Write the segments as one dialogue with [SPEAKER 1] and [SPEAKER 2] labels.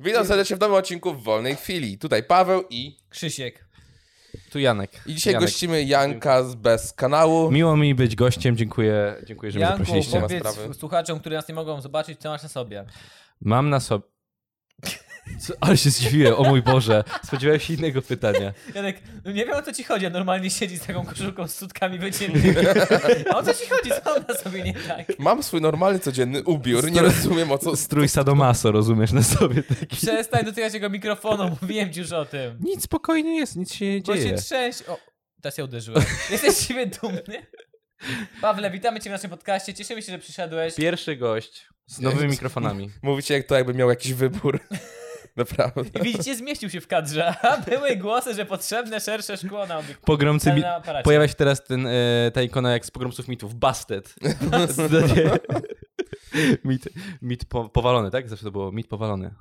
[SPEAKER 1] Witam serdecznie w nowym odcinku w Wolnej Chwili. Tutaj Paweł i...
[SPEAKER 2] Krzysiek.
[SPEAKER 3] Tu Janek.
[SPEAKER 1] I dzisiaj
[SPEAKER 3] Janek.
[SPEAKER 1] gościmy Janka z Bez Kanału.
[SPEAKER 3] Miło mi być gościem, dziękuję, dziękuję że
[SPEAKER 2] Janku,
[SPEAKER 3] mnie zaprosiliście.
[SPEAKER 1] bo-
[SPEAKER 2] powiedz
[SPEAKER 1] sprawy.
[SPEAKER 2] słuchaczom, którzy nas nie mogą zobaczyć, co masz na sobie.
[SPEAKER 3] Mam na sobie... Co? Ale się zdziwiłem, o mój Boże. Spodziewałem się innego pytania.
[SPEAKER 2] Janek, no nie wiem o co ci chodzi, a normalnie siedzi z taką koszulką z sutkami wyciętymi. A o co ci chodzi? Co ona sobie nie tak?
[SPEAKER 1] Mam swój normalny, codzienny ubiór. Nie rozumiem o co...
[SPEAKER 3] Strój Sadomaso, rozumiesz, na sobie taki.
[SPEAKER 2] Przestań dotykać jego mikrofonu, mówiłem ci już o tym.
[SPEAKER 3] Nic, spokojnie jest, nic się nie
[SPEAKER 2] Bo się
[SPEAKER 3] dzieje.
[SPEAKER 2] trzęś... O, teraz się uderzyłem. Jesteś z siebie dumny? Pawle, witamy cię w naszym podcaście, cieszymy się, że przyszedłeś.
[SPEAKER 3] Pierwszy gość z nowymi mikrofonami.
[SPEAKER 1] Mówicie jak to jakby miał jakiś wybór. Naprawdę.
[SPEAKER 2] I widzicie, zmieścił się w kadrze, a były głosy, że potrzebne szersze szkło na obiekt.
[SPEAKER 3] Pogromcy... Mi...
[SPEAKER 2] Na aparacie.
[SPEAKER 3] Pojawia się teraz ten, e, ta ikona jak z Pogromców Mitów, Bastet. Zdanie- mit, mit po, powalony, tak? Zawsze to było mit powalony.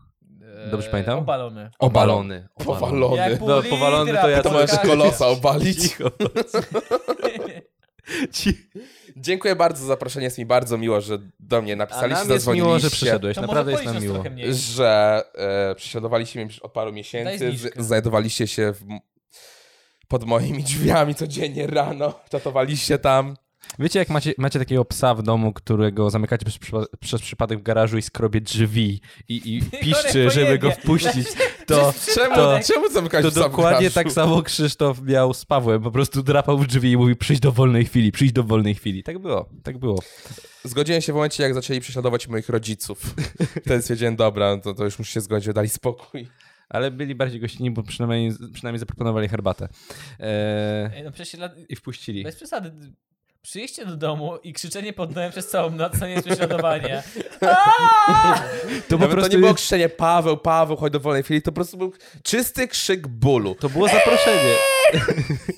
[SPEAKER 3] Dobrze
[SPEAKER 2] Eee,
[SPEAKER 3] pamiętam?
[SPEAKER 2] Obalony.
[SPEAKER 3] Obalony.
[SPEAKER 1] Powalony.
[SPEAKER 3] No, powalony to ja
[SPEAKER 1] To
[SPEAKER 3] to
[SPEAKER 1] możesz
[SPEAKER 3] jest-
[SPEAKER 1] kolosa obalić.
[SPEAKER 3] Cicho. Ci...
[SPEAKER 1] Dziękuję bardzo za zaproszenie. Jest mi bardzo miło, że do mnie
[SPEAKER 3] A
[SPEAKER 1] napisaliście,
[SPEAKER 3] nam jest miło, że
[SPEAKER 1] zadzwoniliście.
[SPEAKER 3] przyszedłeś.
[SPEAKER 2] To
[SPEAKER 3] Naprawdę
[SPEAKER 2] może
[SPEAKER 3] jest nam
[SPEAKER 2] policz nas
[SPEAKER 3] miło.
[SPEAKER 2] trochę mniej.
[SPEAKER 1] że e, prześladowaliście mnie już od paru
[SPEAKER 2] Daj
[SPEAKER 1] miesięcy.
[SPEAKER 2] zniżkę.
[SPEAKER 1] z- Znajdowaliście się w, m- pod moimi drzwiami codziennie rano. Czatowaliście tam.
[SPEAKER 3] Wiecie, jak macie, macie takiego psa w domu, którego zamykacie przez, przypa- przez przypadek w garażu i skrobie drzwi i, i piszczy, żeby go
[SPEAKER 2] pojebie.
[SPEAKER 3] wpuścić, to,
[SPEAKER 1] Czemu,
[SPEAKER 3] To-
[SPEAKER 1] czemu zamykać
[SPEAKER 3] to
[SPEAKER 1] w sam
[SPEAKER 3] dokładnie
[SPEAKER 1] garażu?
[SPEAKER 3] tak samo Krzysztof miał z Pawłem. Po prostu drapał w drzwi i mówił przyjdź do wolnej chwili, przyjdź do wolnej chwili. Tak było, tak było.
[SPEAKER 1] Zgodziłem się w momencie, jak zaczęli prześladować moich rodziców. Wtedy stwierdziłem, dobra, no to, to już muszę się zgodzić, dali spokój.
[SPEAKER 3] Ale byli bardziej gościnni, bo przynajmniej, przynajmniej zaproponowali herbatę. Eee,
[SPEAKER 2] Ej, No przecież dla-
[SPEAKER 3] I wpuścili.
[SPEAKER 2] bez przesady. Przyjście do domu i krzyczenie pod domem przez całą noc to nie jest prześladowanie. Aaaa!
[SPEAKER 3] To
[SPEAKER 1] Nawet to nie było krzyczenie Paweł, Paweł, chodź do wolnej chwili, to po prostu był czysty krzyk bólu.
[SPEAKER 3] To było zaproszenie.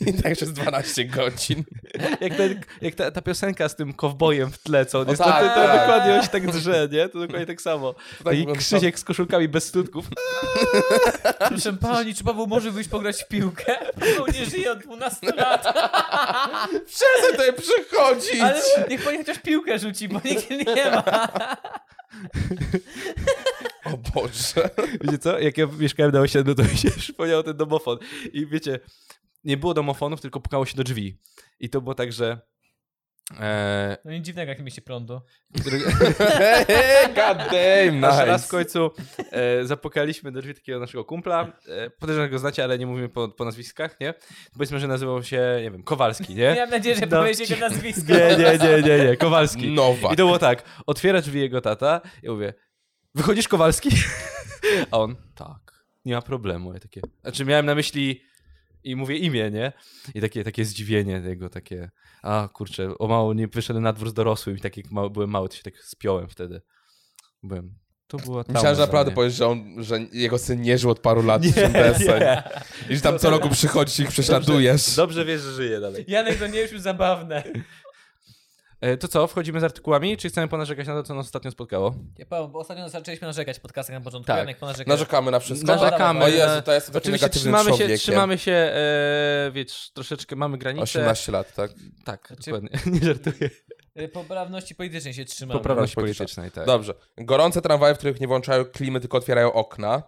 [SPEAKER 1] I tak przez 12 godzin.
[SPEAKER 3] Jak, ten, jak ta, ta piosenka z tym kowbojem w tle, co on
[SPEAKER 1] O
[SPEAKER 3] jest,
[SPEAKER 1] tak,
[SPEAKER 3] to, to
[SPEAKER 1] tak.
[SPEAKER 3] dokładnie on się tak drze, nie? To dokładnie tak samo. Taki
[SPEAKER 1] wygląda.
[SPEAKER 3] Krzysiek z koszulkami bez studków.
[SPEAKER 2] Proszę pani, czy Paweł może wyjść pograć w piłkę? Paweł nie żyje od 12
[SPEAKER 3] No,
[SPEAKER 2] lat,
[SPEAKER 1] Przestań tutaj przychodzić!
[SPEAKER 2] ale niech pani chociaż piłkę rzuci, bo nikt nie ma.
[SPEAKER 1] O Boże.
[SPEAKER 3] Wiecie co? Jak ja mieszkałem na osiedlu, to mi się przypomniał ten domofon. I wiecie, nie było domofonów, tylko pukało się do drzwi. I to było tak, że... E,
[SPEAKER 2] No nic dziwnego, jak nie mieści prądu.
[SPEAKER 1] God damn,
[SPEAKER 3] Aż
[SPEAKER 1] nice.
[SPEAKER 3] raz w końcu e, zapukaliśmy do drzwi takiego naszego kumpla. E, podejrzewam, że go znacie, ale nie mówimy po, po nazwiskach, nie? Powiedzmy, że nazywał się, nie wiem, Kowalski, nie?
[SPEAKER 2] Miałem nadzieję, że
[SPEAKER 3] No,
[SPEAKER 2] powiesz jego nazwisko.
[SPEAKER 3] Nie, nie, nie, nie, nie, Kowalski.
[SPEAKER 1] Nowak.
[SPEAKER 3] I to było tak, otwiera drzwi jego tata i mówię, wychodzisz Kowalski? A on, tak, nie ma problemu. Ja takie, znaczy miałem na myśli i mówię imię, nie? I takie, takie zdziwienie jego, takie, a kurczę, o mało nie wyszedłem na dwór z dorosłym i tak jak mały, byłem mały, to się tak spiąłem wtedy. Byłem, to była trauma
[SPEAKER 1] Myślałem, że
[SPEAKER 3] dla
[SPEAKER 1] naprawdę
[SPEAKER 3] mnie.
[SPEAKER 1] powiesz, że, on, że jego syn nie żył od paru lat w tym
[SPEAKER 3] Nie,
[SPEAKER 1] deseń.
[SPEAKER 3] nie.
[SPEAKER 1] I że tam co roku przychodzisz i ich prześladujesz.
[SPEAKER 3] Dobrze wiesz, że żyje dalej.
[SPEAKER 2] Janek, to nie jest już zabawne.
[SPEAKER 3] E, To co, wchodzimy z artykułami, czy chcemy ponarzekać na to, co nas ostatnio spotkało?
[SPEAKER 2] Ja, Paweł, bo ostatnio zaczęliśmy narzekać w podcastach na początku.
[SPEAKER 3] Tak.
[SPEAKER 2] Janek, ponarzekaj.
[SPEAKER 1] Narzekamy na wszystko. tak?
[SPEAKER 3] Narzekamy.
[SPEAKER 1] O Jezu, to ja jestem takim
[SPEAKER 3] Oczywiście
[SPEAKER 1] negatywnym
[SPEAKER 3] trzymamy się,
[SPEAKER 1] człowiekiem.
[SPEAKER 3] trzymamy się, e, wiesz, troszeczkę mamy granice.
[SPEAKER 1] 18 lat, tak?
[SPEAKER 3] Tak,
[SPEAKER 2] Znaczy-
[SPEAKER 3] dokładnie. Nie żartuję.
[SPEAKER 2] Y, Poprawności politycznej się trzymamy.
[SPEAKER 3] Poprawność
[SPEAKER 1] polityczna.
[SPEAKER 3] politycznej, tak.
[SPEAKER 1] Dobrze. Gorące tramwaje, w których nie włączają klimy, tylko otwierają okna.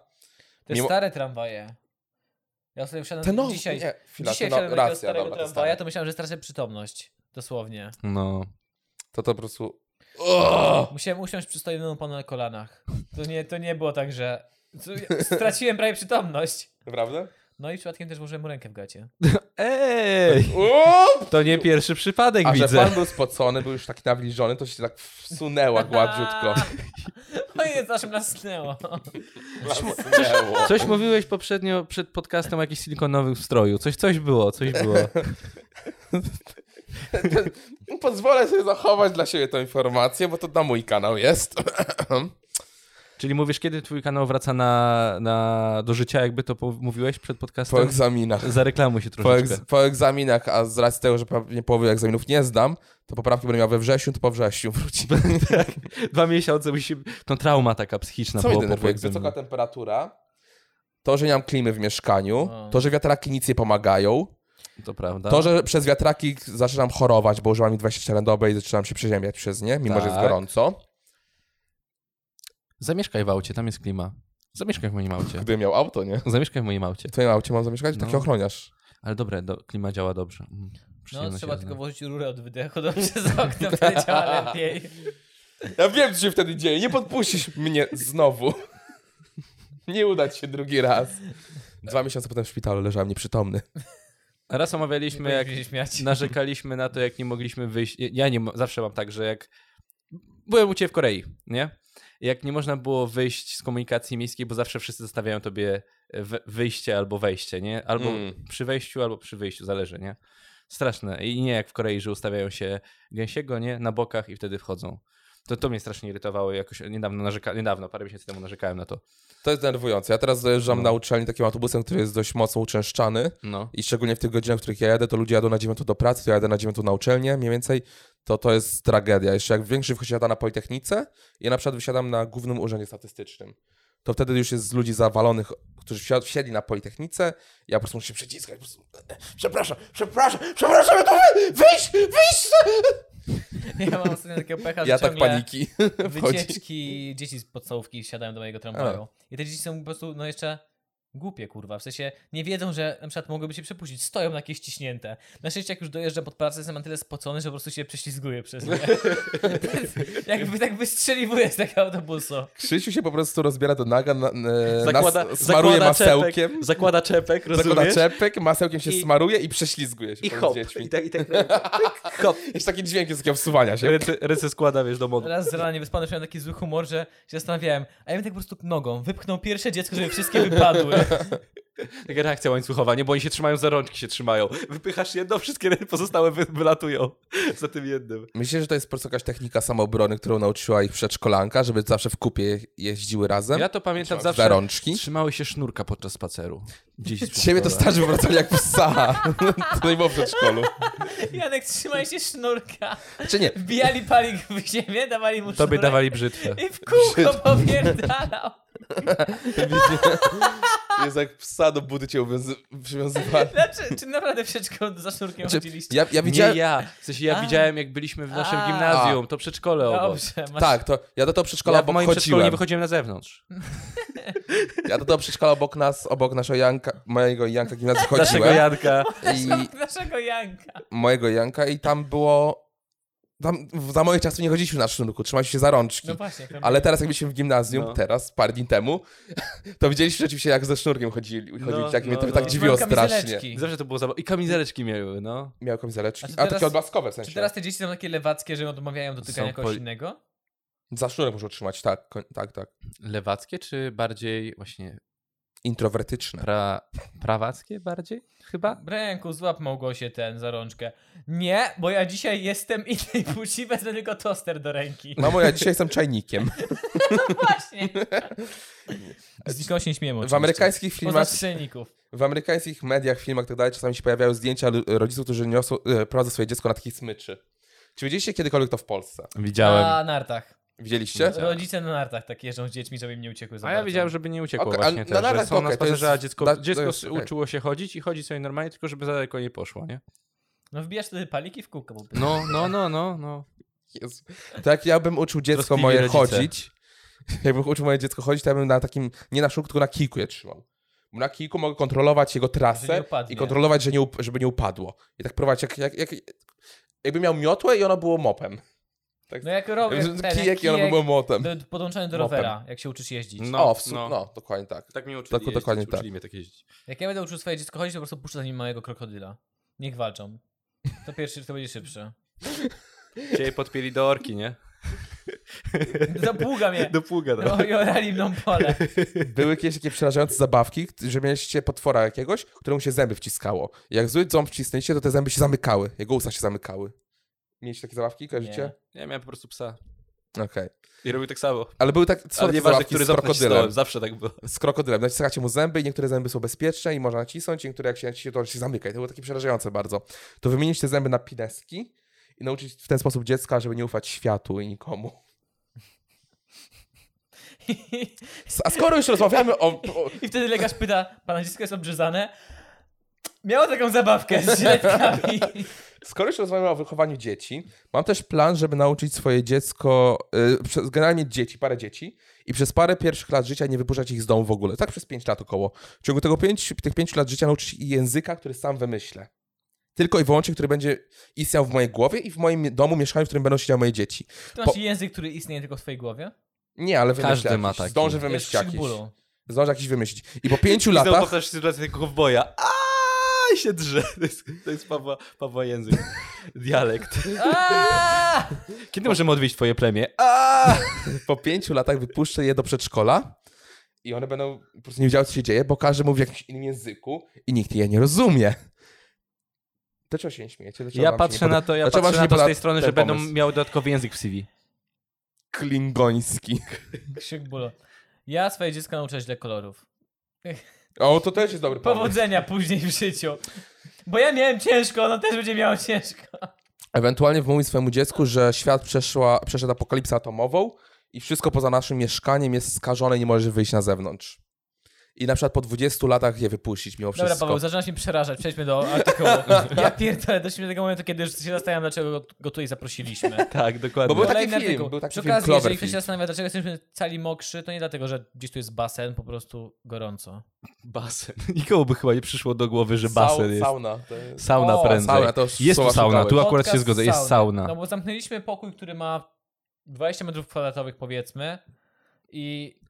[SPEAKER 2] Te
[SPEAKER 1] Mimo-
[SPEAKER 2] stare tramwaje. Ja sobie wszedłem
[SPEAKER 1] Te nowe,
[SPEAKER 2] dzisiaj.
[SPEAKER 1] nie, chwila, te no,
[SPEAKER 2] dzisiaj wszedłem do takiego
[SPEAKER 1] racja,
[SPEAKER 2] starego
[SPEAKER 1] dobra, to
[SPEAKER 2] tramwaja,
[SPEAKER 1] stare.
[SPEAKER 2] to myślałem, że stracę przytomność. Dosłownie.
[SPEAKER 3] No.
[SPEAKER 1] To to po prostu... O!
[SPEAKER 2] Musiałem usiąść przy stojącemu panu na kolanach. To nie, to nie było tak, że co- ja straciłem prawie przytomność.
[SPEAKER 1] Naprawdę?
[SPEAKER 2] No i przypadkiem też włożyłem mu rękę w gacie.
[SPEAKER 3] Ej!
[SPEAKER 1] Uuu!
[SPEAKER 3] To nie pierwszy przypadek
[SPEAKER 1] A że
[SPEAKER 3] widzę.
[SPEAKER 1] pan był spocony, był już taki nawilżony, to się tak wsunęła gładziutko.
[SPEAKER 2] No i jest, aż mlasnęło.
[SPEAKER 1] Wsunęło.
[SPEAKER 3] Coś mówiłeś poprzednio przed podcastem o jakimś silikonowym stroju. Coś, coś było, coś było.
[SPEAKER 1] Pozwolę sobie zachować dla siebie tą informację, bo to na mój kanał jest.
[SPEAKER 3] Czyli mówisz, kiedy twój kanał wraca na, na, do życia, jakby to po- mówiłeś przed
[SPEAKER 1] Po
[SPEAKER 3] podcastem?
[SPEAKER 1] egzaminach.
[SPEAKER 3] Zareklamuj się
[SPEAKER 1] Po,
[SPEAKER 3] troszeczkę.
[SPEAKER 1] egz- po egzaminach, a z racji tego, że pewnie połowy egzaminów nie zdam, to poprawki będę miał we wrześniu, to po wrześniu wróci.
[SPEAKER 3] Tak. Dwa miesiące musi... To trauma taka psychiczna.
[SPEAKER 1] Co mnie
[SPEAKER 3] po- po-
[SPEAKER 1] denerwuje?
[SPEAKER 3] po-
[SPEAKER 1] Wysoka temperatura, to, że nie mam klimy w mieszkaniu,
[SPEAKER 2] O.
[SPEAKER 1] to, że wiatraki nic nie pomagają,
[SPEAKER 3] To prawda.
[SPEAKER 1] to, że przez wiatraki zaczynam chorować, bo używam ich 24 doby i zaczynam się przeziębiać przez nie, mimo że jest
[SPEAKER 3] Tak.
[SPEAKER 1] gorąco.
[SPEAKER 3] Zamieszkaj w aucie, tam jest klima. Zamieszkaj w moim aucie.
[SPEAKER 1] Gdybym miał auto, nie?
[SPEAKER 3] Zamieszkaj w moim aucie.
[SPEAKER 1] W twoim aucie mam zamieszkać? Taki
[SPEAKER 3] No.
[SPEAKER 1] ochroniarz.
[SPEAKER 3] Ale dobre, do, klima działa dobrze. Mm,
[SPEAKER 2] No,
[SPEAKER 3] przyjemność
[SPEAKER 2] trzeba
[SPEAKER 3] jazdy.
[SPEAKER 2] tylko włożyć rurę od wydechu dobrze z okna, wtedy działa
[SPEAKER 1] No
[SPEAKER 2] lepiej.
[SPEAKER 1] Ja wiem, co się wtedy dzieje. Nie podpuścisz mnie znowu. Nie uda ci się drugi raz. Dwa miesiące potem w szpitalu leżałem nieprzytomny.
[SPEAKER 3] Raz omawialiśmy, jak
[SPEAKER 2] Powinniśmy się śmiać.
[SPEAKER 3] narzekaliśmy na to, jak nie mogliśmy wyjść. Ja nie, mo- zawsze mam tak, że jak byłem u ciebie w Korei, nie? Jak nie można było wyjść z komunikacji miejskiej, bo zawsze wszyscy zostawiają tobie e, we- wyjście albo wejście, nie? Albo
[SPEAKER 1] Mm.
[SPEAKER 3] przy wejściu, albo przy wyjściu, zależy, nie? Straszne. I nie jak w Korei, że ustawiają się gęsiego, nie? Na bokach i wtedy wchodzą. To, to mnie strasznie irytowało. i Jakoś niedawno, narzeka- niedawno, parę miesięcy temu narzekałem na to.
[SPEAKER 1] To jest denerwujące. Ja teraz dojeżdżam na uczelni takim autobusem, który jest dość mocno uczęszczany.
[SPEAKER 3] No.
[SPEAKER 1] I szczególnie w tych godzinach, w których ja jadę, to ludzie jadą na dziewiątą do pracy, to ja jadę na dziewiątą na uczelnię mniej więcej. To to jest tragedia. Jeszcze jak większość wysiada na Politechnice, ja na przykład wysiadam na Głównym Urzędzie Statystycznym. To wtedy już jest z ludzi zawalonych, którzy wsiad- wsiedli na Politechnice. Ja po prostu muszę się przyciskać. Po prostu... e, Przepraszam, przepraszam, przepraszam, ja to wy... wyjść, wyjść!
[SPEAKER 2] Ja mam ostatnio takiego pecha, że
[SPEAKER 1] Ja tak
[SPEAKER 2] ciągle
[SPEAKER 1] paniki wchodzi.
[SPEAKER 2] wycieczki dzieci z podstawówki siadają do mojego tramwaju. I te dzieci są po prostu, no jeszcze głupie, kurwa. W sensie nie wiedzą, że na przykład mogłyby się przepuścić. Stoją jakieś ciśnięte. Na szczęście jak już dojeżdżam pod pracę, jestem na tyle spocony, że po prostu się prześlizguję przez nie. Jakby tak wystrzeliwuję z tego autobusu.
[SPEAKER 1] Krzysiu się po prostu rozbiera do naga, na, na,
[SPEAKER 3] Zakłada,
[SPEAKER 1] nas, smaruje
[SPEAKER 3] zakłada
[SPEAKER 1] masełkiem.
[SPEAKER 3] Czepek, zakłada czepek, rozumiesz?
[SPEAKER 1] Zakłada czepek, masełkiem się
[SPEAKER 3] I-
[SPEAKER 1] smaruje i prześlizguje się
[SPEAKER 3] I
[SPEAKER 1] pomiędzy
[SPEAKER 3] hop.
[SPEAKER 1] dziećmi.
[SPEAKER 3] I tak, i tak. pyk, hop.
[SPEAKER 1] Jest taki dźwięk jest takiego wsuwania się.
[SPEAKER 3] Ręce, ręce składa, wiesz, do modu.
[SPEAKER 2] Raz z rana niewyspany miałem taki zły humor, że się zastanawiałem, a ja bym tak po prostu nogą wypchnął pierwsze dziecko, żeby wszystkie wypadły.
[SPEAKER 3] Taka reakcja łańcuchowa, nie? Bo oni się trzymają za rączki, się trzymają. Wypychasz jedno, wszystkie pozostałe wy, wylatują za tym jednym.
[SPEAKER 1] Myślę, że to jest po prostu jakaś technika samoobrony, którą nauczyła ich przedszkolanka, żeby zawsze w kupie jeździły razem.
[SPEAKER 3] Ja to pamiętam
[SPEAKER 1] Za
[SPEAKER 3] zawsze.
[SPEAKER 1] rączki.
[SPEAKER 3] Trzymały się sznurka podczas spaceru. Gdzieś z
[SPEAKER 1] Ciebie to
[SPEAKER 3] przedszkola.
[SPEAKER 1] starzy wracali jak psa. to nie było w przedszkolu.
[SPEAKER 2] Janek, trzymaj się sznurka.
[SPEAKER 1] Czy nie?
[SPEAKER 2] Wbijali palik w ziemię, dawali mu
[SPEAKER 3] Tobie
[SPEAKER 2] sznurek
[SPEAKER 3] dawali brzytwę.
[SPEAKER 2] I w kółko powierdalał.
[SPEAKER 1] Jest jak psa do budy cię uwiązy- przywiązywali.
[SPEAKER 2] Znaczy, czy naprawdę w przedszkolu za sznurkiem
[SPEAKER 1] Znaczy,
[SPEAKER 2] chodziliście?
[SPEAKER 1] Ja, ja widziałem...
[SPEAKER 3] Nie ja. W sensie ja
[SPEAKER 2] A.
[SPEAKER 3] widziałem, jak byliśmy w naszym
[SPEAKER 2] A.
[SPEAKER 3] gimnazjum, to przedszkole obok.
[SPEAKER 2] Dobrze, masz...
[SPEAKER 1] Tak, to ja do tego przedszkola
[SPEAKER 3] Ja w
[SPEAKER 1] obok
[SPEAKER 3] moim przedszkolu nie
[SPEAKER 1] chodziłem.
[SPEAKER 3] wychodziłem na zewnątrz.
[SPEAKER 1] Ja do tego przedszkola obok nas, obok naszego Janka, mojego Janka gimnazjum
[SPEAKER 3] Naszego
[SPEAKER 1] chodziłem.
[SPEAKER 3] Janka.
[SPEAKER 1] I
[SPEAKER 2] Naszego Janka.
[SPEAKER 1] mojego Janka i tam było... Tam, za moich czasów nie chodziliśmy na sznurku, trzymaliśmy się za rączki.
[SPEAKER 2] No właśnie. tam-
[SPEAKER 1] Ale teraz jak byliśmy w gimnazjum,
[SPEAKER 3] No.
[SPEAKER 1] teraz, parę dni temu, to widzieliśmy rzeczywiście jak ze sznurkiem chodzili. chodzili
[SPEAKER 3] No,
[SPEAKER 1] jak mnie
[SPEAKER 3] no,
[SPEAKER 1] to
[SPEAKER 3] no.
[SPEAKER 1] tak dziwiło
[SPEAKER 2] Mam
[SPEAKER 1] strasznie.
[SPEAKER 2] kamizeleczki.
[SPEAKER 3] Zawsze to było zabawne. I kamizeleczki miały, no.
[SPEAKER 1] Miał kamizeleczki.
[SPEAKER 2] A
[SPEAKER 1] A,
[SPEAKER 2] czy teraz-
[SPEAKER 1] takie odblaskowe w sensie.
[SPEAKER 2] Czy teraz te dzieci są takie lewackie, że odmawiają dotykania
[SPEAKER 3] Są
[SPEAKER 2] kogoś
[SPEAKER 3] poli-
[SPEAKER 2] innego?
[SPEAKER 1] Za sznurek muszę trzymać, tak, koń- tak, tak.
[SPEAKER 3] Lewackie czy bardziej właśnie
[SPEAKER 1] Introwertyczne.
[SPEAKER 3] pra... prawackie bardziej chyba?
[SPEAKER 2] Ręku, złap Małgosię ten za rączkę. Nie, bo ja dzisiaj jestem innej płci, wezmę tylko toster do ręki.
[SPEAKER 1] Mamo, ja dzisiaj jestem czajnikiem.
[SPEAKER 2] Właśnie. Z nikogo się nie śmiemy
[SPEAKER 1] W amerykańskich filmach,
[SPEAKER 2] filmach...
[SPEAKER 1] w amerykańskich mediach, filmach i tak dalej czasami się pojawiają zdjęcia lu- rodziców, którzy niosą, e, prowadzą swoje dziecko na takich smyczy. Czy widzieliście kiedykolwiek to w Polsce?
[SPEAKER 3] Widziałem.
[SPEAKER 2] Na nartach. Znaczy,
[SPEAKER 1] Widzieliście?
[SPEAKER 2] Rodzice na nartach tak jeżdżą z dziećmi, żeby im nie uciekły za
[SPEAKER 3] A ja
[SPEAKER 2] bardzo.
[SPEAKER 3] wiedziałem, żeby nie uciekło
[SPEAKER 1] Okej,
[SPEAKER 3] właśnie
[SPEAKER 1] a
[SPEAKER 3] też,
[SPEAKER 1] na
[SPEAKER 3] że
[SPEAKER 1] razie
[SPEAKER 3] są na
[SPEAKER 1] okej, to
[SPEAKER 3] spacerze,
[SPEAKER 1] jest-
[SPEAKER 3] a dziecko,
[SPEAKER 1] da- to
[SPEAKER 3] dziecko
[SPEAKER 1] jest
[SPEAKER 3] s-
[SPEAKER 1] okej.
[SPEAKER 3] uczyło się chodzić i chodzi sobie normalnie, tylko żeby za daleko nie poszło, nie?
[SPEAKER 2] No wbijasz wtedy paliki w kółko. Bo...
[SPEAKER 3] No, no, no, no, no.
[SPEAKER 1] Jezu. To jak ja bym uczył dziecko
[SPEAKER 3] Troskliwi
[SPEAKER 1] moje
[SPEAKER 3] rodzice.
[SPEAKER 1] chodzić, jakbym uczył moje dziecko chodzić, to ja bym na takim, nie na sznurku, tylko na kijku je trzymał. Bo na kijku mogę kontrolować jego
[SPEAKER 2] Że nie
[SPEAKER 1] trasę
[SPEAKER 2] upadnie.
[SPEAKER 1] i kontrolować, że nie up- żeby nie upadło. I tak prowadzić, jak, jak, jak, jakby miał miotłę i ono było mopem. Tak,
[SPEAKER 2] No jak robię
[SPEAKER 1] jakby
[SPEAKER 2] ten, jak
[SPEAKER 1] kijek i ono by było motem.
[SPEAKER 2] do, podłączony do
[SPEAKER 1] Mopem.
[SPEAKER 2] rowera, jak się uczysz jeździć.
[SPEAKER 3] No.
[SPEAKER 1] o, w sum- no.
[SPEAKER 3] no.
[SPEAKER 1] dokładnie tak.
[SPEAKER 3] Tak mi uczyli
[SPEAKER 1] Tak, dokładnie tak.
[SPEAKER 3] uczyli mnie tak jeździć.
[SPEAKER 2] Jak ja będę uczył swoje dziecko chodzić, to po prostu puszczę za nim małego krokodyla. Niech walczą. To pierwszy, to będzie szybszy.
[SPEAKER 3] Cię podpieli do orki, nie?
[SPEAKER 2] Zapługa mnie.
[SPEAKER 3] Do pługa,
[SPEAKER 1] tak.
[SPEAKER 3] no.
[SPEAKER 2] No i orali mną pole.
[SPEAKER 1] Były kiedyś takie przerażające zabawki, że mieliście potwora jakiegoś, któremu się zęby wciskało. I jak zły ząb wcisnęliście, to te zęby się zamykały. Jego usta się zamykały. Mieliście takie zabawki, kojarzycie?
[SPEAKER 3] Ja miałem po prostu psa.
[SPEAKER 1] Okej.
[SPEAKER 3] I robił tak samo.
[SPEAKER 1] Ale były tak, są
[SPEAKER 3] Ale
[SPEAKER 1] takie
[SPEAKER 3] nieważne,
[SPEAKER 1] zabawki
[SPEAKER 3] który
[SPEAKER 1] z
[SPEAKER 3] ząb
[SPEAKER 1] krokodylem.
[SPEAKER 3] nacisnąłem, zawsze tak było.
[SPEAKER 1] z krokodylem. Naciskacie mu zęby i niektóre zęby są bezpieczne i można nacisnąć, i niektóre jak się naciśnie, to się zamyka. I to było takie przerażające bardzo. To wymienić te zęby na pineski i nauczyć w ten sposób dziecka, żeby nie ufać światu i nikomu. S- A skoro już rozmawiamy o... o
[SPEAKER 2] I wtedy lekarz pyta, pana dziecko jest obrzezane? Miało taką zabawkę z źlepkami.
[SPEAKER 1] Skoro już rozmawiamy o wychowaniu dzieci, mam też plan, żeby nauczyć swoje dziecko, y, przez- generalnie dzieci, parę dzieci i przez parę pierwszych lat życia nie wypuszczać ich z domu w ogóle. Tak przez 5 lat około. W ciągu tego pięć, tych 5 lat życia nauczyć ich języka, który sam wymyślę. Tylko i wyłącznie, który będzie istniał w mojej głowie i w moim domu, mieszkaniu, w którym będą siedziały moje dzieci.
[SPEAKER 2] Ty masz język, który istnieje tylko w twojej głowie?
[SPEAKER 1] Nie, ale wymyślę
[SPEAKER 3] Każdy
[SPEAKER 1] jakiś.
[SPEAKER 3] ma taki.
[SPEAKER 1] Zdążę
[SPEAKER 3] Jest
[SPEAKER 1] wymyślić
[SPEAKER 2] Jest krzyk
[SPEAKER 1] jakiś.
[SPEAKER 2] bólu.
[SPEAKER 1] Zdążę jakiś wymyślić. I po pięciu
[SPEAKER 3] I znowu
[SPEAKER 1] latach...
[SPEAKER 3] powtarzasz sytuację tego kowboja. Aaaa, się drze. To jest, to jest Pawła, Pawła język. Dialekt.
[SPEAKER 2] Aaaa!
[SPEAKER 3] Kiedy możemy odwiedzić twoje plemię? Aaaa!
[SPEAKER 1] po pięciu latach wypuszczę je do przedszkola i one będą po prostu nie wiedziały, co się dzieje, bo każdy mówi w jakimś innym języku i nikt je nie rozumie. Dlaczego się nie śmiejecie? Dlaczego wam
[SPEAKER 3] Ja
[SPEAKER 1] się
[SPEAKER 3] patrzę
[SPEAKER 1] nie
[SPEAKER 3] na to, ja
[SPEAKER 1] Dlaczego wam
[SPEAKER 3] patrzę
[SPEAKER 1] się
[SPEAKER 3] na
[SPEAKER 1] nie
[SPEAKER 3] to z
[SPEAKER 1] poda-
[SPEAKER 3] tej strony,
[SPEAKER 1] ten
[SPEAKER 3] że będą
[SPEAKER 1] pomysł?
[SPEAKER 3] miały dodatkowy język w CV.
[SPEAKER 1] podoba? Klingoński.
[SPEAKER 2] Krzyk bólu. Ja swoje dziecko nauczę źle kolorów.
[SPEAKER 1] O, to też jest dobry pomysł.
[SPEAKER 2] Powodzenia później w życiu. Bo ja miałem ciężko, ono też będzie miało ciężko.
[SPEAKER 1] Ewentualnie wmówić swojemu dziecku, że świat przeszła, przeszedł apokalipsę atomową i wszystko poza naszym mieszkaniem jest skażone i nie może wyjść na zewnątrz. I na przykład po 20 latach je wypuścić mimo
[SPEAKER 2] Dobra,
[SPEAKER 1] wszystko.
[SPEAKER 2] Paweł, zaczynasz mnie przerażać. Przejdźmy do artykułu. Ja pierdolę, doszliśmy do tego momentu, kiedy już się zastanawiam, dlaczego go- go tutaj zaprosiliśmy.
[SPEAKER 3] Tak, dokładnie.
[SPEAKER 1] Bo był
[SPEAKER 2] Kolejny
[SPEAKER 1] taki film,
[SPEAKER 2] artykuł.
[SPEAKER 1] był taki
[SPEAKER 2] Przy
[SPEAKER 1] film
[SPEAKER 2] okazji, jeżeli ktoś
[SPEAKER 1] Cloverfield.
[SPEAKER 2] się zastanawia, dlaczego jesteśmy cali mokrzy, to nie dlatego, że gdzieś tu jest basen, po prostu gorąco.
[SPEAKER 3] Basen. Nikomu by chyba nie przyszło do głowy, że
[SPEAKER 1] Sau-
[SPEAKER 3] basen jest.
[SPEAKER 1] Sauna. To jest...
[SPEAKER 3] Sauna
[SPEAKER 2] O,
[SPEAKER 3] prędzej.
[SPEAKER 1] sauna, to już
[SPEAKER 3] jest tu
[SPEAKER 1] słowa
[SPEAKER 3] sauna, tu
[SPEAKER 1] szukałem.
[SPEAKER 3] akurat się
[SPEAKER 2] Podcast
[SPEAKER 3] zgodzę, jest
[SPEAKER 2] sauny.
[SPEAKER 3] sauna.
[SPEAKER 2] No bo zamknęliśmy pokój, który ma 20 metrów kwadratowych, powiedzmy. I.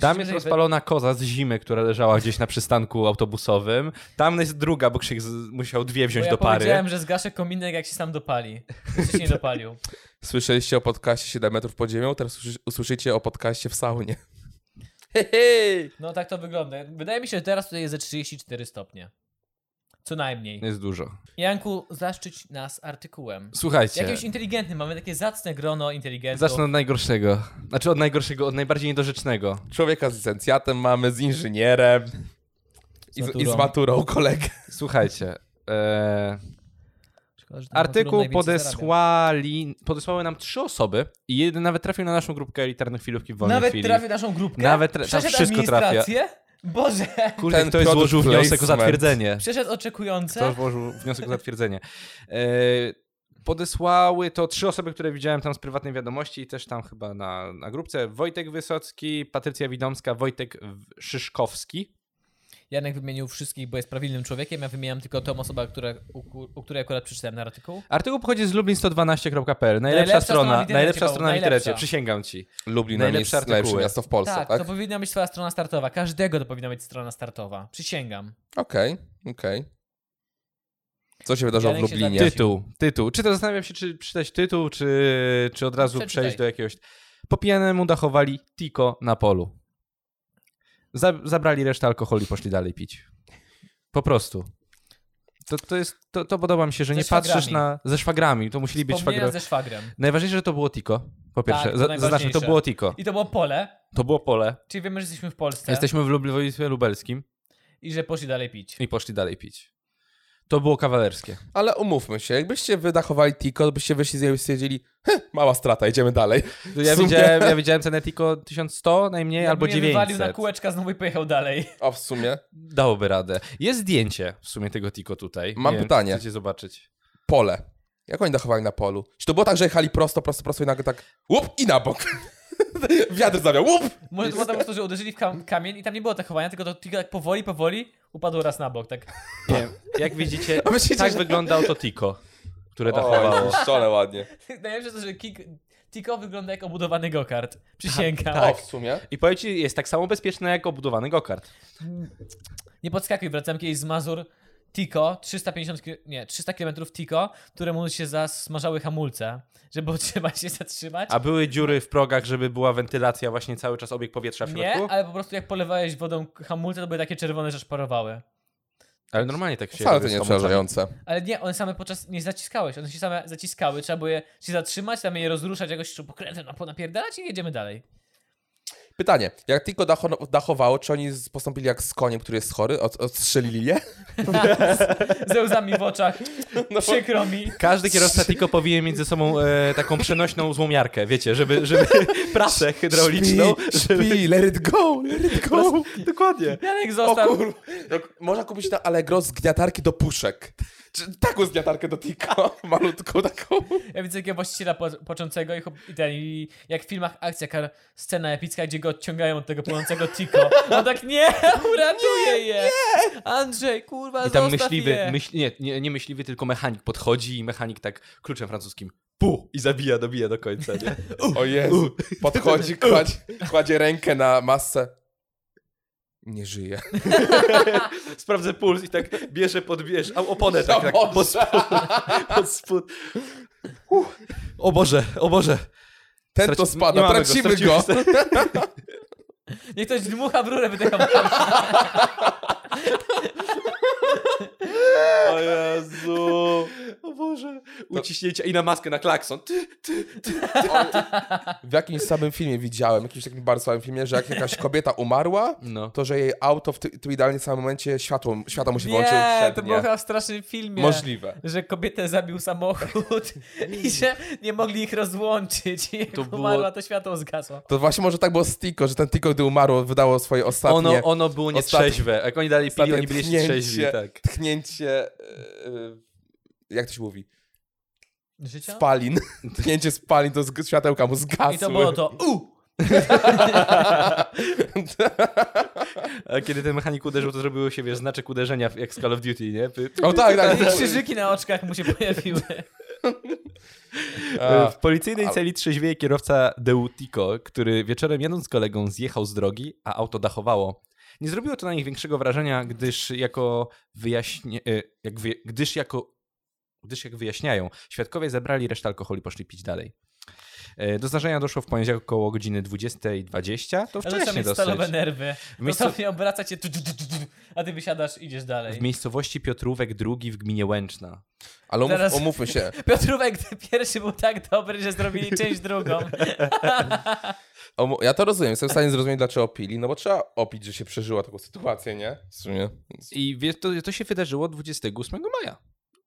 [SPEAKER 3] Tam jest
[SPEAKER 2] Jeżeli-
[SPEAKER 3] rozpalona koza z zimy, która leżała gdzieś na przystanku autobusowym. Tam jest druga, bo Krzyk z- musiał dwie
[SPEAKER 2] Bo
[SPEAKER 3] wziąć
[SPEAKER 2] ja
[SPEAKER 3] do pary.
[SPEAKER 2] powiedziałem, że zgaszę kominek, jak się sam dopali. Jeszcze się nie dopalił.
[SPEAKER 1] Słyszeliście o podcaście 7 metrów pod ziemią, teraz usłyszy- usłyszycie o podcaście w saunie. Hej, hej!
[SPEAKER 2] No tak to wygląda. Wydaje mi się, że teraz tutaj jest ze 34 stopnie. Co najmniej.
[SPEAKER 3] Jest dużo.
[SPEAKER 2] Janku, zaszczyć nas artykułem.
[SPEAKER 3] Słuchajcie,
[SPEAKER 2] Jakimś inteligentnym, mamy takie zacne grono inteligentów.
[SPEAKER 3] zacznę od najgorszego. Znaczy od najgorszego, od najbardziej niedorzecznego.
[SPEAKER 1] Człowieka z licencjatem mamy, z inżynierem i z, i
[SPEAKER 2] maturą.
[SPEAKER 1] z maturą kolegę.
[SPEAKER 3] Słuchajcie, e,
[SPEAKER 2] Szkoda, że ten
[SPEAKER 3] artykuł
[SPEAKER 2] najwięcej zarabia.
[SPEAKER 3] podesłali, podesłały nam trzy osoby i jeden nawet trafił na naszą grupkę elitarnych chwilówki w wolnej
[SPEAKER 2] Nawet
[SPEAKER 3] chwili.
[SPEAKER 2] trafi naszą grupkę?
[SPEAKER 3] Nawet tra- tam
[SPEAKER 2] Przeszedł
[SPEAKER 3] wszystko trafia.
[SPEAKER 2] administrację? Boże!
[SPEAKER 3] Kurde,
[SPEAKER 1] Ten
[SPEAKER 3] ktoś
[SPEAKER 1] product
[SPEAKER 3] złożył wniosek o
[SPEAKER 1] placement.
[SPEAKER 3] zatwierdzenie.
[SPEAKER 2] Przeszedł oczekujące?
[SPEAKER 3] Ktoś złożył wniosek o zatwierdzenie. E, podesłały to trzy osoby, które widziałem tam z prywatnej wiadomości i też tam chyba na, na grupce. Wojtek Wysocki, Patrycja Widomska, Wojtek W- Szyszkowski.
[SPEAKER 2] Janek wymienił wszystkich, bo jest prawilnym człowiekiem, ja wymieniam tylko tą osobę, która, u, u której akurat przeczytałem ten artykuł.
[SPEAKER 3] Artykuł pochodzi z lublin112.pl. Najlepsza,
[SPEAKER 2] Najlepsza
[SPEAKER 3] strona,
[SPEAKER 2] strona w internecie,
[SPEAKER 3] najlepsza
[SPEAKER 2] Paweł,
[SPEAKER 3] strona w internecie,
[SPEAKER 2] najlepsza.
[SPEAKER 3] przysięgam ci.
[SPEAKER 1] Lublin
[SPEAKER 3] Najlepsze
[SPEAKER 1] najlepsze jest
[SPEAKER 3] artykuły.
[SPEAKER 1] najlepsze miasto w Polsce,
[SPEAKER 2] tak,
[SPEAKER 1] tak?
[SPEAKER 2] to powinna być twoja strona startowa. Każdego to powinna być strona startowa. Przysięgam.
[SPEAKER 1] Okej, okej. Co się wydarzyło w
[SPEAKER 2] Janek się
[SPEAKER 1] Lublinie?
[SPEAKER 2] zabija.
[SPEAKER 3] Tytuł, tytuł. Czy to zastanawiam się, czy przeczytać tytuł, czy, czy od razu
[SPEAKER 2] Przeczytaj.
[SPEAKER 3] przejść do jakiegoś. Po pijanemu dachowali Tiko na polu. Za, zabrali resztę alkoholu i poszli dalej pić. Po prostu. To, to, jest, to, to podoba mi się, że
[SPEAKER 2] Ze
[SPEAKER 3] nie patrzysz
[SPEAKER 2] szwagrami.
[SPEAKER 3] na. ze szwagrami. To musieli być
[SPEAKER 2] Wspomnienia
[SPEAKER 3] szwagrowie.
[SPEAKER 2] ze szwagrem.
[SPEAKER 3] Najważniejsze, że to było Tiko. Po pierwsze,
[SPEAKER 2] to
[SPEAKER 3] Za- zaznaczmy,
[SPEAKER 2] najważniejsze.
[SPEAKER 3] to było Tiko.
[SPEAKER 2] I to było pole,
[SPEAKER 3] To było pole.
[SPEAKER 2] czyli wiemy, że jesteśmy w Polsce
[SPEAKER 3] Jesteśmy w Lubl- województwie lubelskim
[SPEAKER 2] i że poszli dalej pić.
[SPEAKER 3] i poszli dalej pić. To było kawalerskie.
[SPEAKER 1] Ale umówmy się, jakbyście wydachowali Tiko, to byście wyszli z niego i stwierdzili, "Heh, mała strata, idziemy dalej.
[SPEAKER 3] Ja
[SPEAKER 1] W sumie-
[SPEAKER 3] widziałem, ja widziałem cenę Tiko 1100 najmniej
[SPEAKER 2] Jakby
[SPEAKER 3] albo
[SPEAKER 2] mnie wywalił
[SPEAKER 3] 900.
[SPEAKER 2] na kółeczka znowu i pojechał dalej.
[SPEAKER 1] O, w sumie.
[SPEAKER 3] Dałoby radę. Jest zdjęcie w sumie tego Tiko tutaj.
[SPEAKER 1] Mam
[SPEAKER 3] Nie wiem,
[SPEAKER 1] pytanie.
[SPEAKER 3] czy Chcecie zobaczyć?
[SPEAKER 1] Pole. Jak oni dachowali na polu? Czy to było tak, że jechali prosto, prosto, prosto i nagle tak łup i na bok? Wiatr zawiał, łup!
[SPEAKER 2] Może to było po prostu, że uderzyli w kam- kamień i tam nie było tak chowania, tylko to tylko tak powoli, powoli upadło raz na bok, tak.
[SPEAKER 3] Nie wiem. Jak widzicie,
[SPEAKER 1] A myślicie,
[SPEAKER 3] tak
[SPEAKER 1] że-
[SPEAKER 3] wyglądał to Tiko, które
[SPEAKER 1] O,
[SPEAKER 3] dachowało.
[SPEAKER 1] zniszczone ładnie.
[SPEAKER 2] Najlepsze to, że kik... Tiko wygląda jak obudowany gokart. Przysięgam.
[SPEAKER 3] Tak,
[SPEAKER 1] O, w sumie.
[SPEAKER 3] I powiem ci, jest tak samo bezpieczne jak obudowany gokart.
[SPEAKER 2] Nie podskakuj, wracam kiedyś z Mazur. Tiko, 350 ki- nie, 300 km Tiko, któremu się zasmażały hamulce, żeby otrzymać się zatrzymać.
[SPEAKER 3] A były dziury w progach, żeby była wentylacja, właśnie cały czas obieg powietrza w
[SPEAKER 2] Nie,
[SPEAKER 3] środku?
[SPEAKER 2] ale po prostu jak polewałeś wodą hamulce, to były takie czerwone, że szparowały.
[SPEAKER 3] Ale normalnie tak się
[SPEAKER 1] Wcale to
[SPEAKER 3] robi
[SPEAKER 1] nie
[SPEAKER 3] z
[SPEAKER 1] jest
[SPEAKER 3] hamulcami.
[SPEAKER 1] przerażające.
[SPEAKER 2] Ale nie, one same podczas nie zaciskałeś, one się same zaciskały, trzeba było je się zatrzymać, tam je rozruszać jakoś śrubokrętem, na- napierdalać i jedziemy dalej.
[SPEAKER 1] Pytanie, jak tylko dacho, dachowało, czy oni z- postąpili jak z koniem, który jest chory, od, odstrzelili je?
[SPEAKER 2] Ze łzami w oczach,
[SPEAKER 1] No,
[SPEAKER 2] przykro mi.
[SPEAKER 3] Każdy kierowca Tiko powinien mieć ze sobą e, taką przenośną złomiarkę, wiecie, żeby, żeby prasę hydrauliczną.
[SPEAKER 1] Śpi, śpi, let it go, let it go.
[SPEAKER 3] Dokładnie.
[SPEAKER 2] Janek
[SPEAKER 1] O
[SPEAKER 2] został,
[SPEAKER 1] kur... Jak Można kupić na Allegro zgniatarki do puszek. Czy- Taką zgniatarkę do Tiko, malutką taką.
[SPEAKER 2] Ja widzę takiego właściciela po, począcego i, chłop- i, ten, i jak w filmach akcja, jaka scena epicka, gdzie go odciągają od tego płonącego Tiko. On tak, nie, uratuję je! Andrzej, kurwa,
[SPEAKER 3] I tam
[SPEAKER 2] zostaw
[SPEAKER 3] myśliwy,
[SPEAKER 2] je.
[SPEAKER 3] myśl, nie, nie, nie myśliwy, tylko mechanik podchodzi i mechanik tak kluczem francuskim pu i zabija, dobija do końca, nie?
[SPEAKER 1] O Jezu. Podchodzi, kładzie, kładzie rękę na masę. Nie żyje.
[SPEAKER 3] Sprawdzę puls i tak bierze, podbierz, a oponę tak, tak
[SPEAKER 1] Boże.
[SPEAKER 3] pod spód. Pod spód. Uff. O Boże, o Boże.
[SPEAKER 1] Ten
[SPEAKER 3] Straci-
[SPEAKER 1] to
[SPEAKER 3] nie
[SPEAKER 1] spada,
[SPEAKER 3] mamy go,
[SPEAKER 1] tracimy
[SPEAKER 3] stracimy
[SPEAKER 1] go.
[SPEAKER 2] Niech ktoś dmucha w rurę, wydycha w
[SPEAKER 3] O Jezu. O Boże. Uciśnięcie i na maskę, na klakson. Ty, ty.
[SPEAKER 1] W jakimś samym filmie widziałem, jakimś takim bardzo słabym filmie, że jak jakaś kobieta umarła,
[SPEAKER 3] No.
[SPEAKER 1] to że jej auto w tym, tym idealnie samym momencie światło, światło mu się włączyło.
[SPEAKER 2] Nie,
[SPEAKER 1] przed
[SPEAKER 2] to
[SPEAKER 1] nie.
[SPEAKER 2] było chyba w strasznym filmie.
[SPEAKER 1] Możliwe.
[SPEAKER 2] Że kobietę zabił samochód i że nie mogli ich rozłączyć. I jak
[SPEAKER 3] To było-
[SPEAKER 2] umarła, to światło zgasło.
[SPEAKER 1] To właśnie może tak było z Tiko, że ten Tiko, gdy umarł, wydało swoje ostatnie...
[SPEAKER 3] Ono, ono było nietrzeźwe. Jak oni dalej pili,
[SPEAKER 1] ostatnie
[SPEAKER 3] oni byli jeszcze
[SPEAKER 1] tchnięcie-
[SPEAKER 3] trzeźwi, tak.
[SPEAKER 1] Tchnięcie... Yy, jak to się mówi?
[SPEAKER 2] Życia?
[SPEAKER 1] Spalin. Tchnięcie spalin, to z, światełka mu zgasły.
[SPEAKER 2] I to było to, u!
[SPEAKER 3] A kiedy ten mechanik uderzył, to zrobiło się, wiesz, znaczek uderzenia w- jak z Call of Duty, nie? Py-
[SPEAKER 1] O tak, tak.
[SPEAKER 2] I krzyżyki na oczkach mu się pojawiły.
[SPEAKER 1] A,
[SPEAKER 3] E, W policyjnej
[SPEAKER 1] ale-
[SPEAKER 3] celi trzeźwieje kierowca Deutico, który wieczorem jadąc z kolegą zjechał z drogi, a auto dachowało. Nie zrobiło to na nich większego wrażenia, gdyż jako wyjaśnie... e, Jak wyja... gdyż jako... Gdyż jak wyjaśniają, świadkowie zebrali resztę alkoholu i poszli pić dalej. E, Do zdarzenia doszło w poniedziałek około godziny 20.20, to
[SPEAKER 2] Ale trzeba
[SPEAKER 3] wcześniej
[SPEAKER 2] mieć stalowe
[SPEAKER 3] dosyć.
[SPEAKER 2] nerwy.
[SPEAKER 3] W miejscu-
[SPEAKER 2] To tam nie obraca cię, tu, tu, tu, tu, tu, a ty wysiadasz i idziesz
[SPEAKER 3] W
[SPEAKER 2] dalej.
[SPEAKER 3] miejscowości Piotrówek II w gminie Łęczna.
[SPEAKER 1] ale umów,
[SPEAKER 2] Zaraz-
[SPEAKER 1] umówmy się.
[SPEAKER 2] Piotrówek ten pierwszy był tak dobry, że zrobili część drugą.
[SPEAKER 1] Omu- Ja to rozumiem, jestem w stanie zrozumieć, dlaczego pili, no bo trzeba opić, że się przeżyła taką sytuację, nie? W sumie.
[SPEAKER 3] I wie, to, to się wydarzyło 28 maja.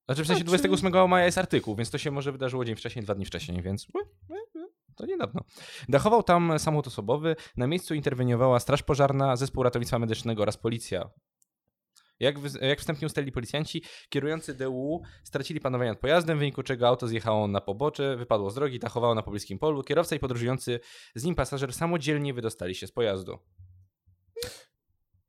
[SPEAKER 3] Znaczy w sensie 28 maja jest artykuł, więc to się może wydarzyło dzień wcześniej, dwa dni wcześniej, więc e, e, e, to niedawno. Dachował tam samochód osobowy, na miejscu interweniowała straż pożarna, zespół ratownictwa medycznego oraz policja. Jak, wy- jak wstępnie ustalili policjanci, kierujący DU stracili panowanie nad pojazdem, w wyniku czego auto zjechało na pobocze, wypadło z drogi, dachowało na pobliskim polu. Kierowca i podróżujący z nim pasażer samodzielnie wydostali się z pojazdu.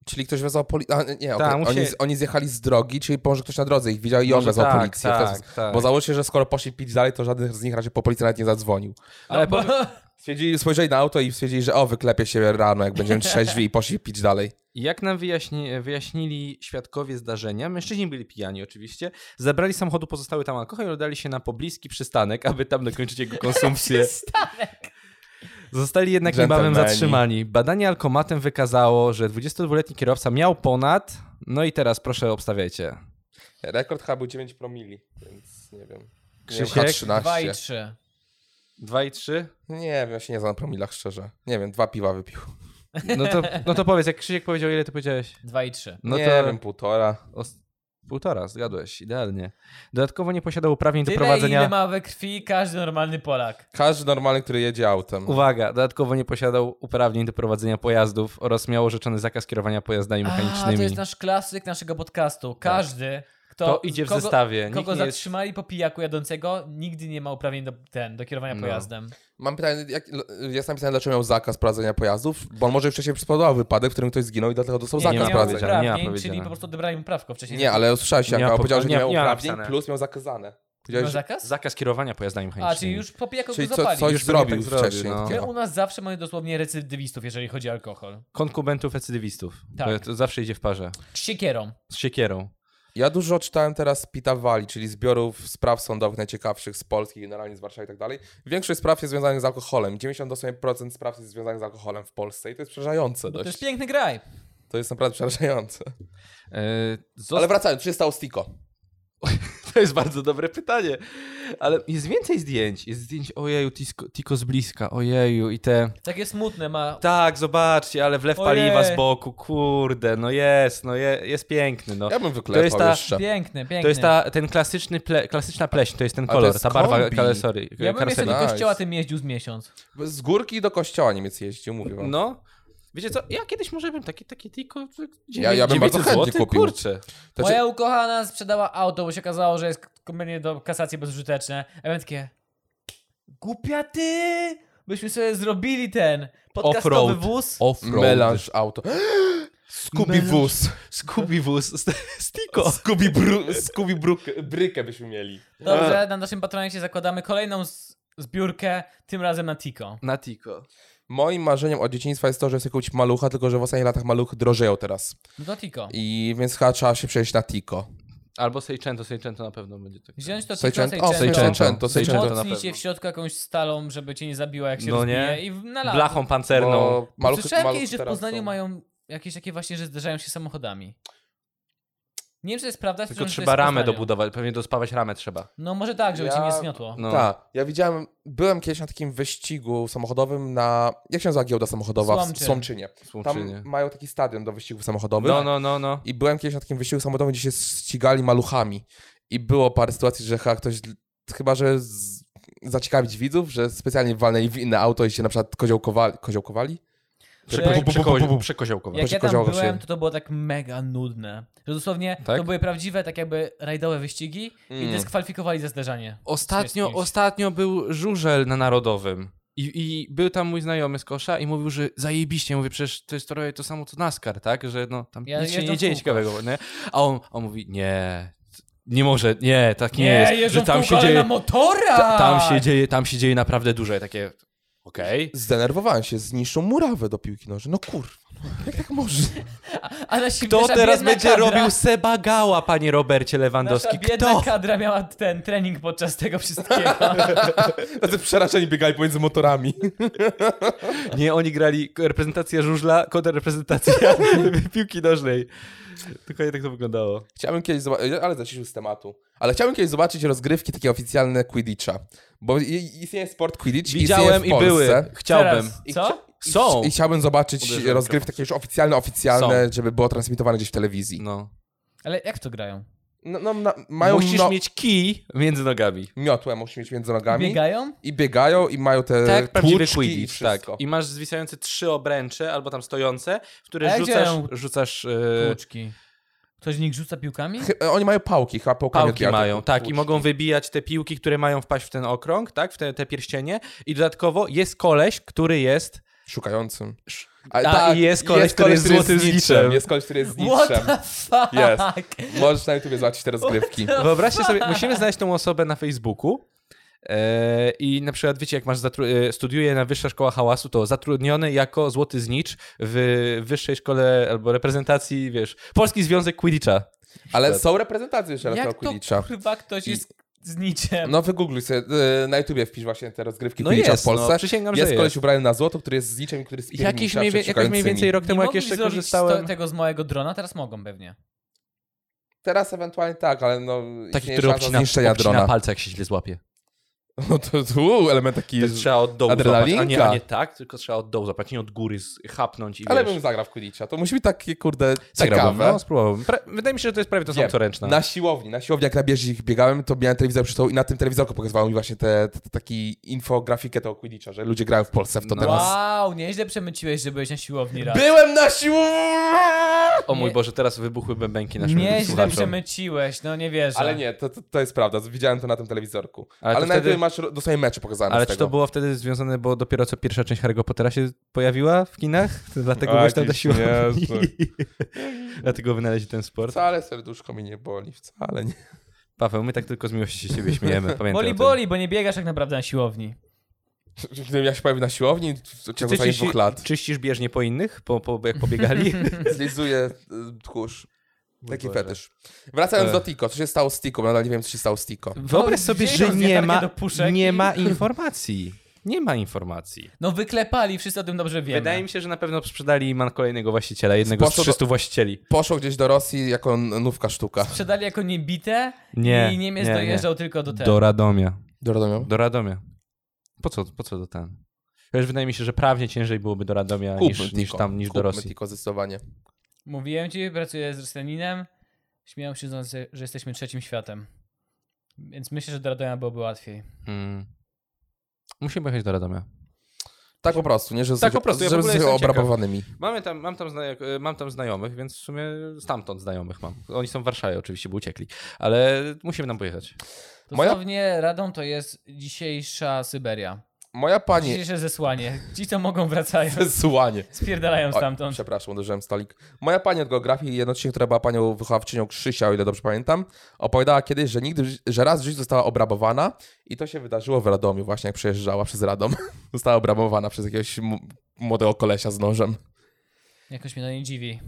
[SPEAKER 1] Czyli ktoś wezwał policję. Nie,
[SPEAKER 3] Tak,
[SPEAKER 1] okej,
[SPEAKER 3] musi-
[SPEAKER 1] oni, z- oni zjechali z drogi, czyli może ktoś na drodze ich widział i on
[SPEAKER 3] Może
[SPEAKER 1] wezwał
[SPEAKER 3] tak,
[SPEAKER 1] policję. w ten
[SPEAKER 3] tak,
[SPEAKER 1] sposób.
[SPEAKER 3] tak.
[SPEAKER 1] Bo założę się, że skoro poszli pić dalej, to żaden z nich raczej po policji nawet nie zadzwonił.
[SPEAKER 3] Ale
[SPEAKER 2] No, bo,
[SPEAKER 1] Stwierdzili, spojrzeli na auto i stwierdzili, że o, wyklepie się rano, jak będziemy trzeźwi i poszli pić dalej.
[SPEAKER 3] Jak nam wyjaśni, wyjaśnili świadkowie zdarzenia, mężczyźni byli pijani oczywiście, zabrali z samochodu pozostały tam alkohol i udali się na pobliski przystanek, aby tam dokończyć jego konsumpcję. Zostali jednak niebawem
[SPEAKER 1] Dżentelmeni.
[SPEAKER 3] zatrzymani. Badanie alkomatem wykazało, że 22-letni kierowca miał ponad, no i teraz proszę obstawiajcie.
[SPEAKER 1] Rekord chyba był 9 promili, więc nie wiem.
[SPEAKER 3] Krzysiek?
[SPEAKER 1] nie wiem,
[SPEAKER 2] 2 i
[SPEAKER 1] 13.
[SPEAKER 2] 3.
[SPEAKER 3] 2 i 3?
[SPEAKER 1] Nie wiem, ja się nie znam na promilach szczerze. Nie wiem, dwa piwa wypił.
[SPEAKER 3] No to, no to powiedz, jak Krzysiek powiedział, ile ty powiedziałeś?
[SPEAKER 2] 2 i 3.
[SPEAKER 3] No
[SPEAKER 1] nie
[SPEAKER 3] to
[SPEAKER 1] wiem, półtora.
[SPEAKER 3] os- Półtora, zgadłeś, idealnie. Dodatkowo nie posiadał uprawnień do
[SPEAKER 2] Tyle
[SPEAKER 3] prowadzenia...
[SPEAKER 2] ile ma we krwi każdy normalny Polak.
[SPEAKER 1] Każdy normalny, który jedzie
[SPEAKER 2] No.
[SPEAKER 1] autem.
[SPEAKER 3] Uwaga, dodatkowo nie posiadał uprawnień do prowadzenia pojazdów oraz miał orzeczony zakaz kierowania pojazdami
[SPEAKER 2] A, to
[SPEAKER 3] mechanicznymi. Tak.
[SPEAKER 2] jest nasz klasyk naszego podcastu. Każdy, kto...
[SPEAKER 3] To idzie w
[SPEAKER 2] kogo,
[SPEAKER 3] zestawie. Nikt
[SPEAKER 2] Kogo
[SPEAKER 3] nie jest...
[SPEAKER 2] zatrzymali po pijaku jadącego, nigdy nie ma uprawnień do, ten, do kierowania
[SPEAKER 3] No.
[SPEAKER 2] pojazdem.
[SPEAKER 1] Mam pytanie, jak, jest napisane, dlaczego miał zakaz prowadzenia pojazdów? Bo on może wcześniej spowodował wypadek, w którym ktoś zginął i dlatego dostał
[SPEAKER 3] Nie,
[SPEAKER 1] zakaz
[SPEAKER 2] nie miał
[SPEAKER 1] prowadzenia.
[SPEAKER 3] powiedziane, nie ma
[SPEAKER 2] uprawnień, czyli
[SPEAKER 3] powiedziane.
[SPEAKER 2] po prostu odebrali mu prawko wcześniej.
[SPEAKER 1] Nie, ale usłyszałeś, jak
[SPEAKER 3] Nie ma
[SPEAKER 1] miał powiedział, że nie
[SPEAKER 3] nie-
[SPEAKER 1] miał
[SPEAKER 3] nie ma
[SPEAKER 1] uprawnień,
[SPEAKER 3] napisane.
[SPEAKER 1] plus miał zakazane.
[SPEAKER 2] Miał
[SPEAKER 1] Powiedziałeś, że,
[SPEAKER 2] zakaz?
[SPEAKER 3] Zakaz kierowania pojazdami
[SPEAKER 2] A,
[SPEAKER 3] mechanicznymi.
[SPEAKER 2] czyli już po pijaku
[SPEAKER 1] czyli
[SPEAKER 2] go
[SPEAKER 1] co,
[SPEAKER 2] zapali.
[SPEAKER 1] coś
[SPEAKER 3] Już
[SPEAKER 1] zrobił
[SPEAKER 3] pewnie tak
[SPEAKER 1] wcześniej.
[SPEAKER 3] zrobił, no.
[SPEAKER 2] My
[SPEAKER 1] takiego.
[SPEAKER 2] u nas zawsze mamy dosłownie recydywistów, jeżeli chodzi o alkohol.
[SPEAKER 3] Konkubentów recydywistów.
[SPEAKER 2] Tak.
[SPEAKER 3] To, to zawsze idzie w parze.
[SPEAKER 2] Z Siekierą.
[SPEAKER 3] Z siekierą.
[SPEAKER 1] Ja dużo czytałem teraz Pitawali, czyli zbiorów spraw sądowych najciekawszych z Polski, generalnie z Warszawy i tak dalej. Większość spraw jest związanych z alkoholem. 98% spraw jest związanych z alkoholem w Polsce i to jest przerażające
[SPEAKER 2] Bo to jest
[SPEAKER 1] dość.
[SPEAKER 2] piękny graj.
[SPEAKER 1] To jest naprawdę przerażające.
[SPEAKER 3] E, zosta-
[SPEAKER 1] Ale wracając, czy się stało Stiko?
[SPEAKER 3] To jest bardzo dobre pytanie. Ale jest więcej zdjęć. Jest zdjęć, ojeju, tisko, Tiko z bliska, ojeju i te...
[SPEAKER 2] Takie smutne ma.
[SPEAKER 3] Tak, zobaczcie, ale wlew
[SPEAKER 2] Ojej.
[SPEAKER 3] paliwa z boku, kurde, no jest, no je, jest piękny, no.
[SPEAKER 1] Ja bym wyklepał
[SPEAKER 3] jest ta-
[SPEAKER 1] jeszcze.
[SPEAKER 2] Piękny, piękny.
[SPEAKER 3] To jest ta, ten klasyczny ple, klasyczna pleśń, to jest ten
[SPEAKER 1] to
[SPEAKER 3] kolor,
[SPEAKER 1] jest
[SPEAKER 3] ta barwa
[SPEAKER 1] kombi.
[SPEAKER 3] kalesory,
[SPEAKER 2] Ja bym jeszcze
[SPEAKER 3] karoseli.
[SPEAKER 2] do
[SPEAKER 1] Nice.
[SPEAKER 2] kościoła tym jeździł z miesiąc.
[SPEAKER 1] Z górki do kościoła Niemiec jeździł, mówię wam.
[SPEAKER 3] No, Wiecie co, ja kiedyś może bym taki, taki tylko...
[SPEAKER 1] Ja- ja bym bardzo chętnie kupił.
[SPEAKER 3] Kurczę.
[SPEAKER 1] Znaczy-
[SPEAKER 2] Moja ukochana sprzedała auto, bo się okazało, że jest k- menu do kasacji bezużyteczne. A ja byłem takie... Głupia ty! Byśmy sobie zrobili ten podcastowy
[SPEAKER 3] Offroad.
[SPEAKER 2] wóz.
[SPEAKER 1] Offroad. Melanż
[SPEAKER 3] Melanż.
[SPEAKER 1] auto. Scooby wóz.
[SPEAKER 3] Scooby wóz z, z Tico.
[SPEAKER 1] Scooby, bru- Scooby bruk- brykę byśmy mieli.
[SPEAKER 2] Dobrze, na naszym patronacie zakładamy kolejną z- zbiórkę, tym razem na Tico.
[SPEAKER 3] Na Tico.
[SPEAKER 1] Moim marzeniem od dzieciństwa jest to, że chcę kupić malucha, tylko że w ostatnich latach maluchy drożeją teraz.
[SPEAKER 2] No to Tico.
[SPEAKER 1] I więc chyba trzeba się przejść na Tico.
[SPEAKER 3] Albo Seicento, Seicento na pewno będzie tak.
[SPEAKER 2] Wziąć to Tico,
[SPEAKER 1] Seicento. O,
[SPEAKER 3] Seicento.
[SPEAKER 1] Seicento. Seicento.
[SPEAKER 3] na
[SPEAKER 2] Mocnij
[SPEAKER 3] pewno.
[SPEAKER 2] się w środku jakąś stalą, żeby cię nie zabiła, jak się
[SPEAKER 3] No nie.
[SPEAKER 2] rozbije i w- na lawę.
[SPEAKER 3] Blachą pancerną.
[SPEAKER 1] Bo maluchy-
[SPEAKER 2] Słyszałem
[SPEAKER 1] maluchy
[SPEAKER 2] kiedyś, że w
[SPEAKER 1] teraz
[SPEAKER 2] Poznaniu
[SPEAKER 1] są-
[SPEAKER 2] mają jakieś takie właśnie, że zderzają się samochodami. Nie wiem, czy to jest prawda.
[SPEAKER 3] Tylko
[SPEAKER 2] słyszałem, że to
[SPEAKER 3] trzeba
[SPEAKER 2] jest w
[SPEAKER 3] ramę
[SPEAKER 2] Poznaniu.
[SPEAKER 3] dobudować, pewnie dospawać ramę trzeba.
[SPEAKER 2] No może tak, żeby
[SPEAKER 1] Ja-
[SPEAKER 2] cię nie zmiotło.
[SPEAKER 3] No.
[SPEAKER 1] Tak, ja widziałem, byłem kiedyś na takim wyścigu samochodowym na, jak się nazywa giełda samochodowa? W
[SPEAKER 2] Słomczyn.
[SPEAKER 1] Słomczynie. Tam
[SPEAKER 3] Słumczynie.
[SPEAKER 1] mają taki stadion do wyścigów samochodowych.
[SPEAKER 3] No, no, no, no.
[SPEAKER 1] I byłem kiedyś na takim wyścigu samochodowym, gdzie się ścigali maluchami. I było parę sytuacji, że chyba ktoś, chyba że z, zaciekawić widzów, że specjalnie walnęli w inne auto i się na przykład koziołkowali. Koziołkowali?
[SPEAKER 2] Przekozi-
[SPEAKER 3] Przeko-
[SPEAKER 2] bu-
[SPEAKER 3] przeko- Przekoziołkowa.
[SPEAKER 2] Jak ja tam
[SPEAKER 1] Koziołko się-
[SPEAKER 2] byłem, to to było tak mega nudne. Że dosłownie
[SPEAKER 3] Tak?
[SPEAKER 2] to były prawdziwe, tak jakby rajdowe wyścigi i
[SPEAKER 1] Mm.
[SPEAKER 3] Hmm.
[SPEAKER 2] dyskwalifikowali za zderzanie.
[SPEAKER 3] Ostatnio,
[SPEAKER 2] Jest kimś.
[SPEAKER 3] ostatnio był żużel na Narodowym. I, I był tam mój znajomy z kosza i mówił, że zajebiście. Mówię, przecież to jest trochę to samo co NASCAR, tak? Że no, tam
[SPEAKER 2] Ja
[SPEAKER 3] nic się
[SPEAKER 2] jeżdżą
[SPEAKER 3] nie
[SPEAKER 2] w
[SPEAKER 3] dzieje
[SPEAKER 2] kółko.
[SPEAKER 3] ciekawego, nie? A on, on mówi, nie, nie może, nie, tak nie, jest.
[SPEAKER 2] jeżdżą
[SPEAKER 3] Że tam
[SPEAKER 2] w
[SPEAKER 3] się
[SPEAKER 2] kółko, no ale
[SPEAKER 3] dzieje,
[SPEAKER 2] na motora!
[SPEAKER 3] ta, tam się dzieje, tam się dzieje naprawdę dużo. Ja takie, okej.
[SPEAKER 1] Zdenerwowałem się, zniszczą murawę do piłki nożnej. No kurwa, jak tak można?
[SPEAKER 2] A nasi
[SPEAKER 3] Kto
[SPEAKER 2] nasza
[SPEAKER 3] teraz
[SPEAKER 2] biedna
[SPEAKER 3] będzie
[SPEAKER 2] kadra,
[SPEAKER 3] robił Seba Gała, panie Robercie Lewandowski?
[SPEAKER 2] Nasza biedna
[SPEAKER 3] Kto?
[SPEAKER 2] kadra miała ten trening podczas tego wszystkiego.
[SPEAKER 1] Tacy przerażeni biegali pomiędzy motorami.
[SPEAKER 3] Nie, oni grali reprezentacja żużla kontra reprezentacja piłki nożnej. Dokładnie tak to wyglądało.
[SPEAKER 1] Chciałbym kiedyś zobaczyć, ale zaczęliśmy z tematu. Ale chciałbym kiedyś zobaczyć rozgrywki takie oficjalne Quidditcha. Bo i- i- istnieje sport Quidditch
[SPEAKER 3] Widziałem
[SPEAKER 1] i
[SPEAKER 3] i
[SPEAKER 1] istnieje w Polsce.
[SPEAKER 3] były. Chciałbym.
[SPEAKER 2] Teraz,
[SPEAKER 1] I
[SPEAKER 2] co?
[SPEAKER 1] chci-
[SPEAKER 3] Są.
[SPEAKER 1] I chciałbym zobaczyć
[SPEAKER 3] Uderzyłem
[SPEAKER 1] rozgrywki takie już oficjalne, oficjalne, żeby było transmitowane gdzieś w telewizji.
[SPEAKER 3] No.
[SPEAKER 2] Ale jak w to grają?
[SPEAKER 1] No, no, na, mają
[SPEAKER 3] Musisz
[SPEAKER 1] no,
[SPEAKER 3] mieć kij między nogami.
[SPEAKER 1] miotłę, musi mieć między nogami.
[SPEAKER 2] Biegają?
[SPEAKER 1] I biegają i mają te
[SPEAKER 3] Tak, prawdziwy
[SPEAKER 1] E, tłuczki i
[SPEAKER 3] quidditch, tak.
[SPEAKER 1] wszystko.
[SPEAKER 3] I masz zwisające trzy obręcze, albo tam stojące, w
[SPEAKER 2] A
[SPEAKER 3] które
[SPEAKER 2] jak
[SPEAKER 3] rzucasz,
[SPEAKER 2] działają
[SPEAKER 3] rzucasz e,
[SPEAKER 2] Łuczki. Ktoś z nich rzuca piłkami?
[SPEAKER 1] Chy- e, Oni mają pałki, chyba pałkami
[SPEAKER 3] pałki
[SPEAKER 1] odbijają te
[SPEAKER 3] mają,
[SPEAKER 1] tłuczki.
[SPEAKER 3] tak, i mogą wybijać te piłki, które mają wpaść w ten okrąg, tak, w te, te pierścienie i dodatkowo jest koleś, który jest
[SPEAKER 1] Szukającym. tak,
[SPEAKER 3] A, i jest koleś, który jest złotym zniczem.
[SPEAKER 1] Jest koleś, który jest
[SPEAKER 2] What
[SPEAKER 1] zniczem.
[SPEAKER 2] the fuck?
[SPEAKER 1] Możesz na YouTubie zobaczyć te rozgrywki.
[SPEAKER 3] Wyobraźcie sobie, musimy znaleźć tą osobę na Facebooku. E, I na przykład, wiecie, jak masz zatru- e, studiuje na Wyższa Szkoła Hałasu, to zatrudniony jako złoty znicz w wyższej szkole albo reprezentacji, wiesz, Polski Związek Quidditcha.
[SPEAKER 1] Ale są reprezentacje jeszcze raz
[SPEAKER 2] Jak to
[SPEAKER 1] Quidditcha.
[SPEAKER 2] kurwa ktoś
[SPEAKER 1] I-
[SPEAKER 2] jest z niczem?
[SPEAKER 1] No wygoogluj sobie, e, na YouTubie wpisz właśnie te rozgrywki
[SPEAKER 3] No
[SPEAKER 1] Quidditcha
[SPEAKER 3] jest,
[SPEAKER 1] w Polsce.
[SPEAKER 3] no, przysięgam,
[SPEAKER 1] jest
[SPEAKER 3] że
[SPEAKER 1] koleś
[SPEAKER 3] jest.
[SPEAKER 1] ubrany na złoto, który jest zniczem i który jest
[SPEAKER 3] Jakiś
[SPEAKER 1] piernicza
[SPEAKER 3] mniej, wie-
[SPEAKER 1] przed
[SPEAKER 3] jakoś mniej więcej
[SPEAKER 1] szukającymi.
[SPEAKER 3] rok
[SPEAKER 2] nie
[SPEAKER 3] temu, jak
[SPEAKER 2] mogli
[SPEAKER 3] jeszcze
[SPEAKER 2] zrobić
[SPEAKER 3] korzystałem.
[SPEAKER 2] sto- tak- tego z małego drona, teraz mogą pewnie.
[SPEAKER 1] Teraz ewentualnie tak, ale no...
[SPEAKER 3] Taki,
[SPEAKER 1] istnieje
[SPEAKER 3] który
[SPEAKER 1] szansa
[SPEAKER 3] obcina,
[SPEAKER 1] zniszczenia
[SPEAKER 3] obcina
[SPEAKER 1] drona.
[SPEAKER 3] palce, jak się źle złapie.
[SPEAKER 1] No to tu element taki...
[SPEAKER 3] To trzeba od dołu złapać,
[SPEAKER 1] adrenalinka.
[SPEAKER 3] a nie, a nie tak, tylko trzeba od dołu złapać, nie od góry z- chapnąć i
[SPEAKER 1] Ale
[SPEAKER 3] wiesz.
[SPEAKER 1] bym zagrał w Quidditcha. To musi być takie, kurde,
[SPEAKER 3] Zagrałbym,
[SPEAKER 1] ciekawe.
[SPEAKER 3] no, spróbowałbym. Pra- Wydaje mi się, że to jest prawie to samo
[SPEAKER 1] Nie,
[SPEAKER 3] co ręczna.
[SPEAKER 1] Na siłowni, na siłowni jak na bieżni ich biegałem, to miałem telewizor przy tą i na tym telewizorku pokazywało mi właśnie te, te, te taki infografikę tego Quidditcha, że ludzie grają w Polsce w to
[SPEAKER 3] No.
[SPEAKER 1] teraz.
[SPEAKER 2] Wow, nieźle przemyciłeś, że byłeś na siłowni raz.
[SPEAKER 1] Byłem na siłowni!
[SPEAKER 3] O mój
[SPEAKER 2] Nie-
[SPEAKER 3] Boże, teraz wybuchły bębenki naszym
[SPEAKER 2] Nieźle
[SPEAKER 3] słuchaczom.
[SPEAKER 2] przemyciłeś, no nie wierzę.
[SPEAKER 1] Ale nie, to, to, to jest prawda, widziałem to na tym telewizorku.
[SPEAKER 3] Ale
[SPEAKER 1] Ale,
[SPEAKER 3] to
[SPEAKER 1] na
[SPEAKER 3] wtedy-
[SPEAKER 1] wtedy... masz ro- dosłownie mecze pokazane
[SPEAKER 3] Ale
[SPEAKER 1] z
[SPEAKER 3] czy
[SPEAKER 1] tego.
[SPEAKER 3] to było wtedy związane, bo dopiero co pierwsza część Harry'ego Pottera się pojawiła w kinach? To dlatego
[SPEAKER 1] A,
[SPEAKER 3] byłeś tam do
[SPEAKER 1] jakiś
[SPEAKER 3] siłowni.
[SPEAKER 1] niezły.
[SPEAKER 3] dlatego wynaleźli ten sport.
[SPEAKER 1] Wcale serduszko mi nie boli, wcale nie.
[SPEAKER 3] Paweł, my tak tylko z miłości się ciebie śmiejemy, pamiętaj o
[SPEAKER 2] Boli,
[SPEAKER 3] tym.
[SPEAKER 2] boli, bo nie biegasz tak naprawdę na siłowni.
[SPEAKER 1] Gdybym ja się pojawił na siłowni w
[SPEAKER 3] Czy
[SPEAKER 1] ciągu
[SPEAKER 3] ty
[SPEAKER 1] ostatnich
[SPEAKER 3] czyści,
[SPEAKER 1] dwóch lat,
[SPEAKER 3] czyścisz bieżnie po innych, po, po, jak pobiegali?
[SPEAKER 1] zlizuję y, tchórz. Taki
[SPEAKER 3] Boże.
[SPEAKER 1] fetysz. Wracając
[SPEAKER 3] E.
[SPEAKER 1] do Tiko, co się stało z Tiko? Nadal nie wiem, co się stało z Tiko.
[SPEAKER 3] Wyobraź sobie,
[SPEAKER 2] wzięli
[SPEAKER 3] że
[SPEAKER 2] tą
[SPEAKER 3] nie
[SPEAKER 2] zjadalkę
[SPEAKER 3] ma,
[SPEAKER 2] do puszek
[SPEAKER 3] nie
[SPEAKER 2] i-
[SPEAKER 3] ma informacji. Nie ma informacji.
[SPEAKER 2] No wyklepali, wszyscy o tym dobrze wiemy.
[SPEAKER 3] Wydaje mi się, że na pewno sprzedali man kolejnego właściciela, jednego
[SPEAKER 1] Sposób-
[SPEAKER 3] z 300 właścicieli.
[SPEAKER 1] Poszło gdzieś do Rosji jako n- nówka sztuka.
[SPEAKER 2] Sprzedali jako niebite
[SPEAKER 3] Nie,
[SPEAKER 2] i Niemiec
[SPEAKER 3] nie, nie.
[SPEAKER 2] dojeżdżał tylko do tego.
[SPEAKER 3] Do Radomia.
[SPEAKER 1] Do Radomią?
[SPEAKER 3] Do Radomia. Po co, po co do ten? Wiesz, wydaje mi się, że prawnie ciężej byłoby do Radomia
[SPEAKER 1] Kupmy
[SPEAKER 3] niż,
[SPEAKER 1] Tiko.
[SPEAKER 3] niż tam, niż do
[SPEAKER 1] Kupmy
[SPEAKER 3] Rosji.
[SPEAKER 1] Tiko zdecydowanie.
[SPEAKER 2] Mówiłem ci, pracuję z Rosjaninem. Śmiałem się, że- że jesteśmy trzecim światem.
[SPEAKER 3] Hmm.
[SPEAKER 2] Więc myślę, że do Radomia byłoby łatwiej.
[SPEAKER 3] Mm. Musimy pojechać do Radomia.
[SPEAKER 1] Tak po prostu, nie? Że
[SPEAKER 3] Tak
[SPEAKER 1] są-
[SPEAKER 3] po prostu, ja w
[SPEAKER 1] że
[SPEAKER 3] ogóle
[SPEAKER 1] są
[SPEAKER 3] jestem ciekaw.
[SPEAKER 1] obrabowanymi.
[SPEAKER 3] Mamy tam, mam, tam znajomych, mam tam znajomych, więc w sumie stamtąd znajomych mam. Oni są w Warszawie oczywiście, bo uciekli. Ale musimy tam pojechać.
[SPEAKER 1] No Moja-
[SPEAKER 2] Dosłownie radą to jest dzisiejsza Syberia.
[SPEAKER 1] Moja pani...
[SPEAKER 2] Dzisiejsze zesłanie. Ci, co mogą, wracają.
[SPEAKER 1] Zesłanie.
[SPEAKER 2] Spierdalają
[SPEAKER 1] Oj,
[SPEAKER 2] stamtąd.
[SPEAKER 1] Przepraszam, uderzyłem w stolik. Moja pani od geografii, jednocześnie, która była panią wychowawczynią Krzysia, o ile dobrze pamiętam, opowiadała kiedyś, że nigdy, w ży- że raz w życiu została obrabowana i to się wydarzyło w Radomiu, właśnie jak przejeżdżała przez Radom. Została obrabowana przez jakiegoś m- młodego kolesia z nożem.
[SPEAKER 2] Jakoś mnie to nie dziwi.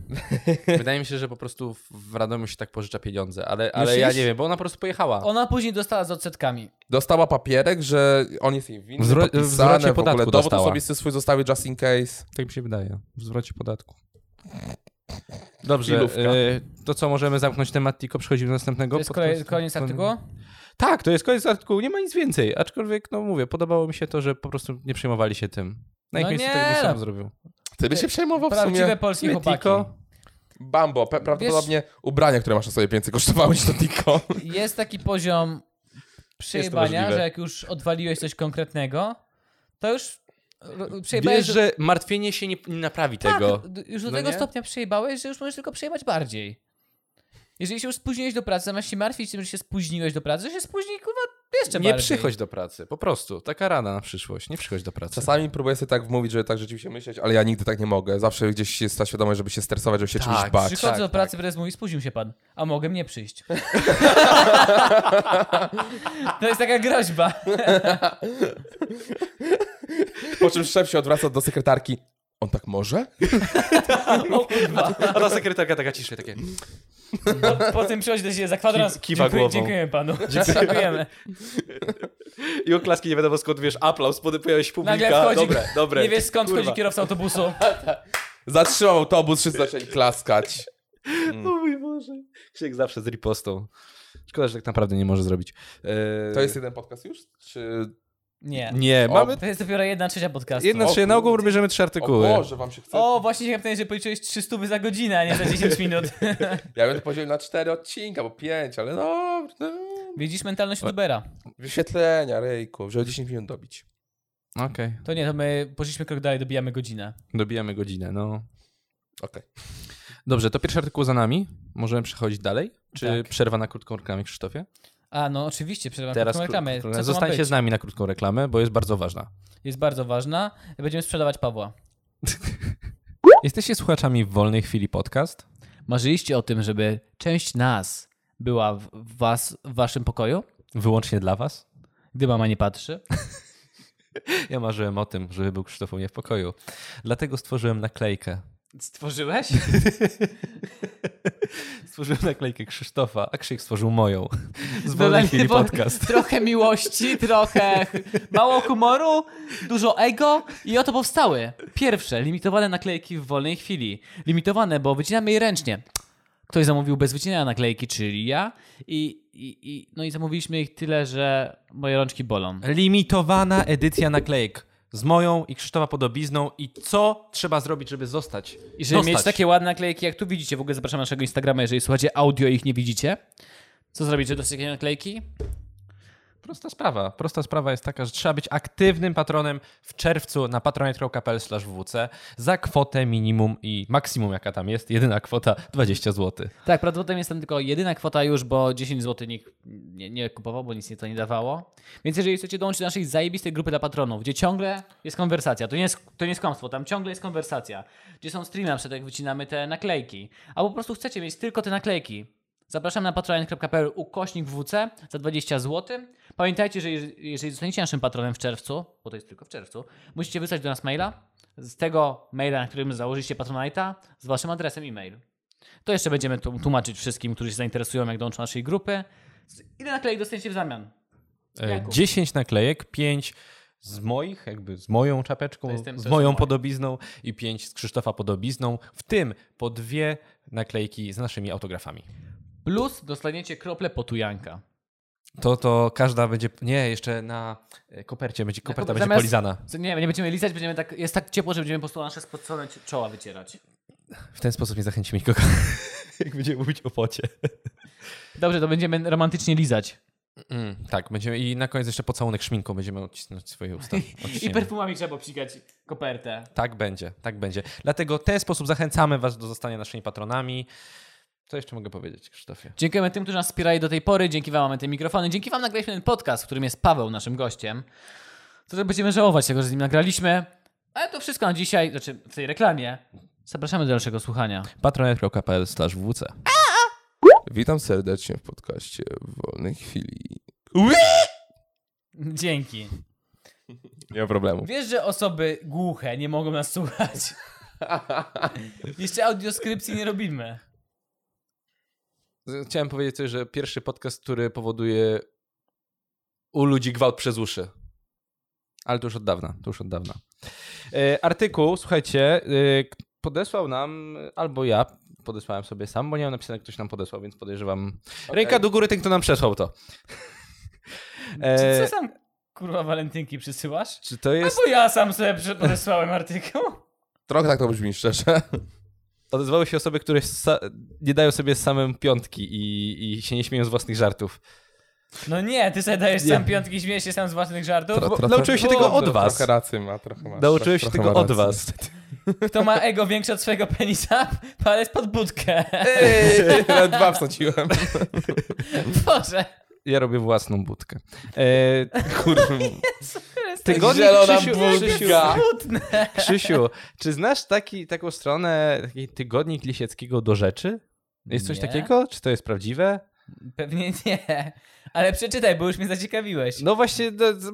[SPEAKER 3] Wydaje mi się, że po prostu w- w Radomiu się tak pożycza pieniądze, ale, ale ja
[SPEAKER 1] Myślisz?
[SPEAKER 3] nie wiem, bo ona po prostu pojechała.
[SPEAKER 1] No.
[SPEAKER 2] Ona później dostała z odsetkami.
[SPEAKER 1] Dostała papierek, że on jest jej winny,
[SPEAKER 3] Wzro-
[SPEAKER 1] podpisane,
[SPEAKER 3] zwrocie
[SPEAKER 1] w ogóle
[SPEAKER 3] podatku
[SPEAKER 1] dowód
[SPEAKER 3] dostała.
[SPEAKER 1] osobisty swój zostawił just in case.
[SPEAKER 3] Tak mi się wydaje, w zwrocie podatku. Dobrze,
[SPEAKER 1] Chwilówka.
[SPEAKER 3] e, to co, możemy zamknąć temat Tiko, przechodzimy do następnego.
[SPEAKER 2] To jest
[SPEAKER 3] podcastu?
[SPEAKER 2] kolej, koniec artykułu?
[SPEAKER 3] Tak, to jest koniec artykułu, nie ma nic więcej, aczkolwiek, no mówię, podobało mi się to, że po prostu nie przejmowali się tym. Na ich
[SPEAKER 2] No
[SPEAKER 3] miejscu
[SPEAKER 2] nie.
[SPEAKER 3] to bym sam zrobił.
[SPEAKER 1] Ty by się przejmował w
[SPEAKER 2] Prawdziwe
[SPEAKER 1] sumie.
[SPEAKER 2] polskie
[SPEAKER 3] My,
[SPEAKER 2] chłopaki.
[SPEAKER 3] Tiko?
[SPEAKER 1] Bambo, pe- prawdopodobnie ubrania, które masz na sobie więcej kosztowały niż to tylko.
[SPEAKER 2] Jest taki poziom przejebania,
[SPEAKER 3] możliwe.
[SPEAKER 2] że jak już odwaliłeś coś konkretnego, to już r- przejebałeś...
[SPEAKER 3] Wiesz, że martwienie się nie, nie naprawi
[SPEAKER 2] tak,
[SPEAKER 3] tego.
[SPEAKER 2] d- już do
[SPEAKER 3] No
[SPEAKER 2] tego
[SPEAKER 3] nie?
[SPEAKER 2] stopnia przejebałeś, że już możesz tylko przejebać bardziej. Jeżeli się już spóźniłeś do pracy, zamiast się martwić tym, że się spóźniłeś do pracy, że się spóźnij, kurwa, jeszcze
[SPEAKER 3] Nie
[SPEAKER 2] bardziej.
[SPEAKER 3] przychodź do pracy, po prostu. Taka rada na przyszłość, nie przychodź do pracy.
[SPEAKER 1] Czasami próbuję sobie tak wmówić, że tak rzeczywiście myśleć, ale ja nigdy tak nie mogę. Zawsze gdzieś jest ta świadomość, żeby się stresować, żeby się
[SPEAKER 3] Tak,
[SPEAKER 1] czymś bać.
[SPEAKER 2] Przychodzę
[SPEAKER 3] tak,
[SPEAKER 2] do
[SPEAKER 3] tak.
[SPEAKER 2] pracy, prezes mówi, spóźnił się pan, a mogę nie przyjść. to jest taka groźba.
[SPEAKER 1] Po czym szef się odwraca do sekretarki. On tak może?
[SPEAKER 3] No,
[SPEAKER 2] O kurwa.
[SPEAKER 3] A ta sekretarka taka ciszej, takie...
[SPEAKER 2] Po, po tym przychodzi do siebie za kwadrans.
[SPEAKER 3] no. Ki- kiwa
[SPEAKER 2] dziękuję,
[SPEAKER 3] głową.
[SPEAKER 2] Dziękujemy panu. Dziękujemy.
[SPEAKER 3] I oklaski nie wiadomo skąd, wiesz, aplauz, potem pojawia się
[SPEAKER 2] Nagle
[SPEAKER 3] publika.
[SPEAKER 2] wchodzi.
[SPEAKER 3] Dobre, dobre.
[SPEAKER 2] Nie wiesz skąd
[SPEAKER 3] Kurwa.
[SPEAKER 2] wchodzi kierowca autobusu.
[SPEAKER 1] Zatrzymał autobus, wszyscy zaczęli klaskać.
[SPEAKER 3] O mój Boże. Krzyk zawsze z ripostą. Szkoda, że tak naprawdę nie może zrobić. Eee,
[SPEAKER 1] To jest jeden podcast już? Czy...
[SPEAKER 2] Nie.
[SPEAKER 3] Nie,
[SPEAKER 1] O,
[SPEAKER 3] mamy...
[SPEAKER 2] To jest dopiero jedna trzecia podcastu.
[SPEAKER 3] Jedna
[SPEAKER 1] O
[SPEAKER 3] trzy, na ogół
[SPEAKER 1] kurde.
[SPEAKER 3] bierzemy trzy
[SPEAKER 1] O
[SPEAKER 3] artykuły.
[SPEAKER 1] Boże, wam się chce?
[SPEAKER 2] O, właśnie się kapitanie, że policzyłeś 300 za godzinę, a nie za 10 minut.
[SPEAKER 1] Ja bym to podzielił na cztery odcinka, bo pięć, ale no... no.
[SPEAKER 2] Widzisz mentalność youtubera.
[SPEAKER 1] Wyświetlenia, rejku, żeby 10 minut dobić.
[SPEAKER 3] Okej,
[SPEAKER 2] To nie, to my poszliśmy krok dalej, dobijamy godzinę.
[SPEAKER 3] dobijamy godzinę, no.
[SPEAKER 1] Okej.
[SPEAKER 3] Dobrze, to pierwszy artykuł za nami. Możemy przechodzić dalej? Czy
[SPEAKER 2] Tak.
[SPEAKER 3] przerwa na krótką reklamę, Krzysztofie?
[SPEAKER 2] A, no oczywiście, przerwam
[SPEAKER 3] Teraz
[SPEAKER 2] krótką reklamę.
[SPEAKER 3] krótką
[SPEAKER 2] Co to ma
[SPEAKER 3] Zostańcie
[SPEAKER 2] być?
[SPEAKER 3] z nami na krótką reklamę, bo jest bardzo ważna.
[SPEAKER 2] Jest bardzo ważna. Będziemy sprzedawać Pawła.
[SPEAKER 3] Jesteście słuchaczami w wolnej chwili podcast?
[SPEAKER 2] Marzyliście o tym, żeby część nas była w, w was, w waszym pokoju,
[SPEAKER 3] Wyłącznie dla was?
[SPEAKER 2] gdy mama nie patrzy?
[SPEAKER 3] Ja marzyłem o tym, żeby był Krzysztof u mnie w pokoju. Dlatego stworzyłem naklejkę.
[SPEAKER 2] Stworzyłeś?
[SPEAKER 3] Stworzyłem naklejkę Krzysztofa, a Krzyk stworzył moją. Z wolnej chwili
[SPEAKER 2] Bo-
[SPEAKER 3] podcast.
[SPEAKER 2] Trochę miłości, trochę mało humoru, dużo ego i oto powstały pierwsze limitowane naklejki w wolnej chwili. Limitowane, bo wycinamy je ręcznie. Ktoś zamówił bez wycinania naklejki, czyli ja i, i, i no i zamówiliśmy ich tyle, że moje rączki bolą.
[SPEAKER 3] Limitowana edycja naklejek. Z moją i Krzysztofa podobizną i co trzeba zrobić, żeby zostać.
[SPEAKER 2] I żeby mieć takie ładne naklejki, jak tu widzicie, w ogóle zapraszam na naszego Instagrama, jeżeli słuchacie audio i ich nie widzicie. Co zrobić, żeby dostać takie naklejki?
[SPEAKER 3] Prosta sprawa. Prosta sprawa jest taka, że trzeba być aktywnym patronem w czerwcu na patronite.pl/wc za kwotę minimum i maksimum, jaka tam jest. Jedyna kwota 20 zł.
[SPEAKER 2] Tak, prawdopodobnie jest tam tylko jedyna kwota już, bo 10 zł nikt nie, nie kupował, bo nic nie to nie dawało. Więc jeżeli chcecie dołączyć do naszej zajebistej grupy dla patronów, gdzie ciągle jest konwersacja, to nie jest, to nie jest kłamstwo, tam ciągle jest konwersacja, gdzie są streamy, na przykład jak wycinamy te naklejki, a po prostu chcecie mieć tylko te naklejki, zapraszam na patronite.pl ukośnik WC za 20 zł. Pamiętajcie, że jeż- jeżeli zostaniecie naszym patronem w czerwcu, bo to jest tylko w czerwcu, musicie wysłać do nas maila z tego maila, na którym założyliście Patronite'a z waszym adresem e-mail. To jeszcze będziemy tu- tłumaczyć wszystkim, którzy się zainteresują, jak dołączą do naszej grupy. Z- Ile naklejek dostaniecie w zamian?
[SPEAKER 3] E,
[SPEAKER 2] Jakub.
[SPEAKER 3] 10 naklejek, 5 z moich, jakby z moją czapeczką,
[SPEAKER 2] To jestem- to
[SPEAKER 3] z
[SPEAKER 2] są
[SPEAKER 3] moją
[SPEAKER 2] moje.
[SPEAKER 3] podobizną i 5 z Krzysztofa podobizną, w tym po dwie naklejki z naszymi autografami.
[SPEAKER 2] Plus dostaniecie krople potu Janka.
[SPEAKER 3] To, to każda będzie. Nie, jeszcze na e, kopercie będzie koperta będzie
[SPEAKER 2] Zamiast-
[SPEAKER 3] polizana.
[SPEAKER 2] Co- Nie, nie będziemy lizać, będziemy tak, jest tak ciepło, że będziemy po prostu nasze spocone ci- czoła wycierać.
[SPEAKER 3] W ten sposób nie zachęcimy nikogo. Jak będziemy mówić o pocie.
[SPEAKER 2] Dobrze, to będziemy romantycznie lizać.
[SPEAKER 3] Mm, tak, będziemy i na koniec jeszcze pocałunek szminką będziemy odcisnąć swoje usta.
[SPEAKER 2] I
[SPEAKER 3] Odciśniemy.
[SPEAKER 2] perfumami trzeba obsikać kopertę.
[SPEAKER 3] Tak będzie, tak będzie. Dlatego w ten sposób zachęcamy was do zostania naszymi patronami. Co jeszcze mogę powiedzieć, Krzysztofie?
[SPEAKER 2] Dziękujemy tym, którzy nas wspierali do tej pory. Dzięki Wam mamy te mikrofony. Dzięki Wam nagraliśmy ten podcast, w którym jest Paweł naszym gościem. To że będziemy żałować tego, że z nim nagraliśmy. Ale to wszystko na dzisiaj, znaczy w tej reklamie. Zapraszamy do dalszego słuchania.
[SPEAKER 3] patronite.pl wc
[SPEAKER 1] Witam serdecznie w podcaście w wolnej chwili.
[SPEAKER 2] Dzięki.
[SPEAKER 1] Nie ma problemu.
[SPEAKER 2] Wiesz, że osoby głuche nie mogą nas słuchać. Jeszcze audioskrypcji nie robimy.
[SPEAKER 3] Chciałem powiedzieć coś, że pierwszy podcast, który powoduje u ludzi gwałt przez uszy. Ale to już od dawna, to już od dawna. E, artykuł, słuchajcie, e, k- podesłał nam, albo ja podesłałem sobie sam, bo nie mam napisane, ktoś nam podesłał, więc podejrzewam. Ręka do góry, ten, kto nam przesłał to.
[SPEAKER 2] Czy
[SPEAKER 3] E,
[SPEAKER 2] co sam kurwa walentynki przysyłasz?
[SPEAKER 3] czy to jest...
[SPEAKER 2] Albo ja sam sobie prze- podesłałem artykuł.
[SPEAKER 1] Trochę tak to brzmi, szczerze.
[SPEAKER 3] Odezwały się osoby, które sa- nie dają sobie samym piątki i, i się nie śmieją z własnych żartów.
[SPEAKER 2] No nie, ty sobie dajesz
[SPEAKER 3] Nie.
[SPEAKER 2] sam piątki, śmiejesz się sam z własnych żartów.
[SPEAKER 1] Tro-
[SPEAKER 3] Bo
[SPEAKER 1] trochę-
[SPEAKER 3] nauczyłem się tego od was.
[SPEAKER 1] Trochę racji ma, trochę masz.
[SPEAKER 3] Nauczyłem się
[SPEAKER 1] trochę
[SPEAKER 3] tego
[SPEAKER 1] ma
[SPEAKER 3] od
[SPEAKER 1] racji.
[SPEAKER 3] was.
[SPEAKER 2] Kto ma ego większe od swojego penisa, palec pod budkę.
[SPEAKER 1] Nawet dwa wsadziłem.
[SPEAKER 2] Boże.
[SPEAKER 3] Ja robię własną budkę. E,
[SPEAKER 1] Kurwa.
[SPEAKER 3] tygodnik
[SPEAKER 1] Zielona
[SPEAKER 3] Krzysiu,
[SPEAKER 1] budka.
[SPEAKER 3] Krzysiu,
[SPEAKER 2] Smutne.
[SPEAKER 3] Krzysiu, czy znasz taki, taką stronę, taki tygodnik Lisieckiego do rzeczy? Jest coś
[SPEAKER 2] Nie.
[SPEAKER 3] takiego? Czy to jest prawdziwe?
[SPEAKER 2] Pewnie nie. Ale przeczytaj, bo już mnie zaciekawiłeś.
[SPEAKER 3] No właśnie, do, do,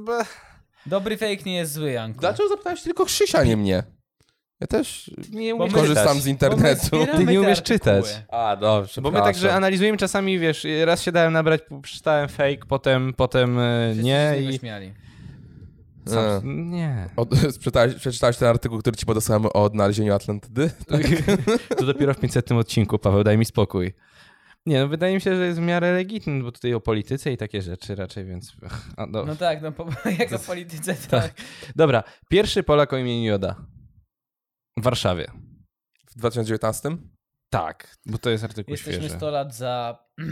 [SPEAKER 2] Dobry fake nie jest zły, Janku.
[SPEAKER 1] Dlaczego zapytałeś tylko Krzysia, nie mnie? Ja też
[SPEAKER 3] nie
[SPEAKER 2] Bo my-
[SPEAKER 3] umiesz
[SPEAKER 1] korzystam
[SPEAKER 3] czytać.
[SPEAKER 1] z internetu.
[SPEAKER 2] Bo my
[SPEAKER 3] Ty nie
[SPEAKER 2] te
[SPEAKER 3] umiesz
[SPEAKER 2] artykuły.
[SPEAKER 3] czytać.
[SPEAKER 1] A, dobrze.
[SPEAKER 3] Bo my także analizujemy czasami, wiesz, raz się dałem nabrać, przeczytałem fake, potem, potem e,
[SPEAKER 2] Wszyscy
[SPEAKER 3] nie
[SPEAKER 2] się z
[SPEAKER 3] i...
[SPEAKER 2] niego śmiali.
[SPEAKER 1] E.
[SPEAKER 3] Sam, nie.
[SPEAKER 1] Od, przeczytałeś, przeczytałeś ten artykuł, który ci podesłałem o odnalezieniu Atlantydy?
[SPEAKER 3] To dopiero w 500 odcinku, Paweł, daj mi spokój. Nie, no wydaje mi się, że jest w miarę legitny, bo tutaj o polityce i takie rzeczy raczej, więc... ach, A, do...
[SPEAKER 2] No tak, no po, jak o polityce, tak.
[SPEAKER 3] Dobra, pierwszy Polak o imieniu Joda. W Warszawie.
[SPEAKER 1] W 2019?
[SPEAKER 3] Tak, bo to jest artykuł
[SPEAKER 2] Jesteśmy
[SPEAKER 3] świeży.
[SPEAKER 2] 100 lat za...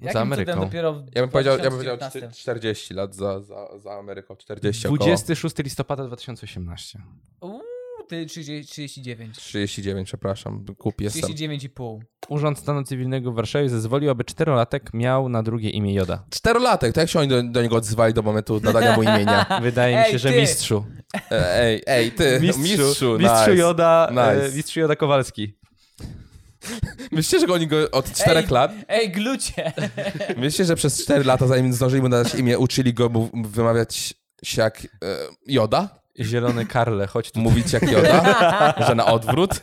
[SPEAKER 2] Jakim
[SPEAKER 3] Ameryką.
[SPEAKER 2] cudem dopiero w
[SPEAKER 1] Ja bym powiedział, ja bym powiedział
[SPEAKER 2] 2019.
[SPEAKER 1] 40 lat za, za, za Ameryką. 40 około.
[SPEAKER 3] 26 listopada 2018.
[SPEAKER 2] Uuu, ty 30, 39.
[SPEAKER 1] 39, przepraszam. Głupi jestem.
[SPEAKER 2] 39,5.
[SPEAKER 3] Urząd Stanu Cywilnego w Warszawie zezwolił, aby czterolatek miał na drugie imię Joda.
[SPEAKER 1] Czterolatek, to jak się oni do, do niego odzywali do momentu nadania mu imienia?
[SPEAKER 3] Wydaje mi
[SPEAKER 2] Ej,
[SPEAKER 3] się, że
[SPEAKER 2] ty!
[SPEAKER 3] mistrzu.
[SPEAKER 1] E, Ej, ej, ty, mistrzu, mistrzu,
[SPEAKER 3] No, mistrzu
[SPEAKER 1] nice.
[SPEAKER 3] Joda, e,
[SPEAKER 1] Nice.
[SPEAKER 3] mistrzu Joda Kowalski.
[SPEAKER 1] Myślicie, że oni go od 4
[SPEAKER 2] Ej.
[SPEAKER 1] lat,
[SPEAKER 2] Ej, glucie!
[SPEAKER 1] myślicie, że przez 4 lata, zanim zdążyli mu nadać imię, uczyli go mu wymawiać się jak e, Joda?
[SPEAKER 3] Zielony Karle, chodź tu.
[SPEAKER 1] Mówić jak Joda? że na odwrót?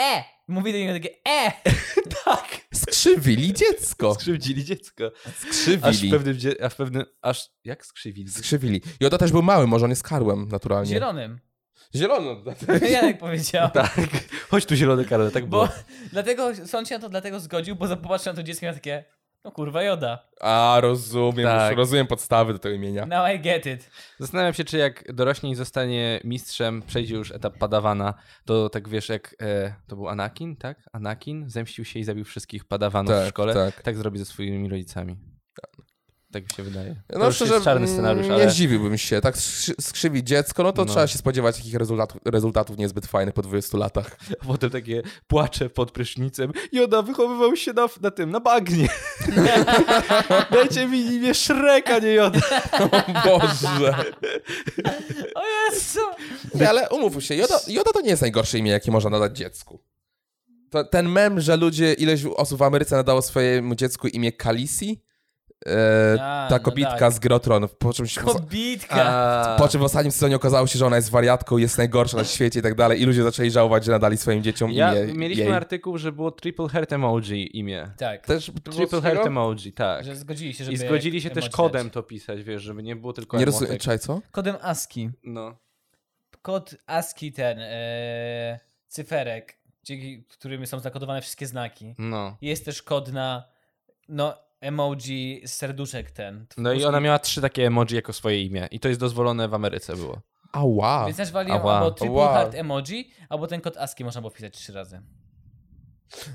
[SPEAKER 2] E! Mówi do niego takie e!
[SPEAKER 3] Tak.
[SPEAKER 1] Skrzywili dziecko.
[SPEAKER 3] Skrzywdzili dziecko. Aż w
[SPEAKER 1] Skrzywili.
[SPEAKER 3] pewnym, dzie- a w pewnym, aż jak skrzywili?
[SPEAKER 1] Skrzywili. Joda też był mały, może on jest karłem naturalnie.
[SPEAKER 2] Zielonym.
[SPEAKER 1] Zielono.
[SPEAKER 2] Janek powiedział.
[SPEAKER 3] Tak, chodź tu zielony Karle, tak było.
[SPEAKER 2] Bo dlatego sąd się na to dlatego zgodził, bo popatrzył na to dziecko i miał takie. No kurwa joda.
[SPEAKER 1] A, rozumiem,
[SPEAKER 3] Tak.
[SPEAKER 1] już rozumiem podstawy do tego imienia.
[SPEAKER 2] Now I get it.
[SPEAKER 3] Zastanawiam się, czy jak dorośnie i zostanie mistrzem, przejdzie już etap padawana, to tak wiesz, jak e, to był Anakin, tak? Anakin zemścił się i zabił wszystkich padawanów
[SPEAKER 1] Tak,
[SPEAKER 3] w szkole.
[SPEAKER 1] tak.
[SPEAKER 3] Tak. zrobi ze swoimi rodzicami. Tak mi się wydaje.
[SPEAKER 1] No
[SPEAKER 3] to już
[SPEAKER 1] szczerze,
[SPEAKER 3] jest czarny
[SPEAKER 1] mm,
[SPEAKER 3] scenariusz,
[SPEAKER 1] nie
[SPEAKER 3] ale
[SPEAKER 1] zdziwiłbym się. Tak skrzy- skrzywić dziecko, no to
[SPEAKER 3] No.
[SPEAKER 1] trzeba się spodziewać takich rezultatów, rezultatów niezbyt fajnych po 20 latach.
[SPEAKER 3] potem takie płacze pod prysznicem. Joda wychowywał się na, na tym, na bagnie. Dajcie mi imię Shrek, a nie Joda.
[SPEAKER 1] O Boże.
[SPEAKER 2] O Jezu!
[SPEAKER 1] Nie, ale umówmy się, Joda, Joda to nie jest najgorsze imię, jakie można nadać dziecku. To, ten mem, że ludzie, ileś osób w Ameryce nadało swojemu dziecku imię Kalisi, e,
[SPEAKER 2] A,
[SPEAKER 1] ta
[SPEAKER 2] no
[SPEAKER 1] kobitka
[SPEAKER 2] tak.
[SPEAKER 1] z Grotron, po czym, się,
[SPEAKER 2] Kobitka!
[SPEAKER 1] po czym w ostatnim sezonie okazało się, że ona jest wariatką, jest najgorsza na świecie i tak dalej i ludzie zaczęli żałować, że nadali swoim dzieciom
[SPEAKER 3] Ja,
[SPEAKER 1] imię
[SPEAKER 3] mieliśmy
[SPEAKER 1] jej.
[SPEAKER 3] artykuł, że było triple heart emoji imię.
[SPEAKER 2] Tak.
[SPEAKER 1] Też
[SPEAKER 3] Triple heart emoji, tak.
[SPEAKER 2] Że zgodzili się, żeby
[SPEAKER 3] I zgodzili się też
[SPEAKER 2] emoji
[SPEAKER 3] kodem
[SPEAKER 2] dać.
[SPEAKER 3] to pisać, wiesz, żeby nie było tylko
[SPEAKER 1] Nie
[SPEAKER 3] emotek.
[SPEAKER 1] rozumiem, czekaj, co?
[SPEAKER 2] Kodem ASCII.
[SPEAKER 3] No.
[SPEAKER 2] Kod ASCII ten. E, cyferek, dzięki którym są zakodowane wszystkie znaki.
[SPEAKER 3] No.
[SPEAKER 2] Jest też kod na. No, emoji z serduszek ten.
[SPEAKER 3] No i ona miała trzy takie emoji jako swoje imię. I to jest dozwolone w Ameryce było.
[SPEAKER 1] Ała.
[SPEAKER 2] Więc nazwali ją
[SPEAKER 3] Ała.
[SPEAKER 2] albo triple
[SPEAKER 1] Ała.
[SPEAKER 2] heart emoji, albo ten kod ASCII można było wpisać trzy razy.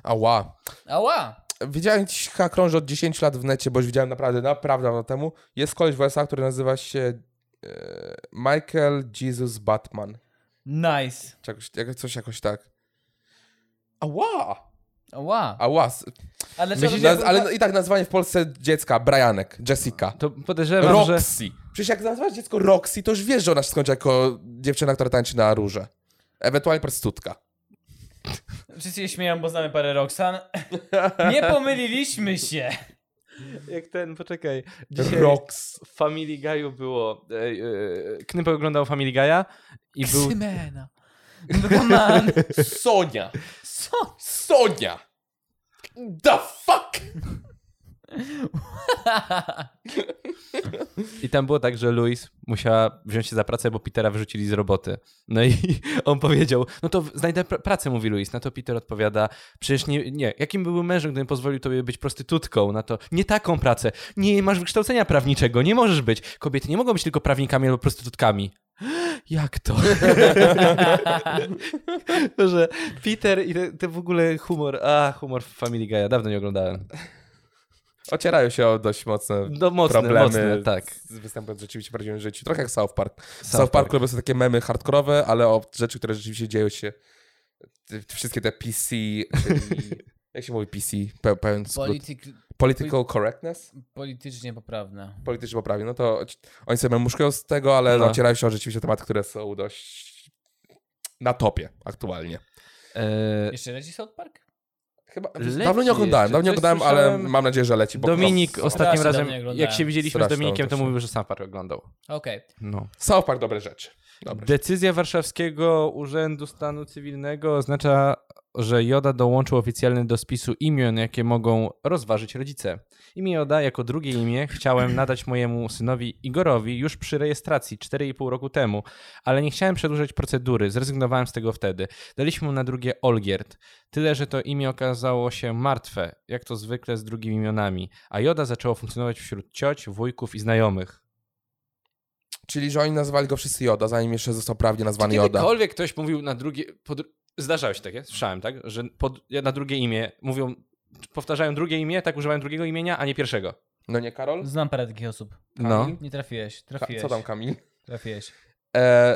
[SPEAKER 1] Ała.
[SPEAKER 2] Ała!
[SPEAKER 1] widziałem ci krąży od 10 lat w necie, bo już widziałem naprawdę, naprawdę dawno temu. Jest koleś w USA, który nazywa się e, Michael Jesus Batman.
[SPEAKER 2] Nice.
[SPEAKER 1] Czy jakoś, jak- coś jakoś tak. Ała!
[SPEAKER 2] Ła.
[SPEAKER 1] Ała! s-
[SPEAKER 2] Ale
[SPEAKER 3] Myślisz,
[SPEAKER 2] co,
[SPEAKER 1] Naz- ale i tak nazwanie w Polsce dziecka Brianek, Jessica.
[SPEAKER 3] To podejrzewam, że...
[SPEAKER 1] Roxy. Przecież jak nazywasz dziecko Roxy, to już wiesz, że ona się skończy jako dziewczyna, która tańczy na rurze. Ewentualnie prostytutka.
[SPEAKER 2] Wszyscy się śmieją, bo znamy parę Roxan. Nie pomyliliśmy się.
[SPEAKER 3] Jak ten, poczekaj.
[SPEAKER 1] Rox.
[SPEAKER 3] w Family Guy'u było... E, e, Knypek oglądał Family Guy'a i był...
[SPEAKER 2] Ximena. Man.
[SPEAKER 1] Sonia.
[SPEAKER 2] Co?
[SPEAKER 1] Sonia! The fuck!
[SPEAKER 3] I tam było tak, że Louis musiała wziąć się za pracę, bo Petera wyrzucili z roboty. No i on powiedział, no to znajdę pr- pracę, mówi Louis. Na to Peter odpowiada, przecież nie, nie, jakim byłby mężem, gdybym pozwolił tobie być prostytutką? Na to, nie taką pracę, nie masz wykształcenia prawniczego, nie możesz być. Kobiety nie mogą być tylko prawnikami albo prostytutkami. Jak to? To, że Peter i ten te w ogóle humor, a humor w Family Guy'a, dawno nie oglądałem.
[SPEAKER 1] Ocierają się o dość mocne
[SPEAKER 3] No mocne,
[SPEAKER 1] problemy
[SPEAKER 3] mocne, tak.
[SPEAKER 1] z występem w rzeczywiście prawdziwym życiu. Trochę jak South Park. South,
[SPEAKER 3] Park.
[SPEAKER 1] Park, robią sobie takie memy hardkorowe, ale o rzeczy, które rzeczywiście dzieją się. Te- te Wszystkie te PC, i- jak się mówi PC, Pe- pełen skrót. Political correctness?
[SPEAKER 2] Politycznie poprawne.
[SPEAKER 1] Politycznie poprawi. No to ci- oni sobie muszkują z tego, ale
[SPEAKER 3] No.
[SPEAKER 1] ocierają się o rzeczywiście tematy, które są dość na topie aktualnie.
[SPEAKER 3] E,
[SPEAKER 2] Jeszcze leci South Park?
[SPEAKER 1] Chyba,
[SPEAKER 3] Leci
[SPEAKER 1] dawno nie oglądałem,
[SPEAKER 3] jeszcze.
[SPEAKER 1] dawno nie
[SPEAKER 3] Coś
[SPEAKER 1] oglądałem, ale
[SPEAKER 3] słyszałem-
[SPEAKER 1] mam nadzieję, że leci. Bo
[SPEAKER 3] Dominik
[SPEAKER 1] Klas...
[SPEAKER 3] ostatnim
[SPEAKER 2] Strasznie
[SPEAKER 3] razem,
[SPEAKER 2] dawno nie oglądałem.
[SPEAKER 3] jak się widzieliśmy
[SPEAKER 1] Strasznie
[SPEAKER 3] z Dominikiem, to
[SPEAKER 1] strasznie.
[SPEAKER 3] mówił, że South Park oglądał.
[SPEAKER 2] Okej.
[SPEAKER 3] No.
[SPEAKER 1] South Park dobre rzeczy. Dobra.
[SPEAKER 3] Decyzja Warszawskiego Urzędu Stanu Cywilnego oznacza, że Joda dołączył oficjalny do spisu imion, jakie mogą rozważyć rodzice. Imię Joda jako drugie imię chciałem nadać mojemu synowi Igorowi już przy rejestracji 4,5 roku temu, ale nie chciałem przedłużać procedury, zrezygnowałem z tego wtedy. Daliśmy mu na drugie Olgierd. Tyle, że to imię okazało się martwe, jak to zwykle z drugimi imionami, a Joda zaczęło funkcjonować wśród cioć, wujków i znajomych.
[SPEAKER 1] Czyli, że oni nazwali go wszyscy Joda, zanim jeszcze został prawnie nazwany
[SPEAKER 3] Czy
[SPEAKER 1] Joda.
[SPEAKER 3] kiedykolwiek ktoś mówił na drugie... Pod... Zdarzało się takie, słyszałem, tak? Że pod... na drugie imię mówią... Powtarzają drugie imię, tak używają drugiego imienia, a nie pierwszego. Tak?
[SPEAKER 1] No nie, Karol?
[SPEAKER 2] Znam parę takich osób.
[SPEAKER 1] No.
[SPEAKER 2] Nie trafiłeś,
[SPEAKER 1] Ka-
[SPEAKER 2] trafiłeś.
[SPEAKER 1] co tam, Kamil?
[SPEAKER 2] Trafiłeś.
[SPEAKER 1] E,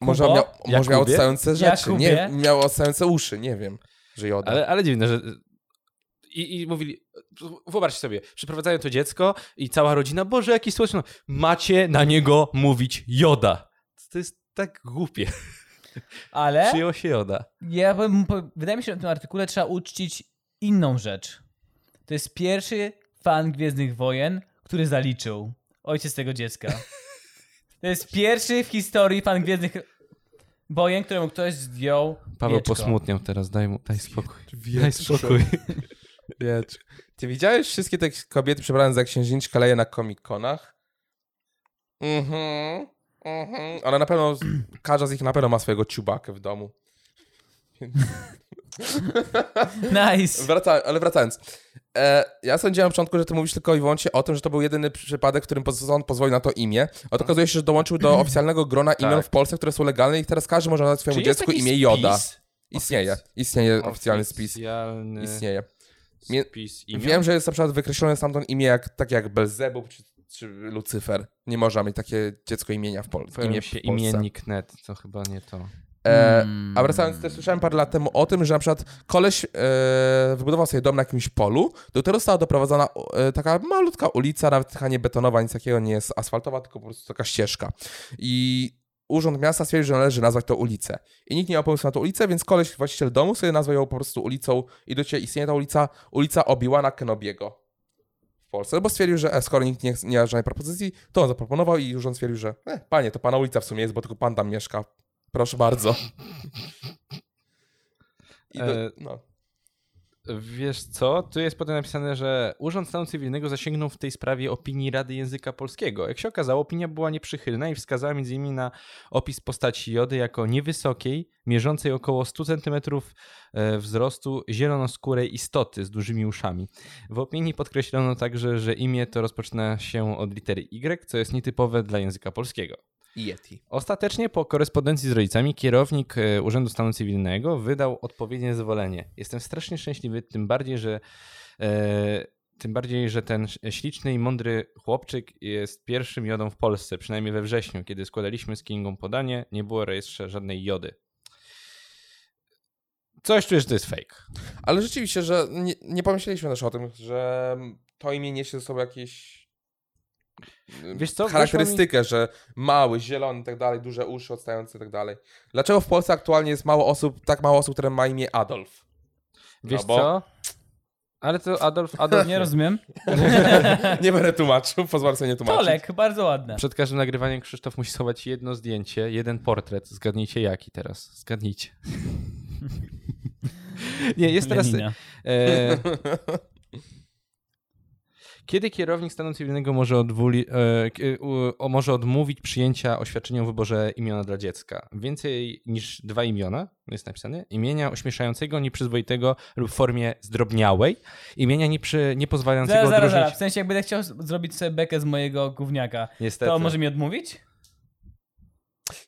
[SPEAKER 1] może miał, może miał
[SPEAKER 3] Jakubie?
[SPEAKER 1] odstające rzeczy.
[SPEAKER 2] Jakubie?
[SPEAKER 1] Nie, miał odstające uszy, nie wiem, że Joda.
[SPEAKER 3] Ale, ale dziwne, że... I, I mówili, wyobraźcie sobie, przyprowadzają to dziecko i cała rodzina, Boże, jaki słodki, no, macie na niego mówić joda. To jest tak głupie.
[SPEAKER 2] Ale
[SPEAKER 3] Przyjęło się joda.
[SPEAKER 2] ja bym, po- wydaje mi się, że w tym artykule trzeba uczcić inną rzecz. To jest pierwszy fan Gwiezdnych Wojen, który zaliczył ojciec tego dziecka. To jest pierwszy w historii fan Gwiezdnych Wojen, któremu ktoś zdjął
[SPEAKER 3] Paweł
[SPEAKER 2] wieczko.
[SPEAKER 3] posmutniał teraz, daj mu, daj spokój. Daj spokój.
[SPEAKER 1] Wiecz. Ty widziałeś wszystkie te kobiety przebrane za księżniczkę leje na komikonach? Mhm. Mhm. Ona na pewno, każda z nich na pewno ma swojego ciubakę w domu.
[SPEAKER 2] Nice.
[SPEAKER 1] Wraca, ale wracając. E, ja sądziłem na początku, że ty mówisz tylko i wyłącznie o tym, że to był jedyny przypadek, w którym poz- sąd pozwolił na to imię. A to okazuje się, że dołączył do oficjalnego grona imion
[SPEAKER 3] Mhm. Tak.
[SPEAKER 1] w Polsce, które są legalne i teraz każdy może nadać swojemu dziecku imię Joda. Istnieje. Istnieje oficjalny spis.
[SPEAKER 3] Oficjalny
[SPEAKER 1] Istnieje. Mie-
[SPEAKER 3] spis imion.
[SPEAKER 1] Wiem, że jest na przykład wykreślone stamtąd imię jak, takie jak Belzebub czy, czy Lucyfer. Nie można mieć takie dziecko imienia w, Pol-
[SPEAKER 3] Powiem
[SPEAKER 1] imię
[SPEAKER 3] się
[SPEAKER 1] w Polsce.
[SPEAKER 3] imiennik net, to chyba nie to.
[SPEAKER 1] E, a wracając, też słyszałem parę lat temu o tym, że na przykład koleś e, wybudował sobie dom na jakimś polu, do którego została doprowadzona e, taka malutka ulica, nawet taka nie betonowa, nic takiego nie jest asfaltowa, tylko po prostu taka ścieżka. I urząd miasta stwierdził, że należy nazwać to ulicę. I nikt nie miał pomysłu na tą ulicę, więc koleś, właściciel domu, sobie nazwał ją po prostu ulicą i do dzisiaj istnieje ta ulica, ulica Obiłana Kenobiego w Polsce, bo stwierdził, że e, skoro nikt nie, nie ma żadnej propozycji, to on zaproponował i urząd stwierdził, że e, panie, to pana ulica w sumie jest, bo tylko pan tam mieszka. Proszę bardzo. I do,
[SPEAKER 3] E,
[SPEAKER 1] no.
[SPEAKER 3] Wiesz co? Tu jest potem napisane, że Urząd Stanu Cywilnego zasięgnął w tej sprawie opinii Rady Języka Polskiego. Jak się okazało, opinia była nieprzychylna i wskazała m.in. na opis postaci Jody jako niewysokiej, mierzącej około 100 cm wzrostu, zielonoskórej istoty z dużymi uszami. W opinii podkreślono także, że imię to rozpoczyna się od litery Y, co jest nietypowe dla języka polskiego.
[SPEAKER 1] i Yeti.
[SPEAKER 3] Ostatecznie po korespondencji z rodzicami kierownik e, Urzędu Stanu Cywilnego wydał odpowiednie zezwolenie. Jestem strasznie szczęśliwy, tym bardziej, że e, tym bardziej, że ten ś- śliczny i mądry chłopczyk jest pierwszym jodą w Polsce, przynajmniej we wrześniu, kiedy składaliśmy z Kingą podanie, nie było w rejestrze żadnej jody. Coś czujesz, że to jest fake.
[SPEAKER 1] Ale rzeczywiście, że nie, nie pomyśleliśmy też o tym, że to imię niesie ze sobą jakieś y,
[SPEAKER 3] Wiesz co, weszła mi-
[SPEAKER 1] charakterystykę, że mały, zielony i tak dalej, duże uszy odstające i tak dalej. Dlaczego w Polsce aktualnie jest mało osób, tak mało osób, które ma imię Adolf?
[SPEAKER 3] Wiesz
[SPEAKER 1] No bo-
[SPEAKER 3] co? Ale to Adolf, Adolf
[SPEAKER 4] Nie rozumiem.
[SPEAKER 1] Nie będę tłumaczył, pozwolę sobie nie tłumaczyć.
[SPEAKER 2] Tolek, bardzo ładne.
[SPEAKER 3] Tak. Przed każdym nagrywaniem Krzysztof musi schować jedno zdjęcie, jeden portret. Zgadnijcie jaki teraz. Zgadnijcie. Nie, jest teraz.
[SPEAKER 4] Lenina.
[SPEAKER 3] E... Kiedy kierownik stanu cywilnego może, odwuli, e, k- u- o, może odmówić przyjęcia oświadczenia o wyborze imiona dla dziecka? Więcej niż dwa imiona, jest napisane, imienia ośmieszającego, nieprzyzwoitego lub w formie zdrobniałej, imienia nieprzy, niepozwalającego
[SPEAKER 2] Zaraz, zaraz,
[SPEAKER 3] odróżnić...
[SPEAKER 2] zaraz. W sensie, jak będę chciał z- zrobić sobie bekę z mojego gówniaka,
[SPEAKER 3] Niestety.
[SPEAKER 2] to może mi odmówić?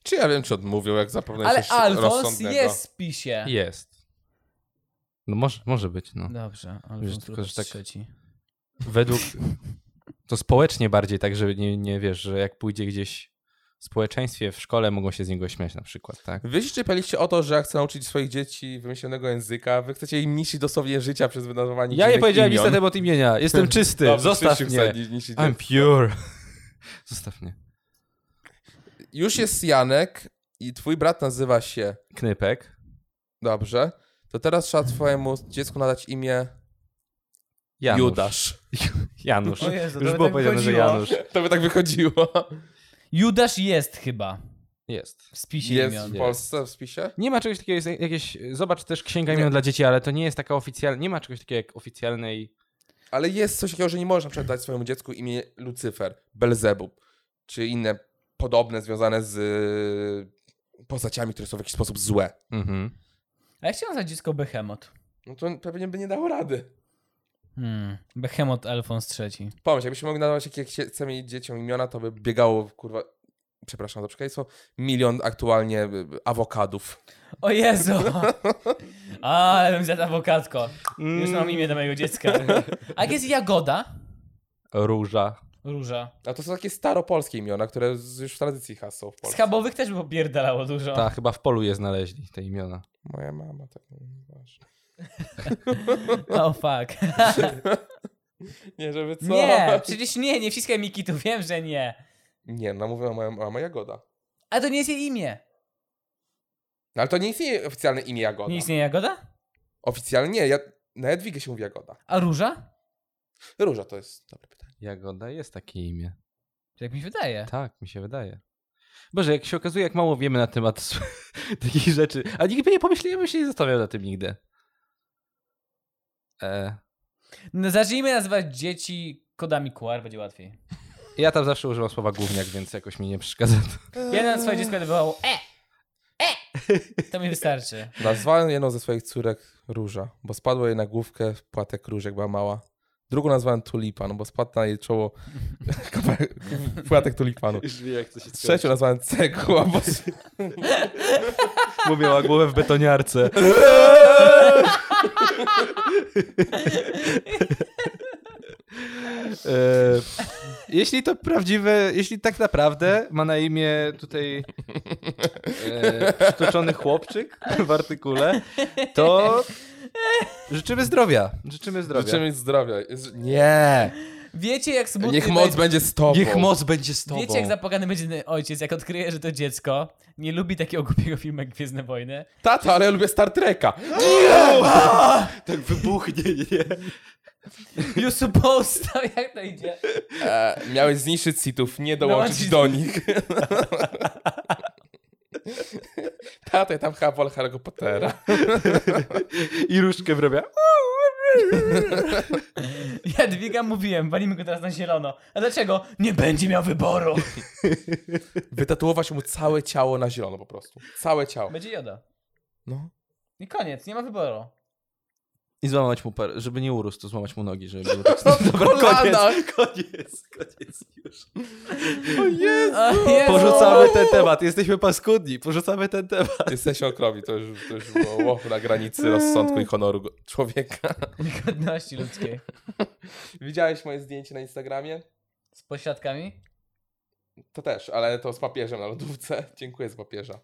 [SPEAKER 1] Czy ja wiem, czy odmówił, jak zapewne
[SPEAKER 2] Ale
[SPEAKER 1] jest coś
[SPEAKER 2] Alfons
[SPEAKER 1] rozsądnego.
[SPEAKER 2] jest w spisie.
[SPEAKER 3] Jest. No może, może być, no.
[SPEAKER 2] Dobrze,
[SPEAKER 3] Wiesz,
[SPEAKER 2] Alfons
[SPEAKER 3] tylko,
[SPEAKER 2] tylko,
[SPEAKER 3] że tak-
[SPEAKER 2] trzeci.
[SPEAKER 3] Według... To społecznie bardziej tak, że nie, nie wiesz, że jak pójdzie gdzieś w społeczeństwie, w szkole mogą się z niego śmiać na przykład, tak?
[SPEAKER 1] Wy się czepialiście o to, że ja chcę nauczyć swoich dzieci wymyślonego języka, wy chcecie im niszczyć dosłownie życia przez wydawanie
[SPEAKER 3] Ja nie powiedziałem
[SPEAKER 1] imion.
[SPEAKER 3] nic na temat imienia. Jestem czysty.
[SPEAKER 1] Dobrze,
[SPEAKER 3] Zostaw
[SPEAKER 1] Krzysiu
[SPEAKER 3] mnie.
[SPEAKER 1] chce ni- niszczyć
[SPEAKER 3] I'm pure. Zostaw mnie.
[SPEAKER 1] Już jest Janek i twój brat nazywa się
[SPEAKER 3] Knypek.
[SPEAKER 1] Dobrze. To teraz trzeba twojemu dziecku nadać imię
[SPEAKER 3] Janusz.
[SPEAKER 1] Judasz.
[SPEAKER 3] Janusz.
[SPEAKER 2] O Jezu, to
[SPEAKER 3] Już
[SPEAKER 2] by
[SPEAKER 3] było
[SPEAKER 2] tak
[SPEAKER 3] powiedziane, że
[SPEAKER 2] wychodziło.
[SPEAKER 3] Janusz.
[SPEAKER 1] To by tak wychodziło.
[SPEAKER 2] Judasz jest chyba
[SPEAKER 3] Jest.
[SPEAKER 2] w spisie
[SPEAKER 1] Jest
[SPEAKER 2] imion.
[SPEAKER 1] w Polsce w spisie?
[SPEAKER 3] Nie ma czegoś takiego, jest jakieś, zobacz też księga
[SPEAKER 1] Nie.
[SPEAKER 3] imion dla dzieci, ale to nie jest taka oficjalna, nie ma czegoś takiego jak oficjalnej,
[SPEAKER 1] Ale jest coś takiego, że nie możesz na przykład dać swojemu dziecku imię Lucyfer, Belzebub, czy inne podobne związane z y, postaciami, które są w jakiś sposób złe.
[SPEAKER 3] mhm.
[SPEAKER 2] A jak się nazywa dziecko Behemoth?
[SPEAKER 1] No to pewnie by nie dało rady.
[SPEAKER 2] Hmm. Behemoth Alfons III.
[SPEAKER 1] Pomyśl, jakbyśmy mogli nadawać jakieś chcemy mieć dzieciom imiona, to by biegało, kurwa, przepraszam za przekleństwo, milion aktualnie y, awokadów.
[SPEAKER 2] O Jezu! A, ale bym zjadł awokadko. Już mam imię do mojego dziecka. A jak jest Jagoda?
[SPEAKER 3] Róża.
[SPEAKER 2] Róża.
[SPEAKER 1] A to są takie staropolskie imiona, które z- już w tradycji has są w Polsce.
[SPEAKER 2] Schabowych też by popierdalało dużo.
[SPEAKER 1] Tak.
[SPEAKER 3] Ta, chyba w polu je znaleźli, te imiona.
[SPEAKER 1] Moja mama tak nazywasz.
[SPEAKER 2] Oh fuck.
[SPEAKER 1] Nie, żeby co?
[SPEAKER 2] Nie, przecież nie, nie wciskaj mi kitu, wiem, że nie.
[SPEAKER 1] Nie, no mówiła moja mama Jagoda.
[SPEAKER 2] A to nie jest jej imię.
[SPEAKER 1] No, ale to nie istnieje oficjalne imię Jagoda.
[SPEAKER 2] Nie istnieje Jagoda?
[SPEAKER 1] Oficjalnie nie, ja, na Jadwigę się mówi Jagoda.
[SPEAKER 2] A Róża?
[SPEAKER 1] Róża to jest dobre pytanie.
[SPEAKER 3] Jagoda jest takie imię.
[SPEAKER 2] Jak mi się wydaje.
[SPEAKER 3] Tak, mi się wydaje. Boże, jak się okazuje, jak mało wiemy na temat s- takich rzeczy. A nikt by nie pomyślał, ja bym się nie zastanawiał na tym nigdy. E,
[SPEAKER 2] No, zacznijmy nazywać dzieci kodami QR, będzie łatwiej.
[SPEAKER 3] ja tam zawsze używam słowa gówniak, więc jakoś mi nie przeszkadza to.
[SPEAKER 2] Ja na swoje dziecko wywołał E! E! To mi wystarczy.
[SPEAKER 1] Nazwałem jedną ze swoich córek Róża, bo spadło jej na główkę płatek róż, jak była mała. Drugą nazwałem Tulipan, bo spadł na jej czoło kawałek- płatek tulipanu.
[SPEAKER 3] Już wie, jak to się
[SPEAKER 1] Trzecią nazwałem Cegła, bo...
[SPEAKER 3] Mówiła głowę w betoniarce. E, jeśli to prawdziwe, jeśli tak naprawdę ma na imię tutaj e, sztuczony chłopczyk w artykule, to życzymy zdrowia. Życzymy zdrowia.
[SPEAKER 1] Życzymy jej zdrowia. Z- Nie!
[SPEAKER 2] Wiecie jak smutny
[SPEAKER 1] Niech moc
[SPEAKER 2] będzie...
[SPEAKER 1] będzie z tobą.
[SPEAKER 3] Niech moc będzie z tobą.
[SPEAKER 2] Wiecie jak zapłakany będzie ojciec, jak odkryje, że to dziecko nie lubi takiego głupiego filmu jak Gwiezdne Wojny.
[SPEAKER 1] Tato, ale ja lubię Star Treka.
[SPEAKER 3] tak wybuchnie. Nie.
[SPEAKER 2] You supposed to, jak to idzie?
[SPEAKER 1] E, miałeś zniszczyć sitów, nie dołączyć
[SPEAKER 2] Dołączyć-
[SPEAKER 1] do nich. Tato, ja tam chyba wolę Harry'ego Pottera.
[SPEAKER 3] I różdżkę wrobia.
[SPEAKER 2] Jadwiga mówiłem, walimy go teraz na zielono. A dlaczego? Nie będzie miał wyboru.
[SPEAKER 1] Wytatuować mu całe ciało na zielono po prostu. Całe ciało.
[SPEAKER 2] Będzie joda.
[SPEAKER 1] No.
[SPEAKER 2] I koniec, nie ma wyboru.
[SPEAKER 3] I złamać mu parę, żeby nie urósł, to złamać mu nogi, żeby było tak... Dobra, koniec, koniec, koniec już.
[SPEAKER 2] A, Jezu!
[SPEAKER 3] Porzucamy ten temat, jesteśmy paskudni, porzucamy ten temat.
[SPEAKER 1] Jesteś okrowi, to już, to już było wow, na granicy rozsądku i honoru go- człowieka.
[SPEAKER 2] Godności ludzkiej.
[SPEAKER 1] Widziałeś moje zdjęcie na Instagramie?
[SPEAKER 2] Z pośladkami?
[SPEAKER 1] To też, ale to z papieżem na lodówce. Dziękuję z papieża.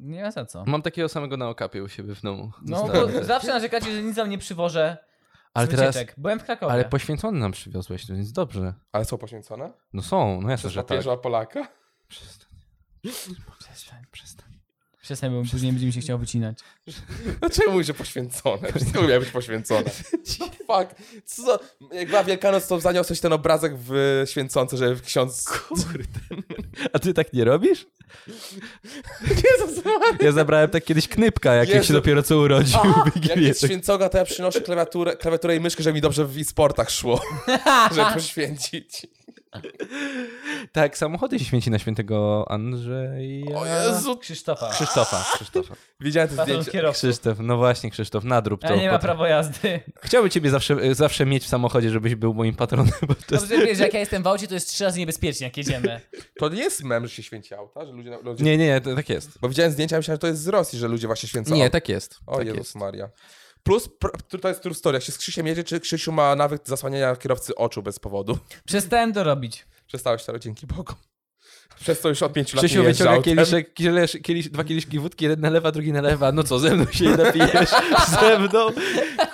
[SPEAKER 2] Nie ma za co.
[SPEAKER 3] Mam takiego samego na okapie u siebie w domu.
[SPEAKER 2] No,
[SPEAKER 3] Znany.
[SPEAKER 2] bo zawsze narzekacie, że nic wam nie przywożę
[SPEAKER 3] tak. ale
[SPEAKER 2] z
[SPEAKER 3] teraz,
[SPEAKER 2] wycieczek. Byłem w Krakowie.
[SPEAKER 3] ale poświęcony nam przywiozłeś, to więc dobrze.
[SPEAKER 1] Ale są poświęcone?
[SPEAKER 3] No są, no jasne,
[SPEAKER 1] Przez
[SPEAKER 3] że tak.
[SPEAKER 1] papieża Polaka?
[SPEAKER 3] Przestań,
[SPEAKER 2] Przestań.
[SPEAKER 3] przestań.
[SPEAKER 2] Przestań, bo później będziemy się chciał wycinać.
[SPEAKER 1] Dlaczego mówisz, że No poświęcone? Wszystko miało być poświęcone. No fuck. Co za... Jak była Wielkanoc, to zaniosłeś ten obrazek w święcące, żeby ksiądz...
[SPEAKER 3] Kurde. A ty tak nie robisz?
[SPEAKER 1] Jezus Maria.
[SPEAKER 3] Ja zabrałem tak kiedyś knypka, jak
[SPEAKER 1] Jezu.
[SPEAKER 3] się dopiero co urodził.
[SPEAKER 1] Jak
[SPEAKER 3] Wigilię,
[SPEAKER 1] jest
[SPEAKER 3] tak.
[SPEAKER 1] święcoga, to ja przynoszę klawiaturę, klawiaturę i myszkę, żeby mi dobrze w e-sportach szło, żeby poświęcić.
[SPEAKER 3] tak, samochody się święci na świętego Andrzeja.
[SPEAKER 1] O Jezu.
[SPEAKER 2] Krzysztofa.
[SPEAKER 3] Krzysztofa, Krzysztofa.
[SPEAKER 1] Widziałem te
[SPEAKER 2] Patron
[SPEAKER 1] zdjęcie.
[SPEAKER 2] kierowcy.
[SPEAKER 3] Krzysztof, no właśnie Krzysztof, nadrób to.
[SPEAKER 2] Ale nie ma
[SPEAKER 3] Pat-
[SPEAKER 2] prawa jazdy.
[SPEAKER 3] Chciałbym ciebie zawsze, zawsze mieć w samochodzie, żebyś był moim patronem. Bo to jest...
[SPEAKER 2] Dobrze wiesz, że jak ja jestem w aucie, to jest trzy razy niebezpiecznie, jak jedziemy.
[SPEAKER 1] To nie jest mem, że się święci auta, że ludzie... na- ludzie...
[SPEAKER 3] Nie, nie, nie, to tak jest.
[SPEAKER 1] Bo widziałem zdjęcia, myślałem, że to jest z Rosji, że ludzie właśnie święcą
[SPEAKER 3] Nie,
[SPEAKER 1] auta.
[SPEAKER 3] tak jest.
[SPEAKER 1] O
[SPEAKER 3] tak
[SPEAKER 1] Jezus
[SPEAKER 3] jest.
[SPEAKER 1] Maria. Plus, pr- tu- to jest true story, jak się z Krzysiem jedzie, czy Krzysiu ma nawyk zasłaniania kierowcy oczu bez powodu.
[SPEAKER 2] Przestałem to robić.
[SPEAKER 1] Przestałeś to, dzięki Bogu. Przez to już od pięciu lat nie
[SPEAKER 3] Krzysiu
[SPEAKER 1] jeżdżę
[SPEAKER 3] wyciąga
[SPEAKER 1] autem.
[SPEAKER 3] kieliszek, kielisz, kielisz, dwa kieliszki wódki, jeden nalewa, drugi nalewa. No co, ze mną się nie napijesz? Ze mną?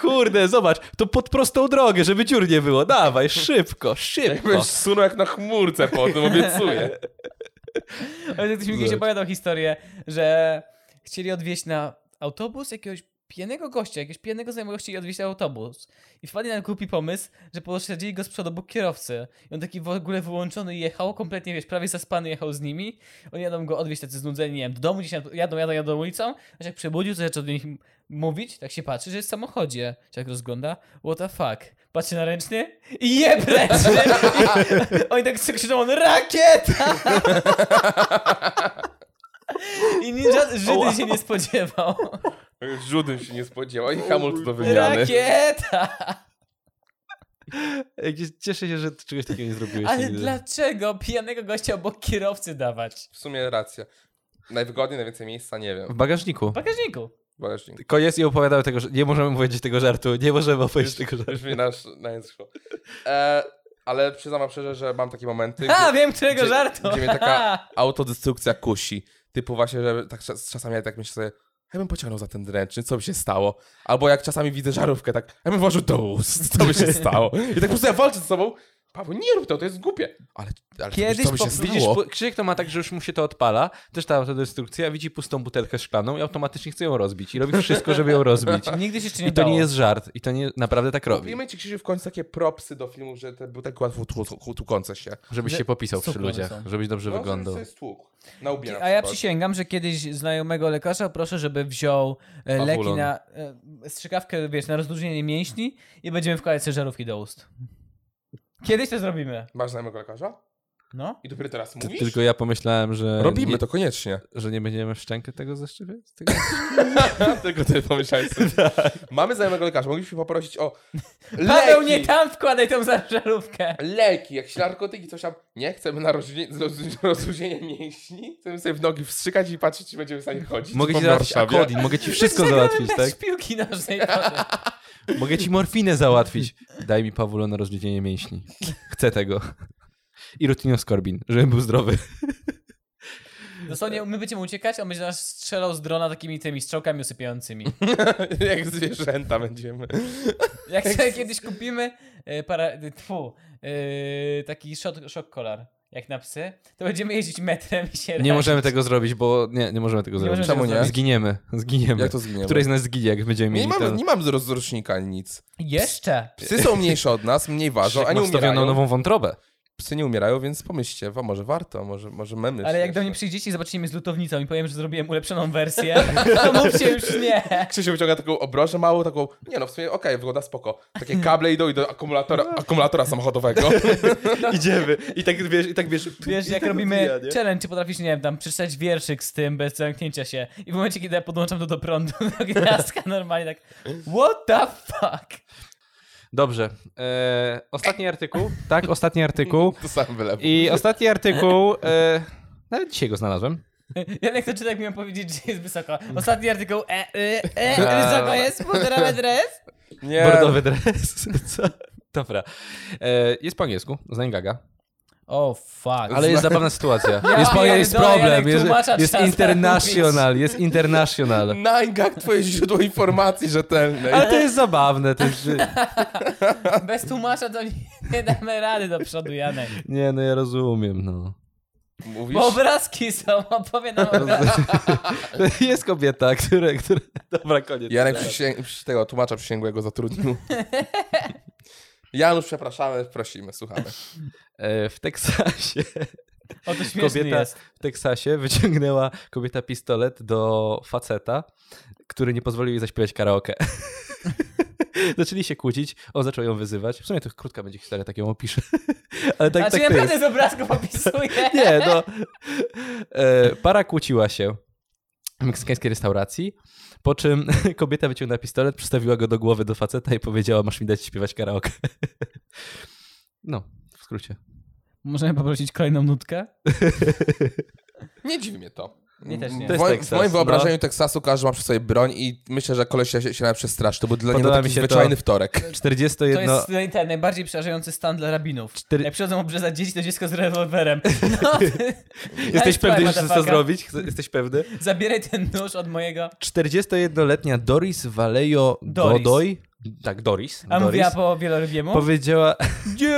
[SPEAKER 3] Kurde, zobacz, to pod prostą drogę, żeby dziur nie było. Dawaj, szybko, szybko.
[SPEAKER 1] Jakbyś sunął jak na chmurce po tym, obiecuję.
[SPEAKER 2] Ale ktoś mi kiedyś
[SPEAKER 3] Zobacz.
[SPEAKER 2] opowiadał historię, że chcieli odwieźć na autobus jakiegoś pijanego gościa, jakiegoś pijanego znajomego chcieli odwieźć na autobus. I wpadli na głupi pomysł, że posadzili go z przodu obok kierowcy. I on taki w ogóle wyłączony jechał, kompletnie, wiesz, prawie zaspany jechał z nimi. Oni jadą go odwieźć tacy znudzeni, nie wiem, do domu, gdzieś jadą, jadą, jadą, jadą ulicą. Aż jak przebudził, to zaczął do nich m- mówić, tak się patrzy, że jest w samochodzie. Się tak rozgląda, what the fuck. Patrzy na ręczny i je plecy. Oni tak krzyczą, on rakieta! I ni- żaden Żydy się nie spodziewał.
[SPEAKER 1] Żudym się nie spodziewał i hamulc do wymiany.
[SPEAKER 2] Rakieta!
[SPEAKER 3] Jakieś- Cieszę się, że czegoś takiego nie zrobiłeś.
[SPEAKER 2] Ale
[SPEAKER 3] nigdy.
[SPEAKER 2] dlaczego pijanego gościa obok kierowcy dawać?
[SPEAKER 1] W sumie racja. Najwygodniej, najwięcej miejsca, nie wiem.
[SPEAKER 3] W bagażniku.
[SPEAKER 2] W bagażniku.
[SPEAKER 1] Bagażnik.
[SPEAKER 3] Koniec i opowiadał tego, że nie możemy powiedzieć tego żartu, nie możemy opowiedzieć tego żartu.
[SPEAKER 1] Już mi nasz najazd szło. E, ale przyznam wam szczerze, że mam takie momenty,
[SPEAKER 2] A,
[SPEAKER 1] gdzie,
[SPEAKER 2] wiem którego
[SPEAKER 1] gdzie-
[SPEAKER 2] żartu.
[SPEAKER 1] gdzie mnie taka autodestrukcja kusi. Typu właśnie, że tak czas- czasami ja tak myślę sobie, ja bym pociągnął za ten dręczny, co by się stało? Albo jak czasami widzę żarówkę, tak, ja bym włożył do ust, co by się stało? I tak po prostu ja walczę ze sobą, Paweł, nie rób to, to jest głupie. Ale, ale
[SPEAKER 2] Kiedyś
[SPEAKER 1] co by się
[SPEAKER 2] po-
[SPEAKER 1] stało?
[SPEAKER 3] Widzisz, pu- Krzysiek to ma tak, że już mu się to odpala, też ta autodestrukcja, widzi pustą butelkę szklaną i automatycznie chce ją rozbić i robi wszystko, żeby ją rozbić.
[SPEAKER 2] Nigdy się jeszcze nie
[SPEAKER 3] I to nie
[SPEAKER 2] udało.
[SPEAKER 3] jest żart, i to nie, naprawdę tak robi,
[SPEAKER 1] Kupimy ci, Krzysiu, w końcu takie propsy do filmów, że te były tak łatwo tłu- tłu- tłukące się.
[SPEAKER 3] żebyś
[SPEAKER 2] że-
[SPEAKER 3] się popisał przy
[SPEAKER 2] Super one
[SPEAKER 3] ludziach,
[SPEAKER 2] są.
[SPEAKER 3] żebyś dobrze
[SPEAKER 1] No,
[SPEAKER 3] wyglądał.
[SPEAKER 1] sobie stłuk. Na łbie na
[SPEAKER 2] A ja
[SPEAKER 1] przykład.
[SPEAKER 2] przysięgam, że kiedyś znajomego lekarza proszę, żeby wziął e, leki
[SPEAKER 3] Pawulon.
[SPEAKER 2] na e, strzykawkę, wiesz, na rozluźnienie mięśni i będziemy wkładać sobie żarówki do ust. Kiedyś to zrobimy.
[SPEAKER 1] Masz znajomego lekarza?
[SPEAKER 2] No.
[SPEAKER 1] I dopiero teraz
[SPEAKER 3] Ty-
[SPEAKER 1] mówisz?
[SPEAKER 3] Tylko ja pomyślałem, że
[SPEAKER 1] Robimy
[SPEAKER 3] nie,
[SPEAKER 1] to koniecznie.
[SPEAKER 3] że nie będziemy w szczękę tego zaszczepiać. Tego?
[SPEAKER 1] Tylko ty pomyślałeś sobie. Mamy znajomego lekarza, mogliśmy poprosić o
[SPEAKER 2] Tak. Paweł,
[SPEAKER 1] leki.
[SPEAKER 2] nie tam wkładaj tą za- żarówkę.
[SPEAKER 1] Leki, jakieś narkotyki, coś tam. Nie, chcemy na rozluźnie- roz- rozluźnienie mięśni. Chcemy sobie w nogi wstrzykać i patrzeć, czy będziemy w stanie chodzić.
[SPEAKER 3] Mogę
[SPEAKER 1] Po
[SPEAKER 3] ci załatwić
[SPEAKER 1] Warszawie.
[SPEAKER 3] akodin, mogę ci wszystko
[SPEAKER 2] Przegramy
[SPEAKER 3] załatwić,
[SPEAKER 2] mecz
[SPEAKER 3] tak?
[SPEAKER 2] piłki nożnej. Paweł.
[SPEAKER 3] Mogę ci morfinę załatwić. Daj mi Pawulo na rozluźnienie mięśni. Chcę tego. I rutinoskorbin, żebym był zdrowy.
[SPEAKER 2] Dosłownie my będziemy uciekać, a on będzie nas strzelał z drona takimi tymi strzałkami usypiającymi.
[SPEAKER 1] Jak zwierzęta będziemy.
[SPEAKER 2] Jak sobie kiedyś kupimy e, para, e, tfu, e, taki szok, szok kolar, jak na psy, to będziemy jeździć metrem i się
[SPEAKER 3] Nie możemy tego zrobić, bo nie, nie możemy tego
[SPEAKER 2] Nie
[SPEAKER 3] zrobić.
[SPEAKER 2] możemy Czemu
[SPEAKER 1] tego nie? zrobić?
[SPEAKER 3] Zginiemy. Zginiemy.
[SPEAKER 1] Jak to zginiemy?
[SPEAKER 3] Któryś z nas zginie, jak będziemy
[SPEAKER 1] Nie
[SPEAKER 3] mieli
[SPEAKER 1] mam,
[SPEAKER 3] ten...
[SPEAKER 1] nie mam rozrusznika ani nic.
[SPEAKER 2] Jeszcze!
[SPEAKER 1] Psy są mniejsze od nas, mniej ważą,
[SPEAKER 3] Krzysiek
[SPEAKER 1] a nie
[SPEAKER 3] ma wstawioną
[SPEAKER 1] umierają.
[SPEAKER 3] nową wątrobę.
[SPEAKER 1] psy nie umierają, więc pomyślcie, wa- może warto, może, może memy.
[SPEAKER 2] Ale jak
[SPEAKER 1] śmieszne.
[SPEAKER 2] do mnie przyjdziecie i zobaczycie mnie z lutownicą i powiem, że zrobiłem ulepszoną wersję, to mówcie już nie.
[SPEAKER 1] Krzysiu wyciąga taką obrożę małą, taką, nie no, w sumie okej, wygląda spoko. Takie kable idą i do akumulatora,
[SPEAKER 3] No.
[SPEAKER 1] akumulatora samochodowego.
[SPEAKER 3] Idziemy. I tak wiesz, i tak wiesz.
[SPEAKER 2] Wiesz,
[SPEAKER 3] i
[SPEAKER 2] jak
[SPEAKER 3] tak
[SPEAKER 2] robimy
[SPEAKER 3] odbija, nie?
[SPEAKER 2] challenge, czy potrafisz, nie wiem, tam przeczytać wierszyk z tym bez zamknięcia się. I w momencie, kiedy ja podłączam to do prądu, to gwiazdka normalnie tak what the fuck?
[SPEAKER 3] Dobrze. E, ostatni artykuł. Tak, ostatni artykuł.
[SPEAKER 1] To sam wylew.
[SPEAKER 3] I ostatni artykuł. E, nawet dzisiaj go znalazłem.
[SPEAKER 2] Janek to czyta, jak miałem powiedzieć, że jest wysoko. Ostatni artykuł, e, e, e, wysoko jest, półtora dres.
[SPEAKER 1] Nie,
[SPEAKER 3] Bordowy dres. Co? Dobra. E, jest po angielsku, z Gaga.
[SPEAKER 2] O oh, fuck.
[SPEAKER 3] Ale jest zabawna sytuacja. Jest, po,
[SPEAKER 2] pierdolę,
[SPEAKER 3] jest
[SPEAKER 2] Janek,
[SPEAKER 3] problem. Jest,
[SPEAKER 2] tłumacza
[SPEAKER 3] jest
[SPEAKER 2] trzeba
[SPEAKER 3] international. Jest international.
[SPEAKER 1] Nine twoje źródło informacji rzetelnej.
[SPEAKER 3] Ale to jest zabawne. To jest,
[SPEAKER 2] Bez tłumacza to nie, nie damy rady do przodu, Janek.
[SPEAKER 3] nie, no ja rozumiem, no.
[SPEAKER 1] Mówisz?
[SPEAKER 2] Bo obrazki są, opowie nam obrazki.
[SPEAKER 3] Jest kobieta, która... która... Dobra, koniec.
[SPEAKER 1] Jarek przysięg... przy- tego tłumacza przysięgłego zatrudnił. Janusz, przepraszamy, prosimy, słuchamy.
[SPEAKER 3] E, w Teksasie...
[SPEAKER 2] O, to śmieszny
[SPEAKER 3] Kobieta-
[SPEAKER 2] jest.
[SPEAKER 3] w Teksasie wyciągnęła kobieta pistolet do faceta, który nie pozwolił jej zaśpiewać karaoke. Zaczęli się kłócić, on zaczął ją wyzywać. W sumie to krótka będzie historia, tak ją opiszę. Ale tak,
[SPEAKER 2] A czy
[SPEAKER 3] tak
[SPEAKER 2] ja
[SPEAKER 3] to jest.
[SPEAKER 2] będę z obrazków opisuję?
[SPEAKER 3] Nie, no. E, Para kłóciła się w meksykańskiej restauracji, po czym kobieta wyciągnęła pistolet, przystawiła go do głowy do faceta i powiedziała, masz mi dać śpiewać karaoke. No, w skrócie.
[SPEAKER 2] Możemy poprosić kolejną nutkę?
[SPEAKER 1] Nie dziwi mnie to.
[SPEAKER 2] Mnie też nie.
[SPEAKER 1] W
[SPEAKER 2] To
[SPEAKER 3] jest
[SPEAKER 1] moim-
[SPEAKER 3] Teksas,
[SPEAKER 1] w moim
[SPEAKER 3] no.
[SPEAKER 1] wyobrażeniu Teksasu każdy ma przy sobie broń i myślę, że koleś się, się nawet przestraszy. To był dla niego
[SPEAKER 3] Podoba
[SPEAKER 1] taki
[SPEAKER 3] mi się to.
[SPEAKER 1] zwyczajny wtorek.
[SPEAKER 2] To
[SPEAKER 3] 41...
[SPEAKER 2] jest ten, ten najbardziej przerażający stan dla rabinów.
[SPEAKER 3] Cztery-
[SPEAKER 2] Jak przychodzą obrzezać dzieci, to dziecko z rewolwerem. No, ty-
[SPEAKER 3] Jesteś
[SPEAKER 2] Nice try,
[SPEAKER 3] pewny, że chcesz to
[SPEAKER 2] motherfucker.
[SPEAKER 3] zrobić? Chce- Jesteś pewny?
[SPEAKER 2] Zabieraj ten nóż od mojego.
[SPEAKER 3] 41-letnia Doris Valejo
[SPEAKER 2] Doris.
[SPEAKER 3] Godoy. Tak, Doris.
[SPEAKER 2] A
[SPEAKER 3] Doris
[SPEAKER 2] mówiła po wielorybiemu?
[SPEAKER 3] powiedziała,
[SPEAKER 2] Gdzie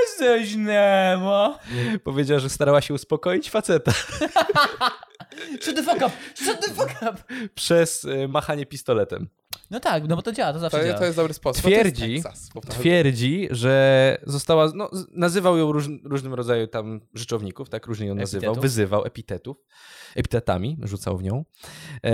[SPEAKER 2] jesteś, Nemo?
[SPEAKER 3] powiedziała, że starała się uspokoić faceta
[SPEAKER 2] Shut the fuck up! Shut the fuck up!
[SPEAKER 3] przez y, machanie pistoletem.
[SPEAKER 2] No tak, no bo to działa, to zawsze
[SPEAKER 1] To,
[SPEAKER 2] działa.
[SPEAKER 1] to jest dobry sposób. To
[SPEAKER 3] Twierdzi-
[SPEAKER 1] jest Teksas, bo to-
[SPEAKER 3] Twierdzi, że została. No, z- nazywał ją róż, różnym rodzaju tam rzeczowników, tak różnie ją nazywał,
[SPEAKER 2] Epitetów.
[SPEAKER 3] wyzywał epitetów, epitetami, rzucał w nią. E,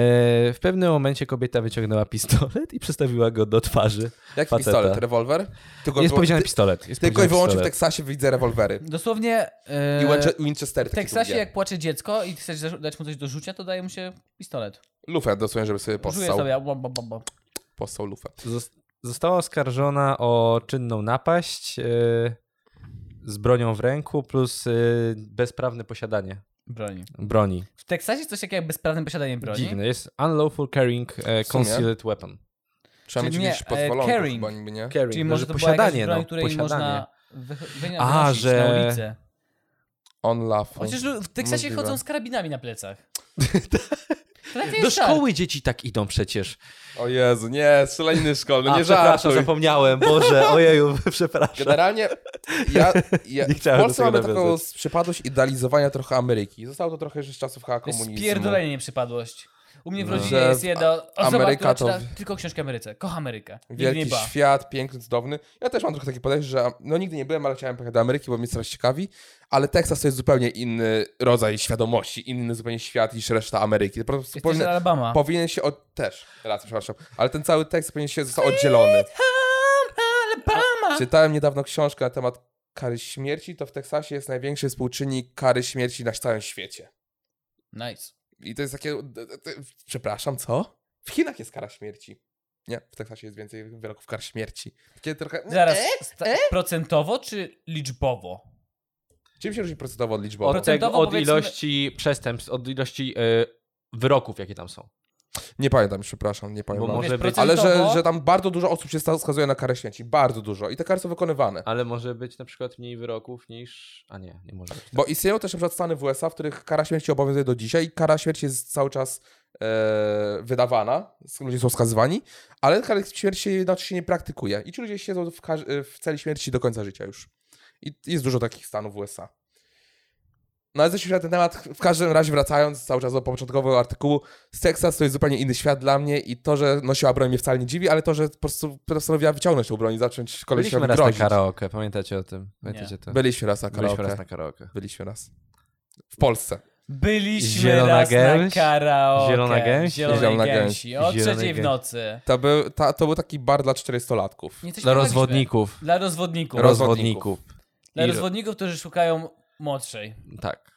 [SPEAKER 3] w pewnym momencie kobieta wyciągnęła pistolet i przystawiła go do twarzy.
[SPEAKER 1] Jaki
[SPEAKER 3] faceta.
[SPEAKER 1] pistolet? Rewolwer? Tylko,
[SPEAKER 3] Jest
[SPEAKER 1] wyłą-
[SPEAKER 3] powiedziane
[SPEAKER 1] ty-
[SPEAKER 3] pistolet. Jest
[SPEAKER 1] Tylko i
[SPEAKER 3] powiedziane
[SPEAKER 1] wyłącznie w
[SPEAKER 3] pistolet.
[SPEAKER 1] Teksasie widzę rewolwery.
[SPEAKER 2] Dosłownie... e,
[SPEAKER 1] I Winche- Winchestery.
[SPEAKER 2] W
[SPEAKER 1] takie
[SPEAKER 2] Teksasie
[SPEAKER 1] długie.
[SPEAKER 2] jak płacze dziecko i chcesz za- dać mu coś do rzucia, to daje mu się pistolet.
[SPEAKER 1] Lufę dosłownie, żeby sobie
[SPEAKER 2] Rzuje
[SPEAKER 1] postał.
[SPEAKER 2] sobie, a bom, bom, bom, bom.
[SPEAKER 1] Postał lufę.
[SPEAKER 3] Zos- Została oskarżona o czynną napaść y, z bronią w ręku plus y, bezprawne posiadanie
[SPEAKER 2] Broni.
[SPEAKER 3] broni.
[SPEAKER 2] W Teksasie jest coś takiego jak bezprawne posiadanie broni.
[SPEAKER 3] Dziwne, jest unlawful carrying e,
[SPEAKER 1] sumie.
[SPEAKER 3] concealed weapon.
[SPEAKER 1] Trzeba
[SPEAKER 2] Czyli
[SPEAKER 1] mieć
[SPEAKER 2] nie,
[SPEAKER 1] jakieś
[SPEAKER 2] e,
[SPEAKER 1] pozwolone,
[SPEAKER 2] carrying.
[SPEAKER 1] chyba niby nie.
[SPEAKER 3] Carrying,
[SPEAKER 2] Czyli
[SPEAKER 3] no,
[SPEAKER 2] może
[SPEAKER 3] że
[SPEAKER 2] to
[SPEAKER 3] posiadanie,
[SPEAKER 2] była jakaś broń,
[SPEAKER 3] no,
[SPEAKER 2] której
[SPEAKER 3] posiadanie.
[SPEAKER 2] można wy- wy-
[SPEAKER 3] A,
[SPEAKER 2] wynosić
[SPEAKER 3] że-
[SPEAKER 2] na ulicę.
[SPEAKER 1] On love.
[SPEAKER 2] Chociaż lu- w Teksasie
[SPEAKER 1] Możliwe.
[SPEAKER 2] chodzą z karabinami na plecach. To nawet nie
[SPEAKER 3] Do
[SPEAKER 2] jest żart.
[SPEAKER 3] szkoły dzieci tak idą przecież.
[SPEAKER 1] O Jezu, nie, strzelaniny szkolne,
[SPEAKER 3] A,
[SPEAKER 1] No nie
[SPEAKER 3] przepraszam,
[SPEAKER 1] żartuj.
[SPEAKER 3] zapomniałem, Boże, ojeju, przepraszam.
[SPEAKER 1] Generalnie ja, ja,
[SPEAKER 3] Nie
[SPEAKER 1] w
[SPEAKER 3] chciałem do
[SPEAKER 1] Polsce
[SPEAKER 3] tego
[SPEAKER 1] mamy taką
[SPEAKER 3] nawiązać.
[SPEAKER 1] z- przypadłość idealizowania trochę Ameryki. Zostało to trochę jeszcze z czasów chyba
[SPEAKER 2] To jest
[SPEAKER 1] komunizmu.
[SPEAKER 2] spierdolenie nieprzypadłość. U mnie w
[SPEAKER 1] No.
[SPEAKER 2] rodzinie
[SPEAKER 1] Że
[SPEAKER 2] jest
[SPEAKER 1] w-
[SPEAKER 2] jedna osoba,
[SPEAKER 1] Ameryka
[SPEAKER 2] Ameryka
[SPEAKER 1] to-
[SPEAKER 2] która czyta tylko książki o Ameryce. Kocha Amerykę. Nigdy nie
[SPEAKER 1] Wielki
[SPEAKER 2] ba.
[SPEAKER 1] świat, piękny, cudowny. Ja też mam trochę takie podejście, że no nigdy nie byłem, ale chciałem pojechać do Ameryki, bo mnie strasznie ciekawi, ale Teksas to jest zupełnie inny rodzaj świadomości, inny zupełnie świat niż reszta Ameryki. Po prostu
[SPEAKER 2] Jesteś
[SPEAKER 1] powinien,
[SPEAKER 2] z Alabama.
[SPEAKER 1] powinien się od... też, raz, przepraszam, ale ten cały tekst powinien się został oddzielony.
[SPEAKER 2] Alabama!
[SPEAKER 1] Czytałem niedawno książkę na temat kary śmierci, to w Teksasie jest największy współczynnik kary śmierci na całym świecie.
[SPEAKER 2] Nice.
[SPEAKER 1] I to jest takie. d- d- d- Przepraszam, co? W Chinach jest kara śmierci. Nie, w Teksasie jest więcej wyroków kar śmierci. Takie trochę.
[SPEAKER 2] Zaraz, sta- procentowo czy liczbowo?
[SPEAKER 1] Czym się różni procentowo od liczbowo?
[SPEAKER 2] Proce- Procentowo
[SPEAKER 3] od
[SPEAKER 2] powiedzmy-
[SPEAKER 3] ilości przestępstw, od ilości e, wyroków, jakie tam są.
[SPEAKER 1] Nie pamiętam, przepraszam, nie pamiętam.
[SPEAKER 3] Bo może
[SPEAKER 2] Wiesz,
[SPEAKER 3] być-
[SPEAKER 1] Ale że,
[SPEAKER 2] procentowo-
[SPEAKER 1] że tam bardzo dużo osób się sta- skazuje na karę śmierci. Bardzo dużo. I te kary są wykonywane.
[SPEAKER 3] Ale może być na przykład mniej wyroków niż... A nie, nie może być.
[SPEAKER 1] Bo istnieją też na przykład stany w USA, w których kara śmierci obowiązuje do dzisiaj i kara śmierci jest cały czas e, wydawana, s- ludzie są skazywani, ale kara śmierci znaczy się nie praktykuje. I ci ludzie siedzą w, kar- w celi śmierci do końca życia już. I jest dużo takich stanów w USA. No ale zeszliśmy na ten temat, w każdym razie wracając cały czas do początkowego artykułu, z Texas to jest zupełnie inny świat dla mnie i to, że nosiła broń mnie wcale nie dziwi, ale to, że po prostu postanowiła wyciągnąć tą broń i zacząć
[SPEAKER 3] Byliśmy
[SPEAKER 1] kolesiowi
[SPEAKER 3] raz na
[SPEAKER 1] grozić.
[SPEAKER 3] karaoke, pamiętacie o tym? Pamiętacie to?
[SPEAKER 1] Byliśmy raz na karaoke.
[SPEAKER 3] Byliśmy raz na karaoke.
[SPEAKER 1] Byliśmy raz. W Polsce.
[SPEAKER 2] Byliśmy
[SPEAKER 3] Zielona
[SPEAKER 2] raz
[SPEAKER 3] gęś?
[SPEAKER 2] na karaoke.
[SPEAKER 3] Zielona gęś?
[SPEAKER 2] Zielonej
[SPEAKER 1] Zielona
[SPEAKER 2] gęsi. O
[SPEAKER 3] Zielonej
[SPEAKER 2] trzeciej w
[SPEAKER 3] gęsi.
[SPEAKER 2] nocy.
[SPEAKER 1] To był, ta, to był taki bar dla 400-latków.
[SPEAKER 2] Nie, coś nagraliśmy.
[SPEAKER 3] Dla rozwodników.
[SPEAKER 2] Dla rozwodników.
[SPEAKER 1] Roz-
[SPEAKER 3] Rozwodników.
[SPEAKER 2] Dla
[SPEAKER 3] I-
[SPEAKER 2] rozwodników, którzy szukają młodszej.
[SPEAKER 3] Tak.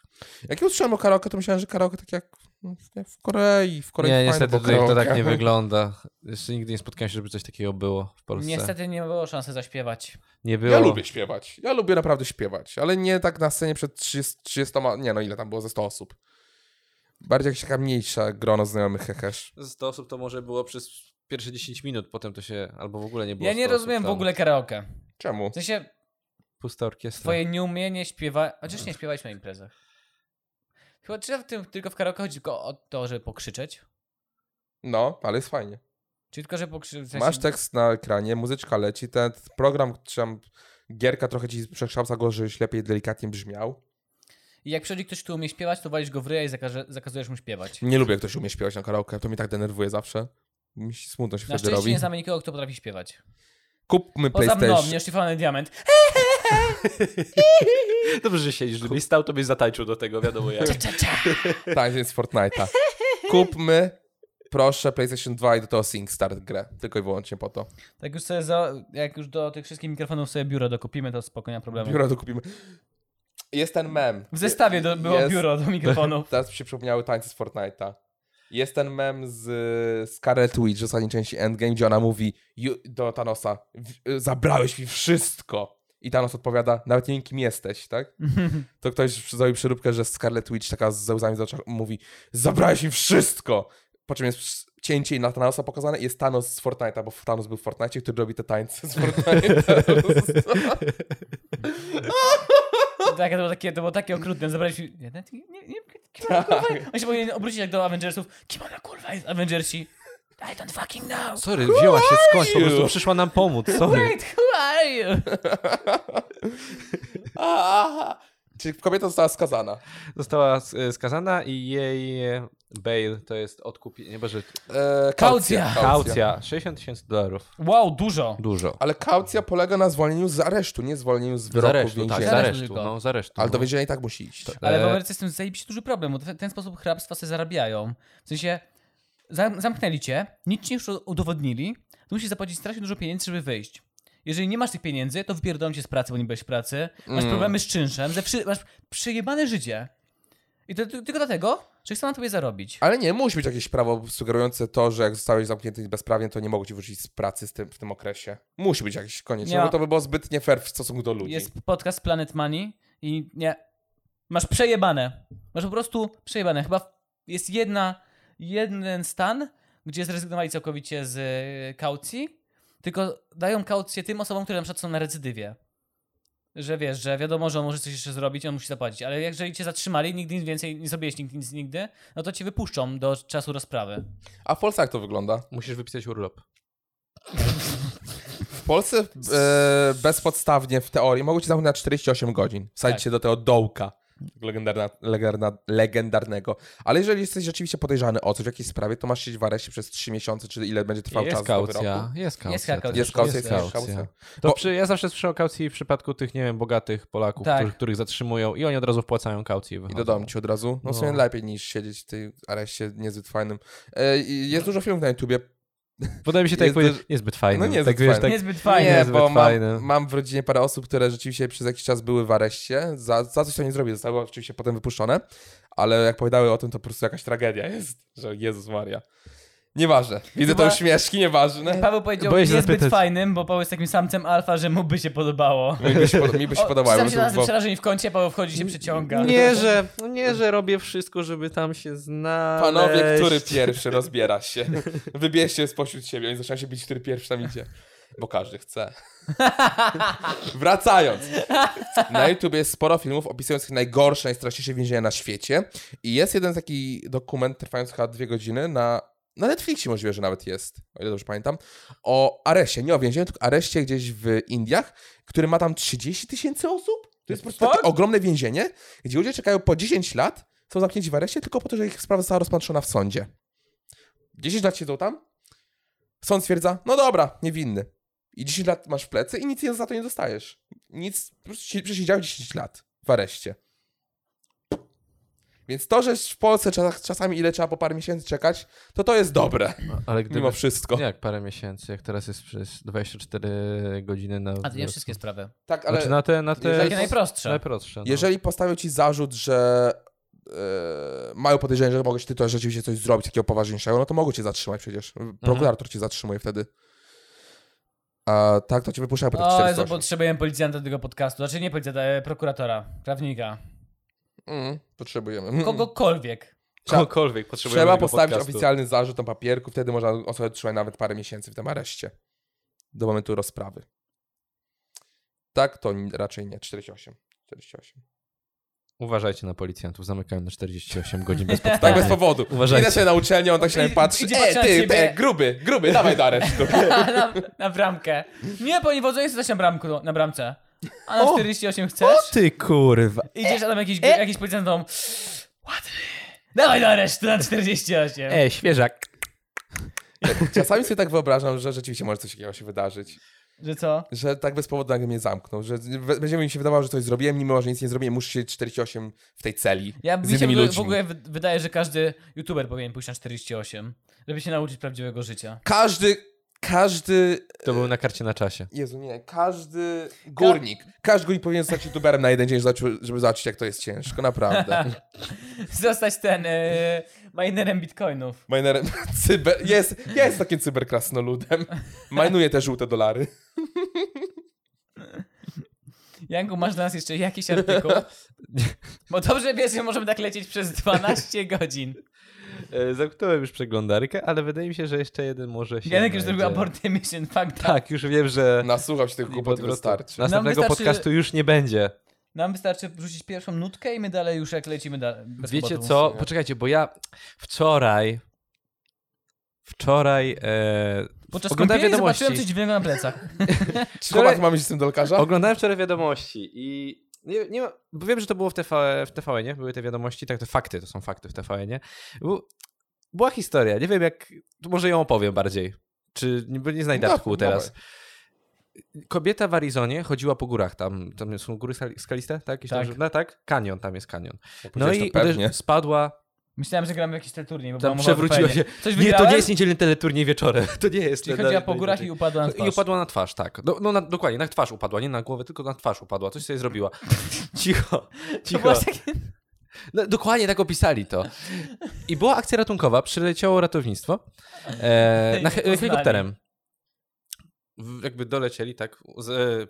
[SPEAKER 1] Jak ja usłyszałem o karaoke, to myślałem, że karaoke tak jak no, jak w Korei. W Korei
[SPEAKER 3] Nie,
[SPEAKER 1] fajne,
[SPEAKER 3] niestety
[SPEAKER 1] bo
[SPEAKER 3] tutaj to
[SPEAKER 1] karaoke.
[SPEAKER 3] tak nie wygląda. Jeszcze nigdy nie spotkałem się, żeby coś takiego było w Polsce.
[SPEAKER 2] Niestety nie było szansy zaśpiewać.
[SPEAKER 3] Nie było.
[SPEAKER 1] Ja lubię śpiewać. Ja lubię naprawdę śpiewać, ale nie tak na scenie przed 30, 30 nie no ile tam było, ze 100 osób. Bardziej jakaś taka mniejsza grono znajomych hehesz.
[SPEAKER 3] Z 100 osób to może było przez pierwsze 10 minut, potem to się albo w ogóle nie było. tak.
[SPEAKER 2] Ja nie
[SPEAKER 3] 100
[SPEAKER 2] rozumiem
[SPEAKER 3] osób,
[SPEAKER 2] w
[SPEAKER 3] tam
[SPEAKER 2] ogóle karaoke.
[SPEAKER 1] Czemu?
[SPEAKER 2] W sensie
[SPEAKER 3] Pusta orkiestra.
[SPEAKER 2] twoje nieumienie śpiewa... Chociaż nie śpiewać na imprezach. Chyba czy w tym tylko w karaoke chodzi tylko o to, żeby pokrzyczeć?
[SPEAKER 1] No, ale jest fajnie.
[SPEAKER 2] Czyli tylko, żeby pokrzyczeć... w sensie-
[SPEAKER 1] Masz tak- tekst na ekranie, muzyczka leci, ten program, czy tam gierka trochę ci przekształca go, żebyś lepiej delikatnie brzmiał.
[SPEAKER 2] I jak przychodzi ktoś, kto umie śpiewać, to walisz go w ryja i zakaże, zakazujesz mu śpiewać.
[SPEAKER 1] Nie lubię, jak ktoś umie śpiewać na karaoke, to mnie tak denerwuje zawsze. Mi się smutno się
[SPEAKER 2] Na
[SPEAKER 1] wtedy
[SPEAKER 2] szczęście
[SPEAKER 1] robi.
[SPEAKER 2] nie znamy nikogo, kto potrafi śpiewać.
[SPEAKER 1] Kupmy
[SPEAKER 2] Poza mną,
[SPEAKER 1] PlayStation.
[SPEAKER 2] nieszlifowany diament.
[SPEAKER 3] Dobrze, że siedzisz. Gdybyś stał, to byś zatańczył do tego, wiadomo jak.
[SPEAKER 2] Cza, cza, cza.
[SPEAKER 1] Tak, jest Fortnite'a. Kupmy, proszę, PlayStation 2 i do tego SingStar grę. Tylko i wyłącznie po to.
[SPEAKER 2] Tak już sobie, za, jak już do tych wszystkich mikrofonów sobie biuro dokupimy, to spokojnie, nie ma problemu.
[SPEAKER 1] Biuro to kupimy. Jest ten mem.
[SPEAKER 2] W zestawie do, było
[SPEAKER 1] Jest-
[SPEAKER 2] biuro do mikrofonów.
[SPEAKER 1] Teraz mi się przypomniały tańce z Fortnite'a. Jest ten mem z y, Scarlet Witch z ostatniej części Endgame, gdzie ona mówi "You- do Thanosa "W- y, zabrałeś mi wszystko. I Thanos odpowiada, nawet nie wiem kim jesteś, tak? To ktoś zrobił przeróbkę, że Scarlet Witch taka ze łzami w oczach mówi zabrałeś mi wszystko. Po czym jest ps- cięcie i na Thanosa pokazane i jest Thanos z Fortnite'a, bo Thanos był w Fortnite, który robi te tańce z Fortnite'a.
[SPEAKER 2] tak, to było takie, to było takie okrutne. Zabraliśmy... Nie, nie, nie, nie, kim
[SPEAKER 1] Tak.
[SPEAKER 2] ona kurwa jest? On się powinien obrócić jak do Avengersów. Kim ona kurwa jest, Avengersi? I don't fucking know.
[SPEAKER 3] Sorry, wzięła się skądś, po
[SPEAKER 1] you?
[SPEAKER 3] prostu przyszła nam pomóc, sorry.
[SPEAKER 2] Wait, who are you?
[SPEAKER 1] A, Czyli kobieta została skazana.
[SPEAKER 3] Została s- e, skazana i jej e, bail to jest odkupienie, nie boże,
[SPEAKER 1] E,
[SPEAKER 2] Kaucja.
[SPEAKER 3] kaucja, 60 tysięcy dolarów.
[SPEAKER 2] Wow, dużo.
[SPEAKER 3] Dużo.
[SPEAKER 1] Ale kaucja polega na zwolnieniu z aresztu, nie zwolnieniu z
[SPEAKER 3] Z
[SPEAKER 1] wyroku
[SPEAKER 3] aresztu, tak, z
[SPEAKER 1] więzienia.
[SPEAKER 2] Zaresztu
[SPEAKER 3] aresztu,
[SPEAKER 2] tylko.
[SPEAKER 3] no, z aresztu.
[SPEAKER 1] Ale do
[SPEAKER 3] no.
[SPEAKER 1] więzienia i tak musi iść.
[SPEAKER 2] Ale w
[SPEAKER 3] E,
[SPEAKER 2] Ameryce z tym zajebiście duży problem, bo w ten sposób hrabstwa sobie zarabiają. W sensie zam- zamknęli cię, nic ci już udowodnili, to musisz zapłacić strasznie dużo pieniędzy, żeby wyjść. Jeżeli nie masz tych pieniędzy, to wypierdolą cię z pracy, bo nie byłeś w pracy. Masz
[SPEAKER 1] Mm.
[SPEAKER 2] problemy z czynszem, ze wszy- masz przejebane życie. I to ty- tylko dlatego, że chcą na tobie zarobić.
[SPEAKER 1] Ale nie, musi być jakieś prawo sugerujące to, że jak zostałeś zamknięty bezprawnie, to nie mogą cię wyrzucić z pracy z tym, w tym okresie. Musi być jakieś
[SPEAKER 2] Nie
[SPEAKER 1] konieczne,
[SPEAKER 2] ma.
[SPEAKER 1] bo to by było zbyt nie fair w stosunku do ludzi.
[SPEAKER 2] Jest podcast Planet Money i nie. Masz przejebane. Masz po prostu przejebane. Chyba w- jest jedna, jeden stan, gdzie zrezygnowali całkowicie z e, kaucji, tylko dają kaucję tym osobom, które na przykład są na recydywie. Że wiesz, że wiadomo, że on może coś jeszcze zrobić, on musi zapłacić, ale jeżeli cię zatrzymali, nigdy nic więcej nie zrobiłeś nigdy, nic nigdy, no to cię wypuszczą do czasu rozprawy.
[SPEAKER 1] A w Polsce jak to wygląda?
[SPEAKER 3] Musisz wypisać urlop.
[SPEAKER 1] W Polsce e, bezpodstawnie w teorii mogą cię zamknąć na 48 godzin. Wsadzić
[SPEAKER 2] Tak.
[SPEAKER 1] się do tego dołka legendarna, legendarna, legendarnego. Ale jeżeli jesteś rzeczywiście podejrzany o coś w jakiejś sprawie, to masz siedzieć w areszcie przez 3 miesiące, czy ile będzie trwał
[SPEAKER 3] Jest
[SPEAKER 1] czas do wyroku.
[SPEAKER 3] kaucja, jest kaucja.
[SPEAKER 2] Jest kaucja.
[SPEAKER 3] tak.
[SPEAKER 1] Jest kaucja, jest
[SPEAKER 2] Jest
[SPEAKER 1] kaucja.
[SPEAKER 3] kaucja. To
[SPEAKER 1] Bo-
[SPEAKER 3] przy, ja zawsze słyszę o kaucji w przypadku tych, nie wiem, bogatych Polaków,
[SPEAKER 2] Tak.
[SPEAKER 3] których, których zatrzymują i oni od razu wpłacają kaucję i
[SPEAKER 1] I
[SPEAKER 3] wychodzą.
[SPEAKER 1] do domu ci od razu. No w sumie
[SPEAKER 3] No.
[SPEAKER 1] lepiej niż siedzieć w tej areszcie niezbyt fajnym. E, i jest dużo filmów na YouTubie.
[SPEAKER 3] Wydaje mi się, tak jak
[SPEAKER 1] Jest
[SPEAKER 3] powiedzieć, niezbyt fajny.
[SPEAKER 1] No niezbyt
[SPEAKER 3] tak, wiesz,
[SPEAKER 1] fajny.
[SPEAKER 3] tak,
[SPEAKER 2] Niezbyt fajnie.
[SPEAKER 1] nie,
[SPEAKER 3] niezbyt
[SPEAKER 1] bo
[SPEAKER 3] fajne.
[SPEAKER 1] mam, mam w rodzinie parę osób, które rzeczywiście przez jakiś czas były w areszcie. Za, za coś to nie zrobiły. Zostały oczywiście potem wypuszczone. Ale jak opowiadały o tym, to po prostu jakaś tragedia jest. Że Jezus Maria. Nieważne. Widzę
[SPEAKER 2] Chyba-
[SPEAKER 1] to już śmieszki, nieważne.
[SPEAKER 2] Paweł powiedział
[SPEAKER 3] Boję się
[SPEAKER 2] niezbyt
[SPEAKER 3] zapytać.
[SPEAKER 2] fajnym, bo Paweł jest takim samcem alfa, że mu by się podobało.
[SPEAKER 1] Mi by się, pod- mi by się
[SPEAKER 2] O,
[SPEAKER 1] podobało.
[SPEAKER 2] Sam się
[SPEAKER 1] jakby to
[SPEAKER 2] razem
[SPEAKER 1] było-
[SPEAKER 2] przerażeni w kącie, Paweł wchodzi się przeciąga.
[SPEAKER 3] Nie, że, no nie, że robię wszystko, żeby tam się znaleźć.
[SPEAKER 1] Panowie, który pierwszy rozbiera się. Wybierzcie spośród siebie. Oni zaczynają się bić, który pierwszy tam idzie. Bo każdy chce. Wracając. Na YouTube jest sporo filmów opisujących najgorsze, najstraszniejsze więzienia na świecie. I jest jeden taki dokument trwający chyba dwie godziny na, na Netflixie możliwe, że nawet jest, o ile dobrze pamiętam, o areszcie, nie o więzieniu, tylko areszcie gdzieś w Indiach, który ma tam 30 tysięcy osób To jest po prostu takie ogromne więzienie, gdzie ludzie czekają po 10 lat, są zamknięci w areszcie tylko po to, że ich sprawa została rozpatrzona w sądzie. 10 lat siedzą tam, sąd stwierdza, no dobra, niewinny. I 10 lat masz w plecy i nic za to nie dostajesz. Nic, po prostu si- przesiedziałeś 10 lat w areszcie. Więc to, że w Polsce czas, czasami ile trzeba po parę miesięcy czekać, to to jest dobre,
[SPEAKER 3] No, Ale
[SPEAKER 1] mimo wszystko.
[SPEAKER 3] Jak parę miesięcy, jak teraz jest przez 24 godziny na.
[SPEAKER 2] A to nie wszystkie sprawy.
[SPEAKER 1] Tak, ale
[SPEAKER 3] Znaczy na te. Na te
[SPEAKER 2] Takie najprostsze.
[SPEAKER 3] najprostsze. No.
[SPEAKER 1] jeżeli postawią ci zarzut, że e, mają podejrzenie, że mogłeś ty to rzeczywiście coś zrobić takiego poważniejszego, no to mogą cię zatrzymać przecież.
[SPEAKER 3] Mhm.
[SPEAKER 1] Prokurator cię zatrzymuje wtedy. A tak, to cię wypuszczają
[SPEAKER 3] No,
[SPEAKER 1] po tych
[SPEAKER 2] O,
[SPEAKER 1] 400.
[SPEAKER 2] Jezu, potrzebujemy policjanta do tego podcastu. Znaczy nie policjanta, e, prokuratora, prawnika.
[SPEAKER 1] Mm, potrzebujemy. Mm.
[SPEAKER 2] Kogokolwiek.
[SPEAKER 1] Trzeba-
[SPEAKER 3] Kogokolwiek potrzebujemy.
[SPEAKER 1] Trzeba
[SPEAKER 3] tego
[SPEAKER 1] postawić
[SPEAKER 3] podcastu.
[SPEAKER 1] oficjalny zarzut na papierku, wtedy można osobę trzymać nawet parę miesięcy w tym areszcie. Do momentu rozprawy. Tak, to n- raczej nie. 48. 48.
[SPEAKER 3] Uważajcie na policjantów, zamykają na 48 godzin bez podstawy.
[SPEAKER 1] Tak bez powodu.
[SPEAKER 3] Uważajcie.
[SPEAKER 1] Idę sobie na uczelnię, on tak się na mnie
[SPEAKER 2] I-
[SPEAKER 1] patrzy.
[SPEAKER 2] idzie
[SPEAKER 1] E,
[SPEAKER 2] patrzeć na
[SPEAKER 1] ty,
[SPEAKER 2] ciebie.
[SPEAKER 1] ty, gruby, gruby, dawaj do aresztu.
[SPEAKER 2] na, na bramkę. Nie, bo niewodzenie jesteś na, bramku, no, na bramce. A na 48 chcesz?
[SPEAKER 3] Ty kurwa.
[SPEAKER 2] Idziesz, a tam
[SPEAKER 1] E!
[SPEAKER 2] jakiś, jakiś policjant tam... Ładny. Dawaj do aresztu na 48.
[SPEAKER 3] E, świeżak.
[SPEAKER 1] Czasami sobie tak wyobrażam, że rzeczywiście może coś takiego się wydarzyć.
[SPEAKER 2] Że co?
[SPEAKER 1] Że tak bez powodu nagle mnie zamknął. Że we- będzie mi się wydawało, że coś zrobiłem, mimo że nic nie zrobiłem, muszę siedzieć 48 w tej celi.
[SPEAKER 2] Ja
[SPEAKER 1] z
[SPEAKER 2] mi się
[SPEAKER 1] innymi
[SPEAKER 2] w,
[SPEAKER 1] ludźmi.
[SPEAKER 2] w ogóle wy- wydaje, że każdy youtuber powinien pójść na 48, żeby się nauczyć prawdziwego życia.
[SPEAKER 1] Każdy, każdy
[SPEAKER 3] To był na karcie na czasie.
[SPEAKER 1] Jezu, nie, każdy górnik, każdy górnik powinien zostać youtuberem na jeden dzień, żeby zobaczył- żeby zobaczyć, jak to jest ciężko, naprawdę.
[SPEAKER 2] Zostać ten e, minerem bitcoinów.
[SPEAKER 1] Minerem, cyber, jest, jest takim cyberkrasnoludem. Majnuje te żółte dolary.
[SPEAKER 2] Janku, masz dla nas jeszcze jakiś artykuł? Bo dobrze wiesz, że możemy tak lecieć przez 12 godzin.
[SPEAKER 3] E, zamknąłem już przeglądarkę, ale wydaje mi się, że jeszcze jeden może się
[SPEAKER 2] Janek już
[SPEAKER 3] znajdzie.
[SPEAKER 2] zrobił aborty mission fakta.
[SPEAKER 3] Tak, już wiem, że
[SPEAKER 1] Nasłuchał się tych
[SPEAKER 3] I
[SPEAKER 1] głupot i
[SPEAKER 3] odwrotu.
[SPEAKER 1] wystarczy.
[SPEAKER 3] następnego
[SPEAKER 2] wystarczy-
[SPEAKER 3] podcastu już nie będzie.
[SPEAKER 2] Nam wystarczy wrzucić pierwszą nutkę i my dalej już jak lecimy dalej. bez
[SPEAKER 3] Wiecie
[SPEAKER 2] kłopotów.
[SPEAKER 3] co? Poczekajcie, bo ja wczoraj... Wczoraj... E,
[SPEAKER 2] Podczas
[SPEAKER 3] oglądałem
[SPEAKER 2] kąpieli zobaczyłem coś
[SPEAKER 3] wiadomości.
[SPEAKER 2] dziwnego na plecach.
[SPEAKER 1] Czy chłopak mamy się z tym do
[SPEAKER 2] Tak.
[SPEAKER 1] lekarza?
[SPEAKER 3] Oglądałem wczoraj wiadomości i... Nie, nie ma, bo wiem, że to było w, TV, w TVN, nie? Były te wiadomości, tak, te fakty, to są fakty w TVN, nie? Był, była historia, nie wiem jak... to Może ją opowiem bardziej. Czy nie, bo nie znajdę
[SPEAKER 1] No,
[SPEAKER 3] artykułu teraz.
[SPEAKER 1] dawaj.
[SPEAKER 3] Kobieta w Arizonie chodziła po górach tam. Tam są góry skali- skaliste, tak? Jakieś
[SPEAKER 2] Tak.
[SPEAKER 3] Tam, no, tak? Kanion, tam jest kanion. No
[SPEAKER 1] powiedziałeś,
[SPEAKER 3] i
[SPEAKER 1] to pewnie.
[SPEAKER 3] uderzy- spadła.
[SPEAKER 2] Myślałem, że gramy w jakiś teleturniej, bo
[SPEAKER 3] Tam
[SPEAKER 2] była mowa o
[SPEAKER 3] przewróciła
[SPEAKER 2] zupełnie. Coś
[SPEAKER 3] Nie, to
[SPEAKER 2] wygrałem?
[SPEAKER 3] nie jest niedzielny teleturniej wieczorem. To nie jest.
[SPEAKER 2] Czyli
[SPEAKER 3] ten-
[SPEAKER 2] chodziła
[SPEAKER 3] ten-
[SPEAKER 2] po
[SPEAKER 3] ten-
[SPEAKER 2] górach
[SPEAKER 3] ten-
[SPEAKER 2] i upadła na twarz.
[SPEAKER 3] I upadła na twarz, tak. No, no na, dokładnie, na twarz upadła. Nie na głowę, tylko na twarz upadła. Coś sobie zrobiła. Cicho,
[SPEAKER 2] To
[SPEAKER 3] cicho.
[SPEAKER 2] było takie...
[SPEAKER 3] No, dokładnie tak opisali to. I była akcja ratunkowa, przyleciało ratownictwo e, na he-
[SPEAKER 2] Poznali.
[SPEAKER 3] helikopterem. W, jakby dolecieli, tak, z, e,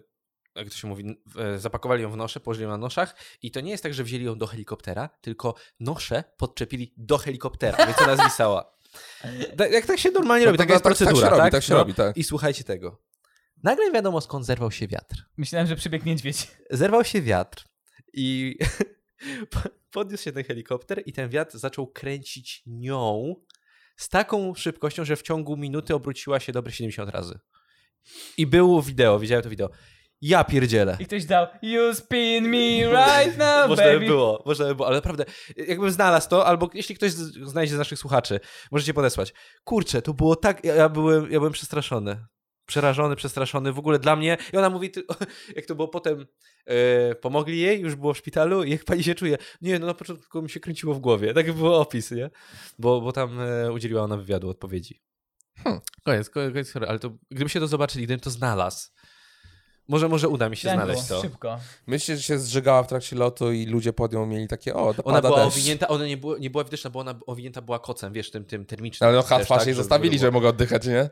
[SPEAKER 3] jak to się mówi, w- e, zapakowali ją w nosze, położyli ją na noszach i to nie jest tak, że wzięli ją do helikoptera, tylko nosze podczepili do helikoptera, więc ona zwisała. Da, jak tak się normalnie
[SPEAKER 1] No
[SPEAKER 3] robi,
[SPEAKER 1] to-
[SPEAKER 3] taka jest
[SPEAKER 1] tak- tak się
[SPEAKER 3] procedura,
[SPEAKER 1] robi,
[SPEAKER 3] tak?
[SPEAKER 1] tak się robi, tak.
[SPEAKER 3] I słuchajcie tego. Nagle wiadomo, skąd zerwał się wiatr
[SPEAKER 2] Myślałem, że przybiegł niedźwiedź.
[SPEAKER 3] zerwał się wiatr i po- podniósł się ten helikopter i ten wiatr zaczął kręcić nią z taką szybkością, że w ciągu minuty obróciła się dobre 70 razy. I było wideo, widziałem to wideo. Ja pierdzielę.
[SPEAKER 2] I ktoś dał You spin me right now,
[SPEAKER 3] Można
[SPEAKER 2] baby.
[SPEAKER 3] by było, można by było, ale naprawdę, jakbym znalazł to, albo jeśli ktoś z- znajdzie z naszych słuchaczy, możecie podesłać. Kurczę, to było tak, ja, ja, byłem, ja byłem przestraszony. Przerażony, przestraszony w ogóle dla mnie. I ona mówi, ty- jak to było potem, e, pomogli jej, już było w szpitalu i jak pani się czuje? Nie, no na początku mi się kręciło w głowie. Tak był opis, nie? Bo, bo tam e, udzieliła ona wywiadu odpowiedzi.
[SPEAKER 1] Hmm.
[SPEAKER 3] Koniec, koniec, koniec, historii, ale to, gdyby się to zobaczyli, gdybym to znalazł, może, może uda mi się
[SPEAKER 2] Janku,
[SPEAKER 3] znaleźć to.
[SPEAKER 2] Szybko.
[SPEAKER 1] Myślisz, że się zrzygała w trakcie lotu i ludzie pod nią mieli takie, o, to
[SPEAKER 3] Ona
[SPEAKER 1] pada
[SPEAKER 3] była
[SPEAKER 1] deszcz.
[SPEAKER 3] owinięta, ona nie, było, nie była widoczna, bo ona owinięta była kocem, wiesz, tym, tym termicznym.
[SPEAKER 1] Ale no,
[SPEAKER 3] Też
[SPEAKER 1] twarz
[SPEAKER 3] tak,
[SPEAKER 1] jej
[SPEAKER 3] żeby
[SPEAKER 1] zostawili,
[SPEAKER 3] było.
[SPEAKER 1] żeby mogła oddychać, nie?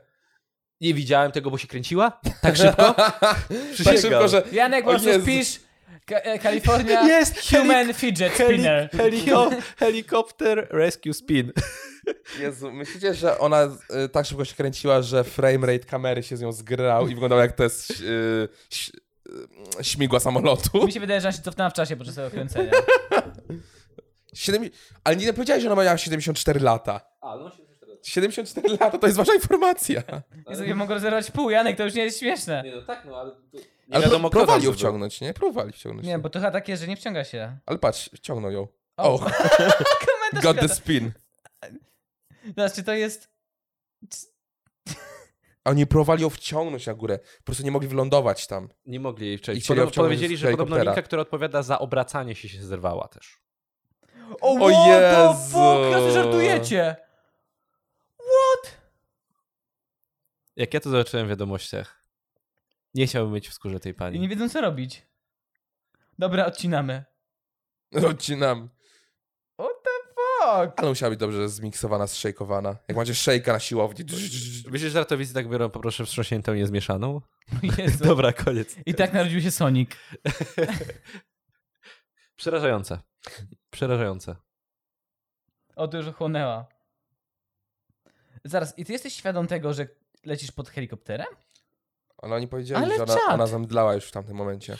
[SPEAKER 3] Nie widziałem tego, bo się kręciła tak szybko.
[SPEAKER 1] Tak
[SPEAKER 3] Przysięgam.
[SPEAKER 1] szybko, że... O
[SPEAKER 2] Janek, po prostu
[SPEAKER 1] Jezu.
[SPEAKER 2] pisz Ka- e, California
[SPEAKER 3] Jest!
[SPEAKER 2] Human Fidget Spinner.
[SPEAKER 3] helio- helicopter Rescue Spin.
[SPEAKER 1] Jezu, myślicie, że ona y, tak szybko się kręciła, że frame rate kamery się z nią zgrał i wyglądał jak to jest y, ś- y, śmigła samolotu?
[SPEAKER 2] Mi się wydaje, że ona się cofnęła w czasie podczas tego kręcenia.
[SPEAKER 1] Siedem... Ale nie powiedziałeś, że ona miała 74 lata.
[SPEAKER 3] A, no 74.
[SPEAKER 1] 74 lata to jest wasza informacja.
[SPEAKER 2] Ja sobie mogę rozerwać pół, Janek, to już nie jest śmieszne.
[SPEAKER 3] no tak, no ale... Nie
[SPEAKER 1] Ale wiadomo,
[SPEAKER 3] wiadomo, kto tam
[SPEAKER 1] próbowali ją
[SPEAKER 3] był.
[SPEAKER 1] wciągnąć, nie? Próbowali wciągnąć.
[SPEAKER 2] Nie, bo to chyba takie, że nie wciąga się.
[SPEAKER 1] Ale patrz, wciągnął ją.
[SPEAKER 2] O,
[SPEAKER 1] O,
[SPEAKER 2] komentarz
[SPEAKER 1] got the
[SPEAKER 2] Kata.
[SPEAKER 1] spin.
[SPEAKER 2] Teraz, czy to jest...
[SPEAKER 1] A Oni próbowali ją wciągnąć na górę. Po prostu nie mogli wylądować tam.
[SPEAKER 3] Nie mogli jej
[SPEAKER 1] I
[SPEAKER 3] przejść.
[SPEAKER 1] chcieli
[SPEAKER 3] Podobno,
[SPEAKER 1] obciągnąć
[SPEAKER 3] powiedzieli,
[SPEAKER 1] z
[SPEAKER 3] że podobno
[SPEAKER 1] helikoptera.
[SPEAKER 3] linka, która odpowiada za obracanie się, się zerwała też.
[SPEAKER 2] O,
[SPEAKER 1] what the
[SPEAKER 2] Jezu!
[SPEAKER 1] fuck? Ja sobie
[SPEAKER 2] żartujecie!
[SPEAKER 1] żartujecie.
[SPEAKER 2] What?
[SPEAKER 3] Jak ja to zobaczyłem w wiadomościach, nie chciałbym mieć w skórze tej pani.
[SPEAKER 2] I nie wiedzą, co robić. Dobra, odcinamy.
[SPEAKER 1] Odcinam.
[SPEAKER 2] What the fuck?
[SPEAKER 1] Ale musiała być dobrze zmiksowana, zszejkowana. Jak macie szejka na siłowni.
[SPEAKER 3] Myślisz, że żartowicy tak biorą, poproszę wstrząśniętą niezmieszaną?
[SPEAKER 2] Jezu.
[SPEAKER 3] Dobra, koniec.
[SPEAKER 2] I tak narodził się Sonic.
[SPEAKER 3] Przerażające. Przerażające.
[SPEAKER 2] O, to już ochłonęła. Zaraz, i ty jesteś świadom tego, że lecisz pod helikopterem?
[SPEAKER 1] Ale oni powiedzieli,
[SPEAKER 2] Ale
[SPEAKER 1] że ona,
[SPEAKER 2] czad.
[SPEAKER 1] ona zemdlała już w tamtym momencie.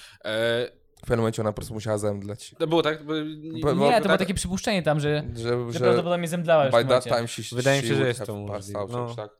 [SPEAKER 1] W pewnym momencie ona po prostu musiała zemdleć.
[SPEAKER 3] to E, było tak?
[SPEAKER 1] Bo-
[SPEAKER 3] Bo...
[SPEAKER 1] bo-
[SPEAKER 2] nie, to było
[SPEAKER 1] tak-
[SPEAKER 2] takie przypuszczenie tam, że,
[SPEAKER 1] Że,
[SPEAKER 2] że
[SPEAKER 1] że
[SPEAKER 2] prawdopodobnie zemdlała już w
[SPEAKER 1] by
[SPEAKER 2] tym
[SPEAKER 1] that
[SPEAKER 2] momencie.
[SPEAKER 1] time she,
[SPEAKER 3] Wydaje
[SPEAKER 1] she
[SPEAKER 3] mi się, że
[SPEAKER 1] would
[SPEAKER 3] jest
[SPEAKER 1] have
[SPEAKER 3] to możliwe.
[SPEAKER 1] passed out,
[SPEAKER 3] No.
[SPEAKER 1] czy tak.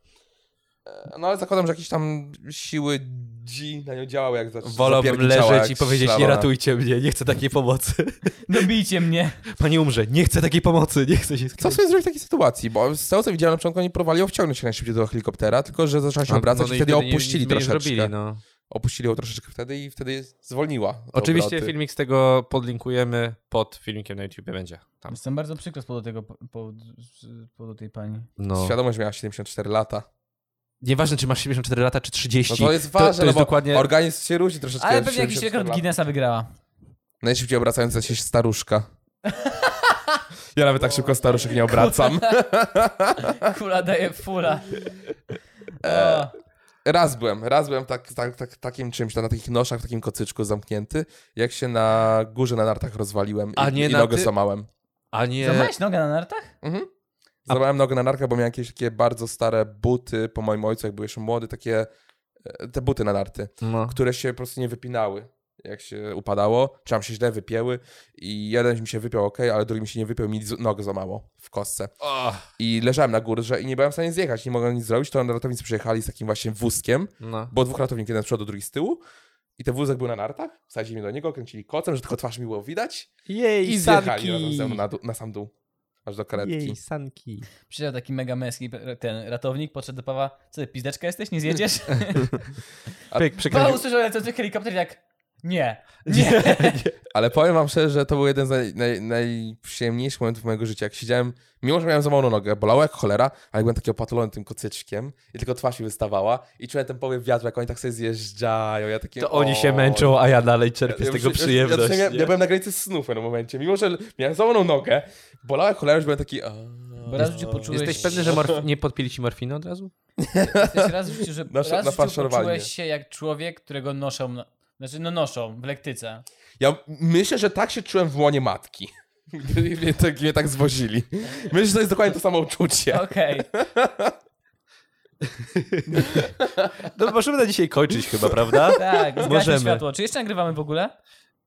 [SPEAKER 1] E, No ale zakładam, że jakieś tam siły G na nią działały, jak zaczęła
[SPEAKER 3] Wolałbym leżeć i powiedzieć, nie ratujcie mnie, nie chcę takiej pomocy.
[SPEAKER 2] Dobijcie No mnie.
[SPEAKER 3] Pani umrze, nie chcę takiej pomocy, nie chcę się
[SPEAKER 1] Co sobie zrobić w takiej sytuacji? Bo z tego co widziałem na początku, oni próbowali ją wciągnąć jak najszybciej do helikoptera, tylko że zaczęła się obracać i wtedy ją opuścili troszeczkę.
[SPEAKER 3] no.
[SPEAKER 1] Opuścili ją troszeczkę wtedy i wtedy zwolniła. te
[SPEAKER 3] Oczywiście
[SPEAKER 1] obroty.
[SPEAKER 3] filmik z tego podlinkujemy pod filmikiem na YouTube będzie. Tam.
[SPEAKER 2] Jestem bardzo przykro z powodu tego, po, po, z powodu tej pani.
[SPEAKER 3] No.
[SPEAKER 1] Świadomość miała 74 lata.
[SPEAKER 3] Nieważne, czy masz 74 lata, czy 30.
[SPEAKER 1] No to jest ważne,
[SPEAKER 3] to, jest
[SPEAKER 1] no bo
[SPEAKER 3] dokładnie...
[SPEAKER 1] organizm się różni troszeczkę.
[SPEAKER 2] Ale
[SPEAKER 1] od
[SPEAKER 2] pewnie jakiś
[SPEAKER 1] 74
[SPEAKER 2] rekord
[SPEAKER 1] lat.
[SPEAKER 2] Guinnessa wygrała.
[SPEAKER 1] Najszybciej obracająca się staruszka. Ja nawet tak szybko staruszek nie obracam.
[SPEAKER 2] Kula daje fula. O,
[SPEAKER 1] Raz byłem, raz byłem tak, tak, tak, takim czymś, na takich noszach, w takim kocyczku zamknięty, jak się na górze na nartach rozwaliłem i,
[SPEAKER 3] A nie
[SPEAKER 1] i
[SPEAKER 3] na
[SPEAKER 1] nogę
[SPEAKER 3] ty-
[SPEAKER 1] złamałem.
[SPEAKER 3] A nie...
[SPEAKER 2] Złamałeś nogę na nartach?
[SPEAKER 1] Mhm. Złamałem nogę na nartach, bo miałem jakieś takie bardzo stare buty po moim ojcu, jak był jeszcze młody, takie e, te buty na narty.
[SPEAKER 3] No.
[SPEAKER 1] które się po prostu nie wypinały, jak się upadało, czy tam się źle wypięły i jeden mi się wypiął ok, ale drugi mi się nie wypiął, mi z- nogę złamało w kostce. I leżałem na górze i nie byłem w stanie zjechać, nie mogłem nic zrobić, to ratownicy przyjechali z takim właśnie wózkiem,
[SPEAKER 3] No.
[SPEAKER 1] bo dwóch ratowników, jeden z przodu, drugi z tyłu i ten wózek był na nartach, wsadzili mnie do niego, kręcili kocem, że tylko twarz mi było widać
[SPEAKER 3] Jej,
[SPEAKER 1] i zjechali razem ze mną na, dół, na sam dół, aż do karetki.
[SPEAKER 3] sanki.
[SPEAKER 2] Przyjechał taki mega męski pe- ten ratownik, podszedł do Pawła. Co ty, pizdeczka jesteś? Nie zjedziesz?
[SPEAKER 3] Pyk,
[SPEAKER 2] Paweł
[SPEAKER 3] przekręcił.
[SPEAKER 2] usłyszał lecący helikopter jak... Nie.
[SPEAKER 3] Nie.
[SPEAKER 1] Ale powiem wam szczerze, że to był jeden z naj, naj, najprzyjemniejszych momentów mojego życia. Jak siedziałem, mimo że miałem złamaną nogę, bolało jak cholera, ale jak byłem taki opatulony tym kocyczkiem i tylko twarz mi wystawała i czułem ten powiew wiatru, jak oni tak sobie zjeżdżają. Ja takie,
[SPEAKER 3] To oni się
[SPEAKER 1] "O".
[SPEAKER 3] męczą, a ja dalej czerpię
[SPEAKER 1] Ja
[SPEAKER 3] z
[SPEAKER 1] już-
[SPEAKER 3] tego
[SPEAKER 1] już-
[SPEAKER 3] przyjemność.
[SPEAKER 1] Ja, ja,
[SPEAKER 3] nie?
[SPEAKER 1] ja byłem na granicy snu w pewnym momencie. Mimo, że miałem złamaną nogę, bolało jak cholera, już byłem taki... "A".
[SPEAKER 2] Bo raz w życiu poczułeś...
[SPEAKER 3] Jesteś pewny, że morf- nie podpili ci morfiny od razu?
[SPEAKER 2] Jesteś raz w życiu, że
[SPEAKER 1] Nasz-
[SPEAKER 2] raz w życiu
[SPEAKER 1] nafaszerowali
[SPEAKER 2] poczułeś
[SPEAKER 1] mnie.
[SPEAKER 2] się jak człowiek, którego noszą, na, znaczy no noszą w lektyce.
[SPEAKER 1] Ja myślę, że tak się czułem w łonie matki. Gdy mnie tak, mnie tak zwozili. Myślę, że to jest dokładnie to samo uczucie.
[SPEAKER 2] Okej.
[SPEAKER 3] No możemy na dzisiaj kończyć chyba, prawda?
[SPEAKER 2] Tak, zgaśmy
[SPEAKER 3] Możemy.
[SPEAKER 2] światło. Czy jeszcze nagrywamy w ogóle?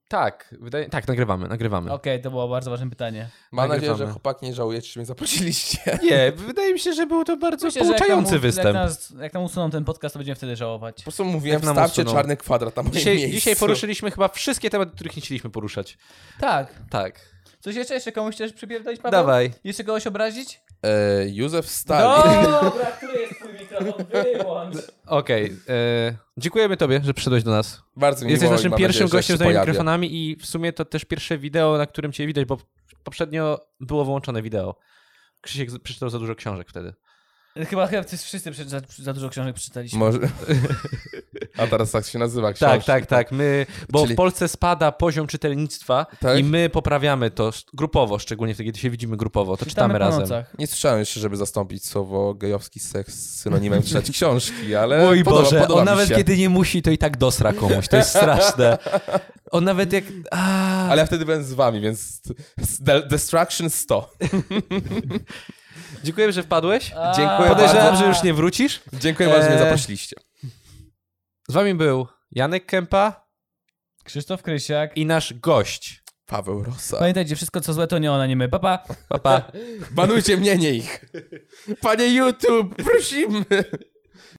[SPEAKER 3] Tak, wydaje... tak, nagrywamy, nagrywamy.
[SPEAKER 2] Okej, to było bardzo ważne pytanie.
[SPEAKER 1] Mam nadzieję, że
[SPEAKER 3] Nagrywamy.
[SPEAKER 1] chłopaki nie żałujecie, że mnie zaprosiliście.
[SPEAKER 3] Nie, wydaje mi się, że był to bardzo
[SPEAKER 2] Myślę, że
[SPEAKER 3] pouczający
[SPEAKER 2] jak nam, Jak,
[SPEAKER 3] występ.
[SPEAKER 2] nas, jak nam usuną ten podcast, to będziemy wtedy żałować.
[SPEAKER 1] Po prostu mówiłem,
[SPEAKER 3] Jak no. nam
[SPEAKER 1] wstawcie
[SPEAKER 3] usuną.
[SPEAKER 1] czarny kwadrat na moim
[SPEAKER 3] Dzisiaj,
[SPEAKER 1] miejscu.
[SPEAKER 3] dzisiaj poruszyliśmy chyba wszystkie tematy, których nie chcieliśmy poruszać.
[SPEAKER 2] Tak.
[SPEAKER 3] Tak.
[SPEAKER 2] Coś jeszcze? Jeszcze komuś chcesz przypierdolić, Paweł?
[SPEAKER 3] Dawaj. Tak.
[SPEAKER 2] Jeszcze kogoś obrazić?
[SPEAKER 1] E, Józef
[SPEAKER 3] No!
[SPEAKER 1] Stalin.
[SPEAKER 2] Dobra, który jest twój mikrofon? Wyłącz.
[SPEAKER 3] Okej. e, Dziękujemy tobie, że przyszedłeś do nas.
[SPEAKER 1] Bardzo mi
[SPEAKER 3] Jesteś
[SPEAKER 1] miło i
[SPEAKER 3] naszym
[SPEAKER 1] mam
[SPEAKER 3] pierwszym
[SPEAKER 1] nadzieję, że
[SPEAKER 3] gościem
[SPEAKER 1] się
[SPEAKER 3] z moimi
[SPEAKER 1] pojawię.
[SPEAKER 3] mikrofonami i w sumie to też pierwsze wideo, na którym cię widać, bo poprzednio było wyłączone wideo. Krzysiek z- przeczytał za dużo książek wtedy.
[SPEAKER 2] Chyba, chyba wszyscy prze- za, za dużo książek przeczytaliśmy.
[SPEAKER 1] Może... A teraz tak się nazywa książka.
[SPEAKER 3] Tak, tak, tak. My, bo
[SPEAKER 1] Czyli-
[SPEAKER 3] w Polsce spada poziom czytelnictwa
[SPEAKER 1] Tak?
[SPEAKER 3] i my poprawiamy to sz- grupowo, szczególnie wtedy, kiedy się widzimy grupowo, to czytamy,
[SPEAKER 2] Czytamy po
[SPEAKER 3] razem.
[SPEAKER 2] nocach.
[SPEAKER 1] Nie słyszałem jeszcze, żeby zastąpić słowo gejowski seks z synonimem czytać książki, ale
[SPEAKER 3] Mój
[SPEAKER 1] E, podoba,
[SPEAKER 3] Boże,
[SPEAKER 1] podoba
[SPEAKER 3] on
[SPEAKER 1] mi
[SPEAKER 3] nawet
[SPEAKER 1] się.
[SPEAKER 3] kiedy nie musi, to i tak dosra komuś. To jest straszne. On nawet jak... A,
[SPEAKER 1] Ale ja wtedy byłem z wami, więc De- Destruction 100.
[SPEAKER 3] Dziękuję, że wpadłeś.
[SPEAKER 2] A,
[SPEAKER 1] Dziękuję
[SPEAKER 3] Podejrzewam,
[SPEAKER 1] bardzo.
[SPEAKER 3] że już nie wrócisz.
[SPEAKER 1] Dziękuję bardzo, że mnie
[SPEAKER 3] Eee.
[SPEAKER 1] zaprosiliście.
[SPEAKER 3] Z wami był Janek Kępa
[SPEAKER 2] Krzysztof Krysiak.
[SPEAKER 3] i nasz gość.
[SPEAKER 1] Paweł Rosa.
[SPEAKER 2] Pamiętajcie, wszystko co złe to nie ona, nie my. Pa, pa.
[SPEAKER 3] Pa, pa.
[SPEAKER 1] Banujcie mnie, nie ich. Panie YouTube, prosimy.